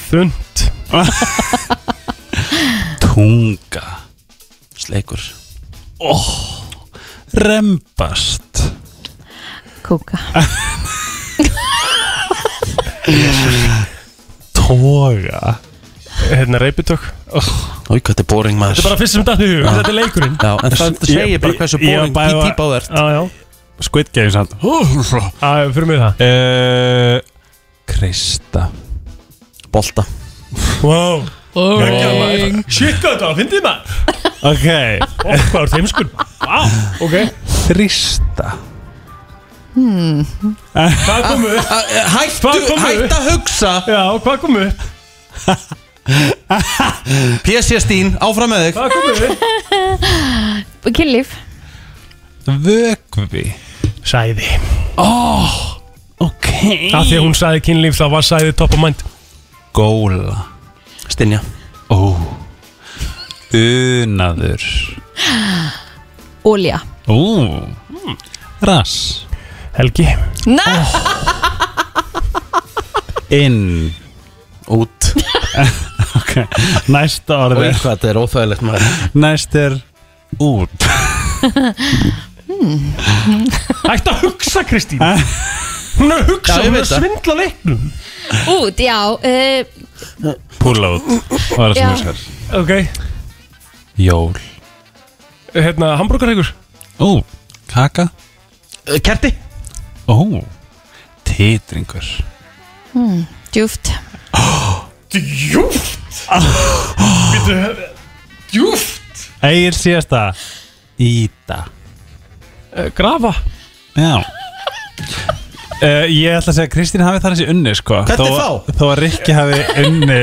S3: Þund
S9: Tunga
S1: Sleikur
S9: oh, Rembast
S2: Kúka
S3: Toga Hérna reypitök oh.
S1: Új, hvað þetta er boring maður
S3: Þetta er bara fyrst sem datt í hug,
S1: Já.
S3: þetta er leikurinn
S1: Já, en það segir bara hversu boring E í típa
S3: típa á þert
S9: Squid Game samt
S3: Já, fyrir mig það
S9: uh, Krista
S1: Bolta
S3: Wow
S9: Boring.
S3: Shit, hvað þetta var, fyndið maður
S9: Ok
S3: Ó, Hvað er þeim sko. skun? Vá, ok
S9: Þrista
S12: Hmm.
S3: Hvað kom upp?
S1: Ah, Hættu, hættu að hugsa
S3: Já, hvað kom upp?
S1: PSG Stín, áfram með þig
S3: Hvað kom upp?
S2: Kynlíf
S9: Vögvi
S3: Sæði
S9: oh, Ok
S3: Það því að hún sæði kynlíf þá var sæði top of mind
S9: Góla
S1: Stinja
S9: Ó Unaður
S2: Ólja
S9: Ó Rass
S3: Helgi
S2: Oh.
S9: Inn
S1: Út
S9: Ok Næsta orði
S1: Új, hvað þetta er óþægilegt maður
S9: Næst er Út
S3: Hættu að hugsa, Kristín Hún er að hugsa,
S1: Eh? Já, ég
S3: hún er
S1: veit
S3: að
S1: það.
S3: svindla leiknum
S2: Út, já uh,
S9: Púla út Það er það sem
S2: Já.
S9: ég skar
S3: Ok,
S9: Jól
S3: hérna, hambúrgarheikur
S9: Ó Kaka
S1: Eh, Kerti
S9: Ó Titringur
S2: hmm, Djúft
S3: Djúft Býttu, Djúft
S9: Egil síðasta Íta
S3: uh, Grafa
S9: Já Uh, ég ætla að segja að Kristín hafi þar þessi unni sko
S3: Hvernig
S9: Þó- Þó að Rikki hafi unni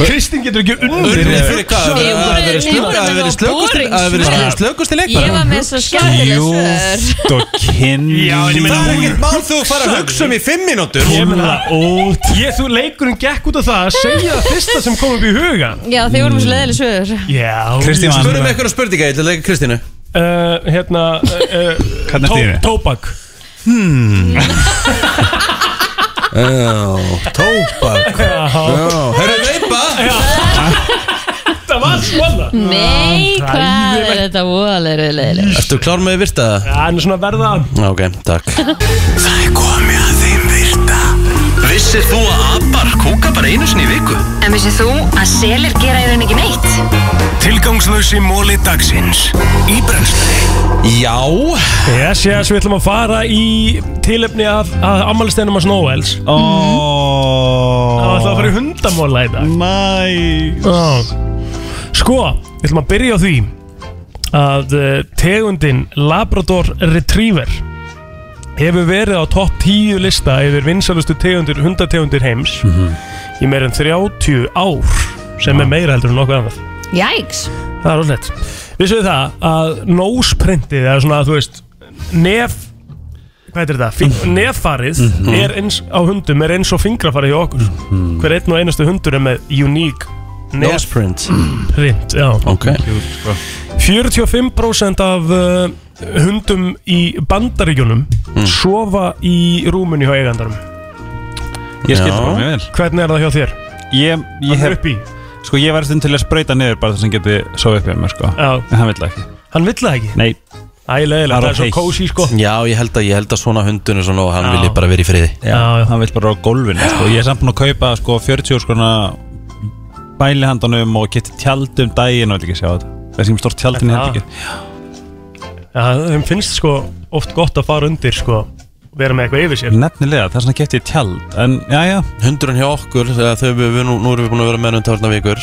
S3: Kristín getur ekki unnið
S1: Unni fyrir hvað?
S3: Hugsaðu
S1: Að hafa verið slöku- að hafa verið slökusti- að hafa
S9: sko.
S1: verið slökusti leik
S2: Ég var með svo skemmtileg svör
S9: Djúft og kinn
S3: Já, en ég meina,
S1: Það er
S3: hún-
S1: ekkert mál þú fara að hugsa um í fimm mínútur
S3: Ég meina, út Ég, þú, leikurinn gekk út af það að segja það fyrsta sem kom upp í hugan
S2: Já, þið voru með svo leiðileg svör
S3: Já
S9: Kristín var annað.
S1: Spurðu mig eitthvað spurninga, ég ætla að leika Kristínu
S3: uh, Hérna uh,
S9: Hvernig ertu í henni?
S3: Tóbak
S1: Hmm
S6: Uh.
S1: Já, tóbak Já, herru veipa
S3: Það var svona
S2: Nei,
S3: Ah,
S2: hvað er þetta voðalega leiðileg
S1: Ertu klár með virta?
S3: Hann er svona verða
S1: Já, ok, takk
S4: Það er komið að þeim virta Vissir þú að abar kúka bara einu sinni í viku?
S13: En vissið þú að selir gera í rauninni ekki neitt?
S4: Tilgangslösi móli dagsins Í brennslunni
S1: Já
S3: Yes, yes, við ætlum að fara í tilefni af, af ammælsteinum hans Noels
S9: oh.
S3: Það ætlum að fara í hundamóla í dag
S9: Næs
S3: Sko, við ætlum að byrja á því að eh, tegundin Labrador Retriever hefur verið á topp 10 lista yfir vinsalustu tegundir, hundategundir heims í meir en 30 ár sem er meira heldur en nokkuð annað
S2: Jæks
S3: Það er óslegt Vissu þið það að nósprintið eða svona að þú veist nef hvað er þetta? Fing, neffarið
S9: Mhm.
S3: er eins á hundum er eins og fingrafarið hjá okkur hver einn og einastu hundur er með unique
S1: Noseprint
S3: print, já
S1: Ok sko.
S3: 45% af uh, hundum í bandaríkjunum
S9: Mhm.
S3: sofa í rúmunni hjá eigandarum
S9: Ég skil það bara mjög vel
S3: Hvernig er það hjá þér?
S9: Ég, ég
S3: Hann er
S9: hef
S3: upp í
S9: Sko ég var stund til að sprauta niður bara það sem geti sofa upp hjá mér sko
S3: Já.
S9: En hann vill það ekki
S3: Hann vill það ekki?
S9: Nei
S3: Ægilega, það er svo
S9: heitt.
S3: kósi sko
S1: Já, ég held að, ég held að svona hundunum svona og hann
S3: Já.
S1: vilji bara vera í friði
S9: Já, hann vill bara á gólfinu sko Ég er samt búin að kaupa sko 40 skona bælihandanum og geti tjaldum daginn og vil ekki sjá þetta Það er sem stórt tjaldin í
S3: Er það?
S9: herbyggi
S3: Já, þeim finnst sko oft gott að fara undir sko vera með eitthvað yfir sér
S9: Nefnilega, það er svona getið tjald En já, já
S1: Hundurinn hjá okkur, þegar þau við, við nú, nú erum við búin að vera með hann tórna vikur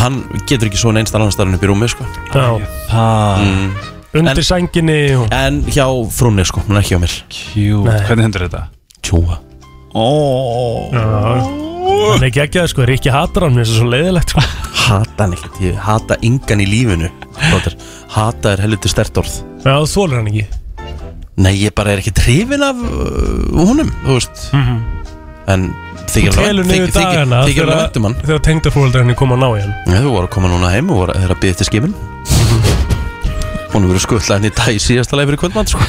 S1: Hann getur ekki svona einst annan starfinn upp í rúmi, sko
S3: Já,
S9: Það
S1: mm.
S3: undir sænginni og...
S1: En hjá frúnni, sko, hún er ekki hjá mér
S9: Kjú
S3: Nei.
S9: Hvernig hundur er þetta?
S1: Tjúa
S9: Ó
S3: Já, hann er geggjað sko, Ríkki hatar hann þess að svo leiðilegt sko
S1: Hata hann ekkert, ég hata engan í lífinu Plóter. Hata er helviti stert orð
S3: Já, þú þólar hann ekki
S1: Nei, ég bara er ekki trefin af uh, honum, þú veist
S3: Mhm.
S1: En þykir
S3: Þú telur niður dagana
S1: Þykir alveg
S3: þegar-
S1: væntum hann
S3: Þegar tengdafóreldrar henni koma að ná í hann
S1: Nei, Þau voru að koma núna heim og voru þeirra að byggja til skimin Hún hefur verið skutlað henni í dag í síðasta leið fyrir kvöldmann sko.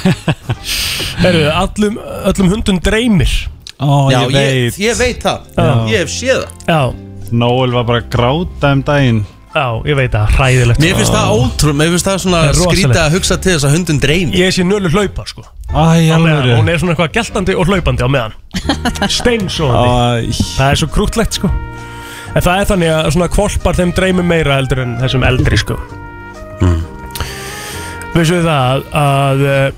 S3: Herru, allum, öllum hundum dreymir
S9: Ó,
S1: Já,
S9: ég veit
S1: ég veit það
S3: Já.
S1: Ég hef séð það
S3: Já,
S9: Nóel var bara að gráta um daginn
S3: já, ég veit það, hræðilegt
S1: Mér finnst það ótrúm, mér finnst það svona
S3: Það er rosalegt.
S1: skrítið að hugsa til þess að hundun dreymi
S3: Ég sé nölu hlaupa sko
S9: Æ,
S3: á meðan,
S9: alvöru.
S3: hún er svona eitthvað geltandi og hlaupandi á meðan steinsóðandi það er svo krútlegt sko en það er þannig að svona kvolpar þeim dreymi meira heldur en þessum eldri sko
S14: Mm.
S3: vissu þið það að eh,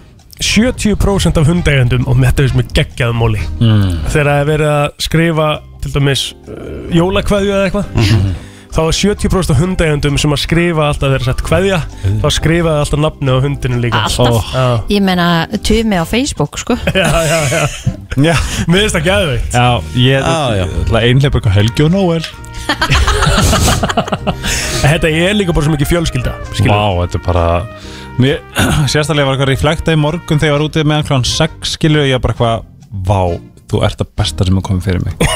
S3: 70% af hundegjandum og þetta er sem er geggjaðum móli
S9: Mm.
S3: þegar það er verið að skrifa til dæmis uh, jólakveðju eða eitthvað
S9: Mhm.
S3: þá er 70% af hundegjandum sem að skrifa alltaf þegar sett kveðja
S9: Mm.
S3: þá skrifaði alltaf nafni á hundinu líka
S2: Alltaf.
S3: Já.
S2: Ég meina, tumi á Facebook, sko
S3: Já, já, já
S9: Já,
S3: mér finnst það gæðveikt
S9: Já, ég er einhleip eitthvað Helgi og Nóel
S3: Þetta er líka bara svo mikið fjölskylda
S9: Vá, þetta er bara mér, Sérstaklega var eitthvað reflekta í morgun þegar ég var úti meðan klán 6 skilur ég bara eitthvað Vá, þú ert það besta sem er komið fyrir mig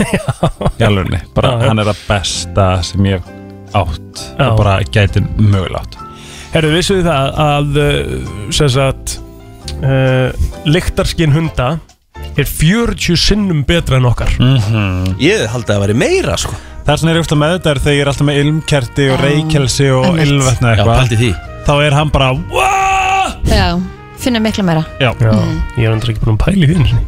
S9: Í alvegni, bara
S3: Já, já.
S9: hann er það besta sem ég hef átt
S3: Já.
S9: og bara gæti mögulega átt
S3: Herru, vissuðu það að uh, sem sagt uh, lyktarskinn hunda er 40 sinnum betra en okkar
S9: -hmm.
S1: Mhm.
S3: Ég held að það væri meira sko
S9: Það er svona er eitthvað með þetta er þegar ég er alltaf með ilmkerti og reykelsi og
S2: einmitt.
S9: ilvetna
S1: Já,
S9: eitthvað
S1: pældi því.
S9: Þá er hann bara
S2: Já, finna miklu meira
S9: Já,
S3: Já. Mhm. Ég er endur ekki búin að pæli því einu sinni.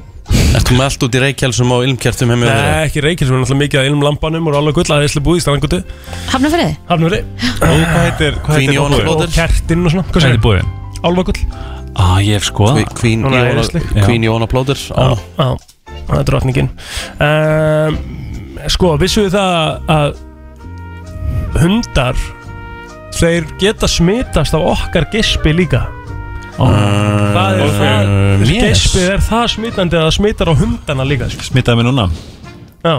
S1: Ertu með allt út í reykjálsum og ilmkjartum heim í
S3: Nei, ekki reykjálsum, er náttúrulega mikið að ilm lampanum og alveg gull að Ísla búið í staðangutu
S2: Hafnafriði?
S3: Hafnafriði
S9: Hvað heitir, hvað heitir
S3: Og kertin og svona
S9: Hvað heitir búin?
S3: Álfagull
S9: Ah, ég hef
S3: Sko,
S9: skoðað
S1: Kví- Queen
S3: Núna
S1: Jóna-
S3: æðisleg.
S1: Queen Jóna Plóter
S3: Já, já, það er drotningin um, Sko, vissu við það að hundar þeir geta smitast á okkar gespi líka
S1: Ehm,
S3: Það er það
S1: um,
S9: yes.
S3: Gespið er það smitandi að það smitar á hundana líka sko.
S9: Smitaði mig núna
S3: Já,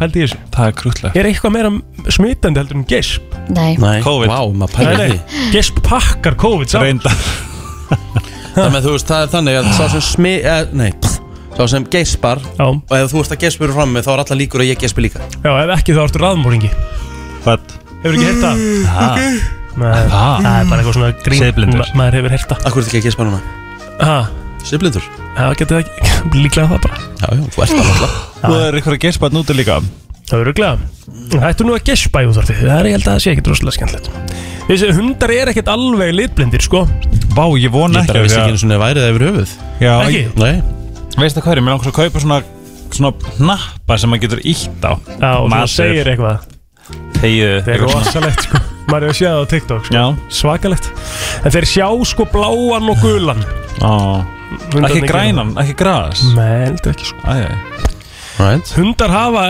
S3: pældi ég þessu
S9: Það er krútlega
S3: Er eitthvað meira smitandi heldur en gesp?
S2: Nei,
S1: COVID Vá, maður
S3: Nei,
S1: pælir
S3: nei,
S1: því
S3: gesp pakkar COVID saman
S9: Reynda
S1: Þannig að þú veist, það er þannig að sá sem smi... Eh, nei, pff, sá sem geispar
S3: Já.
S1: Og ef þú veist að geispur er frammi þá er alla líkur að ég geispi líka
S3: Já, ef ekki þá ertu raðmóringi
S9: Hvað?
S3: Hefur ekki hérta?
S1: Ha.
S3: Nei,
S1: Ha.
S3: það er bara eitthvað svona grín
S1: Seiðblindur.
S3: Ma- Maður hefur hérta
S1: Akkur er þetta ekki að geispa núna?
S3: Ha?
S1: Siblindur?
S3: Já, getur það ekki Líklega það bara
S1: Já, já, þú ert alveg
S9: Nú er eitthvað gespaðn úti líka
S3: Það er ruglega Hættu nú að gespa í útvarpið Það er ég held að það sé ekkit rosalega skemmtilegt Þessi hundar er ekkit alveg litblindir sko
S9: Vá, ég vona
S1: Ég
S9: ekki
S1: bara vissi ekki einu svona værið yfir höfuð
S9: Já,
S3: Ekki?
S9: ég- Veistu hvað er, mér langar svo að kaupa svona svona hnappa sem maður getur ítt á uh,
S3: Já, og svona segir eitthvað
S9: Þegiðu
S3: Það er rosalegt sko Maður er að sjá það á TikTok sko. Svakalegt En þeir sjá sko bláan og gulan
S9: rosa Ekki grænan, ekki græs
S3: Nei, heldur ekki sko
S9: Æ, æ.
S1: Right.
S3: Hundar hafa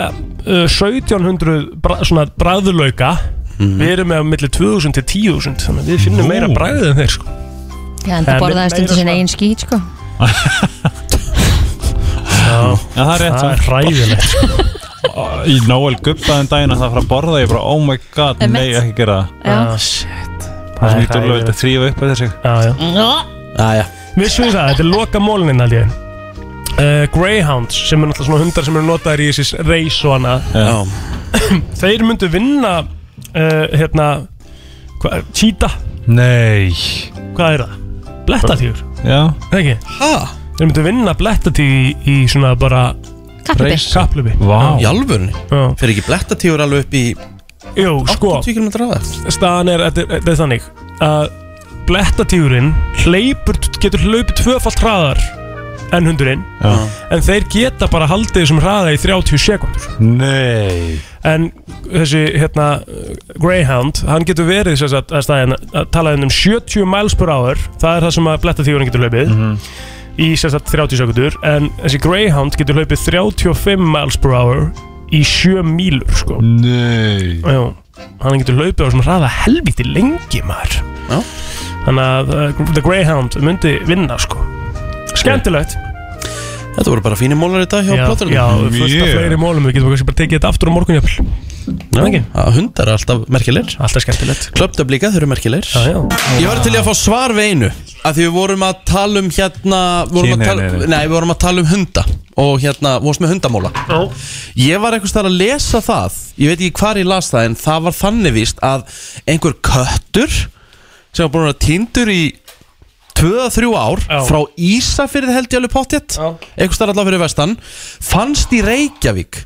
S3: uh, 1700 bra, svona bræðulauka Við erum með á milli 2000 til 10.000 Þannig að við finnum
S9: Nú.
S3: meira bræðið en þeir sko
S2: já, en það
S3: En
S2: borðaði
S3: meira
S2: stundu sinna eigin skýt, sko
S3: Já,
S9: Já, það er rétt
S3: Það er hræðilegt
S9: Í Noel guppaðin daginn að það fara að borða Ég bara, oh my god,
S2: Einmitt.
S9: nei, ekki gera
S2: Já.
S9: það
S2: Ah,
S9: shit Það er mjög dúlega að þrýfa upp eftir sig
S3: Já, já
S1: Aja.
S3: Vissum við það, þetta er loka mólinin held ég uh, Greyhounds sem er náttúrulega svona hundar sem eru notaðir í þessi reis og annað
S1: Já.
S3: Þeir myndu vinna uh, hérna hva, Cheetah,
S9: Nei
S3: hvað er það? Blettatífur,
S9: Já
S3: er það ekki? Hæ? Þeir myndu vinna blettatíf í, í svona bara
S2: Kapphlaupi.
S3: reis- Kapphlaupi
S9: Vá.
S1: Í alvörunni?
S3: Já.
S1: Fyrir ekki blettatífur alveg upp í
S3: Jú, sko
S1: 80 km aðeins?
S3: staðan er, þetta er, þetta er þannig að blettatífurinn hleypur, getur hlaupið tvöfalt hraðar en hundurinn
S9: Já.
S3: en þeir geta bara haldið þessum hraða í 30 sekundur
S9: Nei
S3: en þessi hérna uh, Greyhound, hann getur verið þess að, að staðan að tala um 70 miles per hour það er það sem að blettatífurinn getur hlaupið
S9: Mhm.
S3: í sem sagt 30 sekundur en þessi Greyhound getur hlaupið 35 miles per hour í 7 mílur sko
S9: Nei
S3: Já, hann getur hlaupið á svona hraða helviti lengi maður
S1: Já.
S3: Þannig að uh, The Greyhound myndi vinna sko Skemmtilegt
S1: Þetta voru bara fínir mólar í dag hjá
S3: Já,
S1: plóterinu
S3: já fullt af fleiri mólum Við getum kannski bara tekið þetta aftur á morgun jafnvel.
S1: Já, að hundar er alltaf merkilegir
S3: Alltaf skemmtilegt
S1: Klöptöp líka, þau eru merkilegir
S3: Já, já
S1: Ég var til í að fá svar við einu að því við vorum að tala um hérna við vorum að tala,
S9: Kynhneigðir.
S1: Nei, við vorum að tala um hunda og hérna, við varst með hundamóla
S3: Já.
S1: Ég var einhvers þar að lesa það ég veit ekki hvar ég las það en það var þannig víst að einhver köttur sem var búin að vera týndur í 2-3 ár
S3: Já.
S1: frá Ísafyrði held ég alveg pottjett
S3: Já.
S1: einhvers þar allavega fyrir vestan fannst í Reykjavík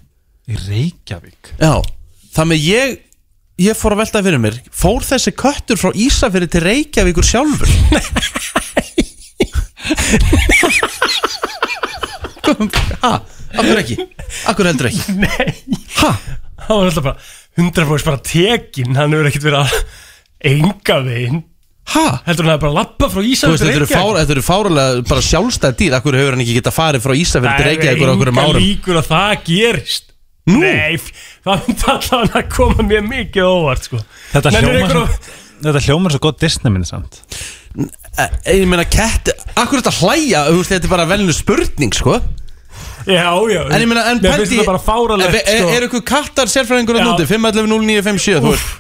S9: Í Reykjavík
S1: Já, þannig að ég Ég fór að velta fyrir mér Fór þessi köttur frá Ísafirði til Reykjavíkur sjálfur? Ha, akkur ekki Akkur heldur ekki
S3: Nei Hæ? Hann var alltaf bara 100% bara tekin Hann hefur ekkert verið að enga veginn Hæ? Heldur hann að bara lappa frá
S1: Þú veist,
S3: Ísafjörður
S1: þetta eru fár- þetta eru fáralega bara sjálfstæð dýr Akkur hefur hann ekki getað farið frá Ísafjörð til Reykjavíkur á einhverjum
S3: Það er
S1: árum
S3: enga líkur að það gerist Nú? Nei, f- það myndi allavega að koma mér mikið á óvart sko.
S9: Þetta
S3: Nennirðu
S9: hljómar
S3: ykkur að-
S9: samt- Þetta hljómar svo gott Disney minn samt
S1: Eh, Ég meina, kett Akkur þetta hlæja, þú veist, þetta er bara velinu spurning, sko
S3: Já, já
S1: En ég meina, en
S3: Mér finnst þetta bara sko. fáralegt
S1: Er, er, er e- ykkur kattar sérfræðingur að
S3: Já.
S1: núti? 511-0957, þú veist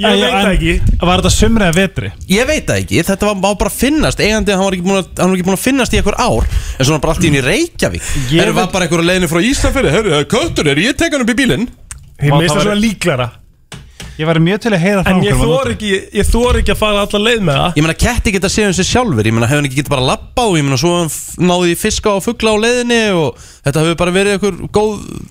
S3: Ég veit það ekki
S9: Var þetta sumri eða vetri?
S1: Ég veit það ekki, þetta var, var bara að finnast Eigandi, hann var ekki búin að, hann var ekki búin að finnast í einhver ár En svona bara allt í henni Reykjavík
S3: Ég
S1: Erum
S3: veit-
S1: var bara einhver að leiðinu frá Ísafjörði Hörru, það er köttur, er ég að teka hann upp í bílinn?
S3: Ég minnst það svona líklara
S9: Ég var mjög til að heyra
S3: En ég þor ekki, ég þor ekki að fara allar leið með það
S1: Ég meina, ketti geta séð um sig sjálfur Ég meina, hefur hann ekki geta bara lappa og ég meina, svo hann f- náði í fiska og fuggla á leiðinni og þetta hefur bara verið einhver góð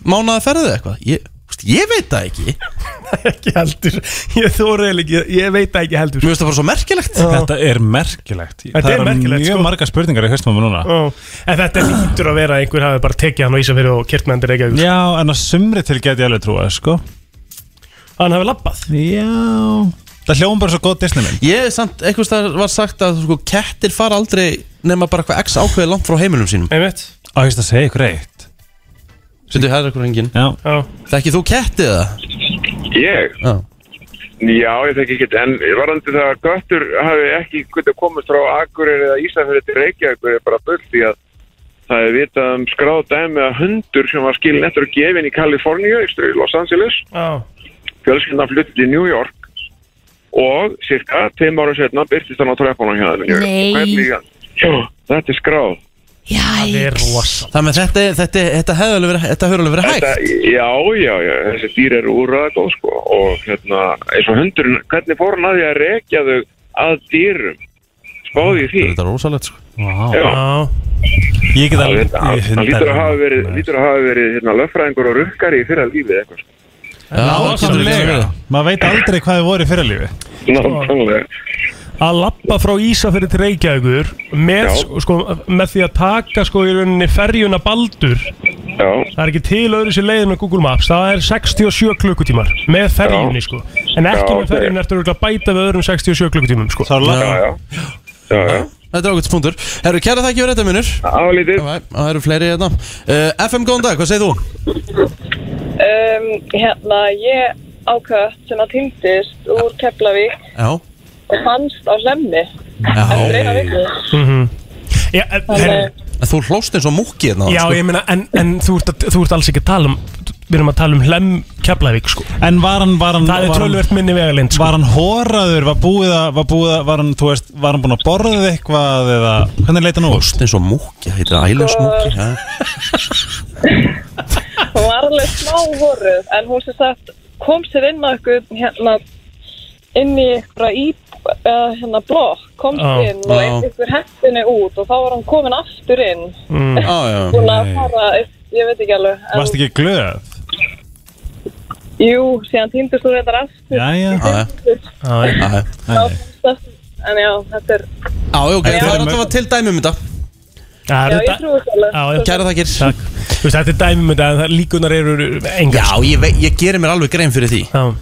S1: mánaða ferðið eitthvað ég, þú veist, ég veit það ekki
S3: Ekki heldur, ég þor ekki, ég veit það ekki heldur
S1: Mér finnst það bara svo merkilegt
S9: Þetta er merkilegt
S3: Þetta
S9: Það
S3: er
S9: eru
S3: merkilegt,
S9: mjög
S3: sko.
S9: margar spurningar í haustum á mér núna
S3: Ó, En þetta lítur að vera að einhver hafi bara tekið hann á Ísafjörðu og kert með hann til Reykjavík
S9: Já, en að sumri til geti ég alveg trúa, sko
S3: Hann hafi lappað
S9: Já Það hljóðum bara svo góð Disney minn
S1: Ég, samt, einhvers það var sagt að sko, kettir fara aldrei nema bara eitthvað x ákveðið langt frá heimilum sínum
S3: Einmitt
S9: Á, ég veist að segja ykkur eitt
S1: Söndu, það er eitthvað reyngin
S9: Já
S1: Þekkið þú kettið það?
S15: Ég?
S1: Já.
S15: Já, ég þekki ekki, en varandi það að göttur hafi ekki getið komast frá Akureyri eða Ísafjörði til Reykjavíkur er bara bull því að það er vitað um skráð dæmi að hundur sem var skilin eftir að gefin í Kaliforníu, í Los Angeles,
S3: Já
S15: fjölskyldan fluttið til New York og cirka tveim ára setna byrtist hann á treppunum hjá þeim í New York.
S2: Nei.
S15: Hvernig hann? Jó, þetta er skráð.
S3: Jæks
S1: Þannig að þetta, þetta, þetta hefur alveg verið, þetta hefur alveg verið hægt
S15: Já, já, já, þessi dýr eru úrraða góð sko og hérna, eins og hundurinn, hvernig fór hann að því að rekja þau að dýrum? Spáði í því.
S1: Þetta er rosalegt sko
S15: Já.
S9: Ég get
S15: alveg
S9: ég-
S15: Hann
S9: hundar-
S15: lítur að hafa verið, lítur að hafa verið hérna, löffræðingur og rukkari í fyrra lífið eitthvað sko.
S9: Nákvæmlega Maður veit aldrei hvað þið voru í fyrirlífi
S15: Nákvæmlega.
S3: Að lappa frá Ísafjörðu til Reykjavíkur með,
S9: Já.
S3: sko, með því að taka sko í rauninni ferjuna Baldur
S15: Já.
S3: Það er ekki til öðru sér leiðin með Google Maps Það er 67 klukkutímar með ferjunni
S15: Já.
S3: sko En ekki
S15: Já,
S3: með ferjunni ertu örugglega að bæta við öðrum 67 klukkutímum sko
S9: Það
S1: lappa- Já,
S15: Já, já
S1: Þetta er ákveðt punktur Herru, kæra þakki fyrir þetta munur
S15: Álítið
S1: Það eru fleiri hérna uh, FM, góðan dag, hvað segir þú?
S14: Um, hérna, ég ákvæmt sem að týndist úr Keflavík
S1: Já
S14: og fannst á hlemmi
S1: Já.
S14: eftir eina viku.
S3: Mhm. Já,
S9: eh,
S14: Þannig,
S1: En Þú hlóst eins og múkki hérna
S3: Já,
S1: sko.
S3: ég meina, en, en þú, ert að, þú ert alls ekki að tala um Við erum að tala um Hlem Keflavík sko
S9: En var hann, var hann
S3: Það er
S9: var hann-
S3: tölvert minni vegalind sko
S9: Var hann horaður, var búið að, var búið að, var hann, þú veist, var hann búin að borða eitthvað eða, hvernig leita hann út?
S1: Óst eins og múkja, heitir ælaus
S14: sko,
S1: múkja ja.
S14: Hún var alveg smá voruð, en hún sem sagt kom sér inn á ykkur, hérna, inn í ykkur í, uh, hérna, blokk, kom
S3: Já,
S14: sér inn og
S3: já.
S14: eitt ykkur hendinni út og þá var hann komin aftur inn.
S3: Mm. Já, já.
S14: Búin að
S9: Nei.
S14: fara, ég veit ekki alveg. en-
S9: Varst ekki glöð?
S14: Jú, síðan týndist hún reyndar aftur.
S9: Jæja.
S1: Já,
S14: Já, En já, þetta er,
S1: já, Ah, ok,
S14: Já.
S1: það er alltaf til dæmi um þetta
S3: Já,
S14: já, ég trúi þessu alveg.
S1: Kæra þakkir
S3: Takk Þú veist, þetta er dæmi með það, líkunar eru engar
S1: Já, ég, vei, ég gerir mér alveg grein fyrir því
S3: Já.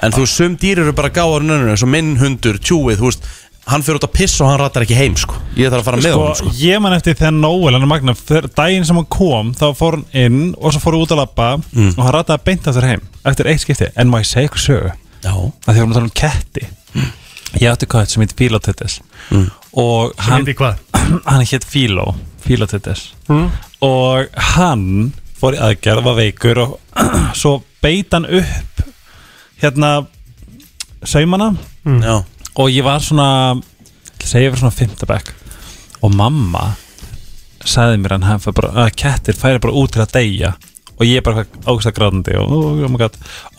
S1: En þú, sum dýr eru bara gáðar nönnur eins og minn hundur, tjúið, þú veist Hann fyrir út að pissa og hann ratar ekki heim, sko Ég þarf að fara með honum, sko
S9: Ég man eftir þegar Noel, hann er magna, þegar daginn sem hann kom, þá fór hann inn og svo fór hann út að lappa
S1: Mm.
S9: og hann rataði beint aftur heim, eftir eitt skipti, en má ég segja ykkur sögu?
S1: Já.
S9: Það þegar hann tala um ketti. Ég átti kött sem heitir Filotetes mm. og
S3: Sem
S9: hann,
S3: heitir hvað?
S9: hann hétt Filo, Filotetes
S3: Mm.
S9: og hann fór í aðgerð, var veikur og svo beit hann upp hérna saumana
S1: Mm. Já.
S9: og ég var svona ætla að segja fyrir svona fymtabæk og mamma sagði mér hann hann fær bara, að kettir færi bara út til að deyja og ég bara águst að gráðandi og, og, og, og,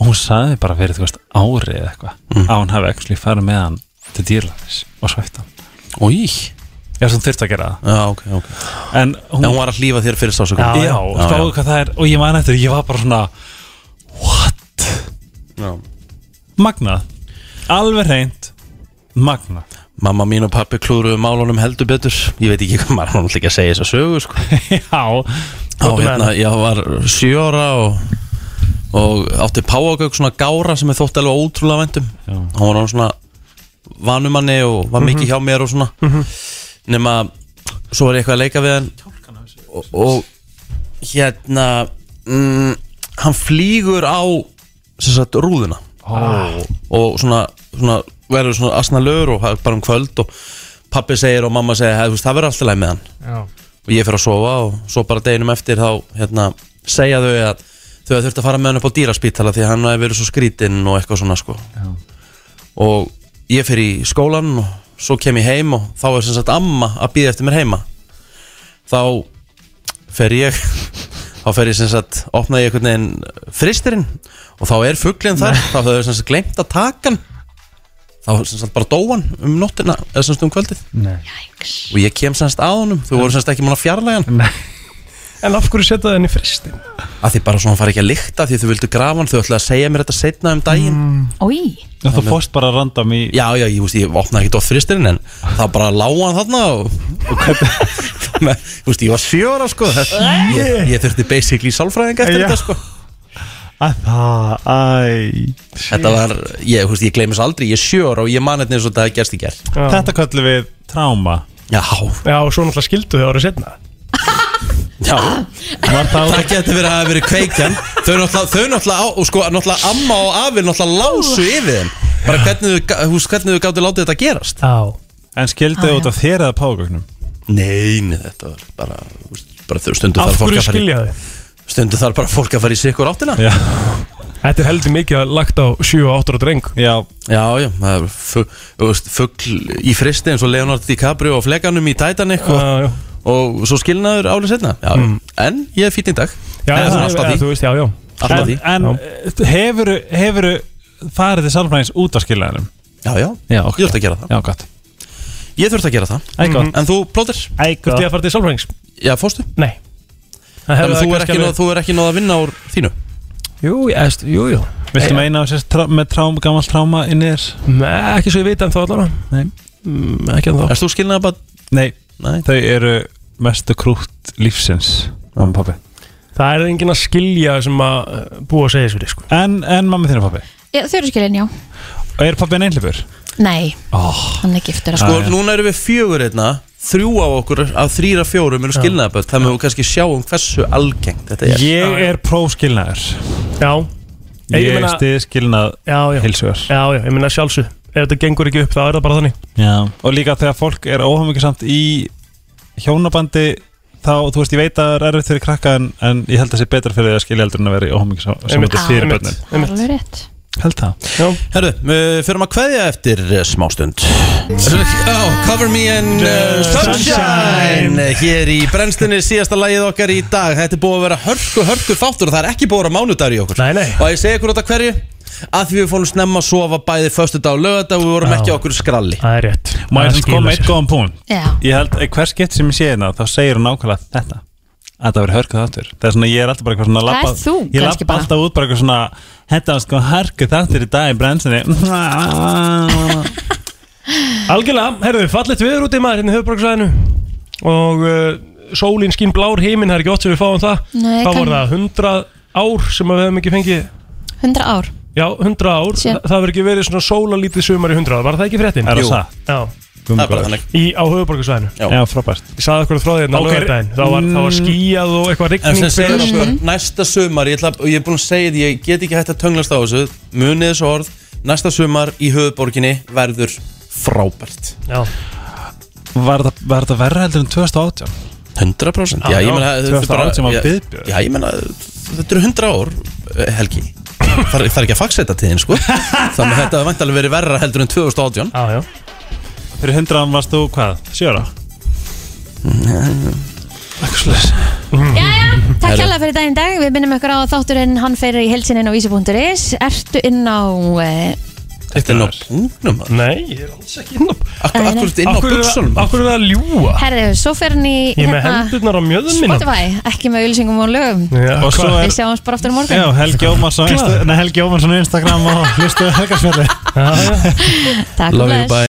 S9: og hún sagði mér bara fyrir þú veist árið eða eitthvað
S1: Mm.
S9: að hún hafi ekki farið með hann til dýrlæðis og svætt hann
S1: Í
S9: Já, sem þurfti að gera það
S1: Já, ok, ok
S9: En hún,
S1: en hún var að hlýfa þér fyrir sásökum
S9: Já, já, já, stáðu hvað það er og ég man eftir, ég var bara svona what?
S1: Já.
S9: Magnað, alveg reynd Magnað
S1: Mamma mín og pappi klúruðu málunum heldur betur Ég veit ekki hvað maður hann alltaf ekki að segja þess að sögu sko. Já Á,
S3: komdu með
S1: hérna,
S3: hana.
S1: Ég var sjö ára og, og átti páagauk svona gára sem ég þótti alveg ótrúlega væntum Hún var hann svona vanumanni og var mikið
S3: Mhm.
S1: hjá mér og svona
S3: Mhm.
S1: Nema svo var ég eitthvað að leika við hann og, og hérna mm, hann flýgur á sem sagt rúðuna
S3: Ó.
S1: og svona, svona verður svona asna lögur og það er bara um kvöld og pappi segir og mamma segir "Hey, þú veist, það verður alltaf læg með hann
S3: Já.
S1: og ég fyrir að sofa og svo bara deginum eftir þá hérna, segja þau að þau að þurft að fara með hann upp á dýraspítala því að hann hafi verið svo skrítinn og eitthvað svona sko. og ég fyrir í skólan og svo kem ég heim og þá er sem sagt amma að býða eftir mér heima þá fer ég þá fer ég sem sagt, opna ég einhvern veginn fristirinn og þá er fugglinn þar þá þau sem sagt glemt að taka hann þá sem sagt bara dóan um nóttina eða sem sagt um kvöldið
S9: Nei.
S1: og ég kem sem sagt að honum þau voru sem sagt ekki múin að fjarlæga hann
S3: En af hverju setja það henni fristin?
S1: að því bara svona hann fari ekki að lykta því þau vildu grafa hann þau ætlaði að segja mér þetta setna um daginn
S2: Ói
S1: Já, þú fórst bara random í Já, já, ég, veist, ég opnaði ekki dóttfristirinn en það bara lága hann þarna og, og með, þú veist, ég var sjóra sko Það- ég, ég þurfti basically sálfræðing eftir
S9: Já.
S1: þetta sko Það, æ Þetta var, ég, þú veist, ég gleymis aldrei, ég er sjóra og ég man þetta eins og þetta gerst í gerð
S9: Þetta kallum við tráma
S1: Já
S3: Já, og svo náttúrulega skildu þau árið setna
S1: Já
S3: Var það
S1: Það getur verið að hafa verið kveikjan Þau náttúrulega, þau náttúrulega, á- og sko, náttúrulega amma og afi náttúrulega lásu yfir þeim Bara hvernig þau, þú veist, hvernig þau gáttu látið þetta gerast
S3: Já
S9: En skildu út af þér eða págögnum?
S1: Nei, nei, þetta var bara, þú veist, bara þau stundu
S3: Af
S1: þarf fólk
S3: hverju
S1: að fara
S3: skilja
S1: í- Stundu þarf bara fólk að fara í sikkur áttina
S9: Já
S3: Þetta er heldur mikið að Eh, lagt á 7 og 8 og dreng
S9: Já,
S1: já, já það er fu- þú veist, fugl í fristi eins og Leonardo DiCaprio á fleganum í Titanic og,
S3: Já, já.
S1: og svo skilnaður árið setna já,
S3: Mm.
S1: En ég er fýtt í dag
S3: Já,
S1: Eða
S3: já,
S1: svona
S3: já,
S1: alltaf
S3: þú
S1: því
S3: veist, já, já
S1: Alltaf því.
S9: En, en hefur, hefur farið til sálfræðins út af skiljaðinum?
S1: Já, já,
S9: já okay.
S1: ég þurfti að gera það
S9: Já, gott
S1: Ég þurfti að gera það
S9: Æ, gott.
S1: Mhm. En þú, plóter?
S3: Þurfti ég að fara til sálfræðings?
S1: Já, fórstu?
S3: Nei
S1: Þannig að þú er ekki náð- þú er ekki náð að vinna úr þínu
S3: Jú, ég veist, jú, Eh, jú
S9: Viltu
S3: Nei.
S9: meina á sérst trá, með trám, gammal tráma inn í þér?
S3: Nei, ekki svo ég veit en þá allavega
S9: Nei
S3: mm, Ekki en þá
S1: Erst þú skilnaði bara?
S9: Nei, þau eru mestu krútt lífsins Mamma og pappi
S3: Það er engin að skilja sem að uh, búa að segja þessu sko.
S9: En, en mamma þín og pappi?
S2: Já, þau eru skilin, já
S9: Og er pappi en einhleipur?
S2: Nei,
S9: Oh.
S2: hann er giftur
S3: Ah,
S1: Sko, núna erum við fjögur einna Þrjú á okkur af þrýra fjórum eru skilnaðaböld Það mögum við kannski sjá um hversu algengt þetta er
S9: Ég er próskilnaður
S3: Já
S9: Ég,
S3: Ég
S9: ég
S3: meina-
S9: stið skilnað
S3: Já, já
S9: Heilsugar
S3: Já, já, ég minna sjálfsög Ef þetta gengur ekki upp, þá er það bara þannig
S9: Já. Og líka þegar fólk er óhafmyggjusamt í hjónabandi þá, þú veist, ég veit að það er erfitt fyrir krakka en, en ég held að það sé betra fyrir því að skilja heldur en að vera
S3: Einmitt,
S9: óhafmyggjusamt fyrir
S3: einmitt,
S9: börnin
S2: Það er alveg rétt
S9: Held það
S1: Herru, við fyrir Eh, að kveðja eftir eh, smástund Já, Cover Me in eh, Sunshine eh, Hér í brennstunni síðasta lagið okkar í dag Þetta er búið að vera hörku, hörku þáttur og það er ekki búið að vera mánudagur í okkur
S3: Nei, nei
S1: Og ég segi ykkur út af hverju að því við fórum snemma að sofa bæði föstudag og lögadag og við vorum
S3: Já.
S1: ekki á okkur skralli
S3: Það er rétt
S9: Má ég
S3: Það
S9: sem
S3: skilar
S9: koma með
S3: sér.
S9: eitt góðan pún
S2: Já.
S9: Ég held að hvers gett sem ég sé hérna þá segir hún nákvæmlega þetta að það verið hörkuð þáttur það er svona ég er alltaf bara eitthvað svona
S2: Það
S9: labba,
S2: ert þú
S9: ég
S2: kannski
S9: labba
S2: bara.
S9: alltaf út bara eitthvað svona þetta var sko hörkuð þáttur í dag í brennsinni
S3: Algjörlega, herðu, fallit viður út í maður hérna í höfuborgsvæðinu og uh, sólin skín blár heiminn, það er ekki oft sem við fáum það
S2: Nei,
S3: Þá
S2: kann-
S3: voru það 100 ár sem að við hefum ekki fengið
S2: 100 ár
S3: Já, 100 ár,
S2: Síðan-
S3: Sjö. það hefur ekki verið svona sólalítið sumar í 100 ár, var það ekki fréttin?
S9: Er það
S3: Jú.
S9: satt?
S3: Já,
S9: Það er bara góður.
S3: Í, á höfuborgarsvæðinu
S1: Já.
S9: já frábært
S3: Ég sagði okkur frá því hérna
S1: Ok.
S3: okay. lögðardaginn Það var, það var skíjað og eitthvað
S1: En sem
S3: rigning
S1: segir
S3: berast.
S1: okkur, næsta sumar, ég, ætla, og ég er búin að segja því, ég get ekki hægt að tönglast á þessu, munið þessu orð, næsta sumar í höfuborginni verður frábært.
S3: Já.
S9: Var það, var það verra heldur en 2018?
S1: 100% Já, ég meina, þetta er bara,
S9: 2018 var
S1: já,
S9: byðbjörn
S1: já, ég meina, þetta eru 100 ár, eh, Helgi. Það er, það er ekki að faksa þetta til þín, sko. Þannig að þetta vant alveg verið verra heldur en 2018.
S3: Já, já.
S9: Fyrir 100 án varst þú hvað? Sjöra?
S3: Mhm.
S2: Jæja, takk hérlega fyrir daginn í dag Við minnum ykkur á að þátturinn hann fer í helsinn inn á vísi.is Ertu inn á eh,
S1: Þetta er ná pungnum.
S3: Nei, ég er alls ekki inn á
S1: Akkur, akkur, inn á
S3: Af hverju er það-
S1: buksunum.
S3: Af hverju er það að ljúa?
S2: Herðu, svo fer hann í hérna-
S3: Ég er með hendurnar á mjöðum mínum.
S2: Spotify, ekki með auðlýsingum og lögum
S9: Já, Og svo hvað? er-
S2: Við sjáumst bara aftur á morgun
S9: Já, Helgi Ómarsson
S2: Hvað?
S9: Insta- nei, Helgi Ómarsson á Instagram og hlustuðu Helgarsfjörði
S2: Takk og bless.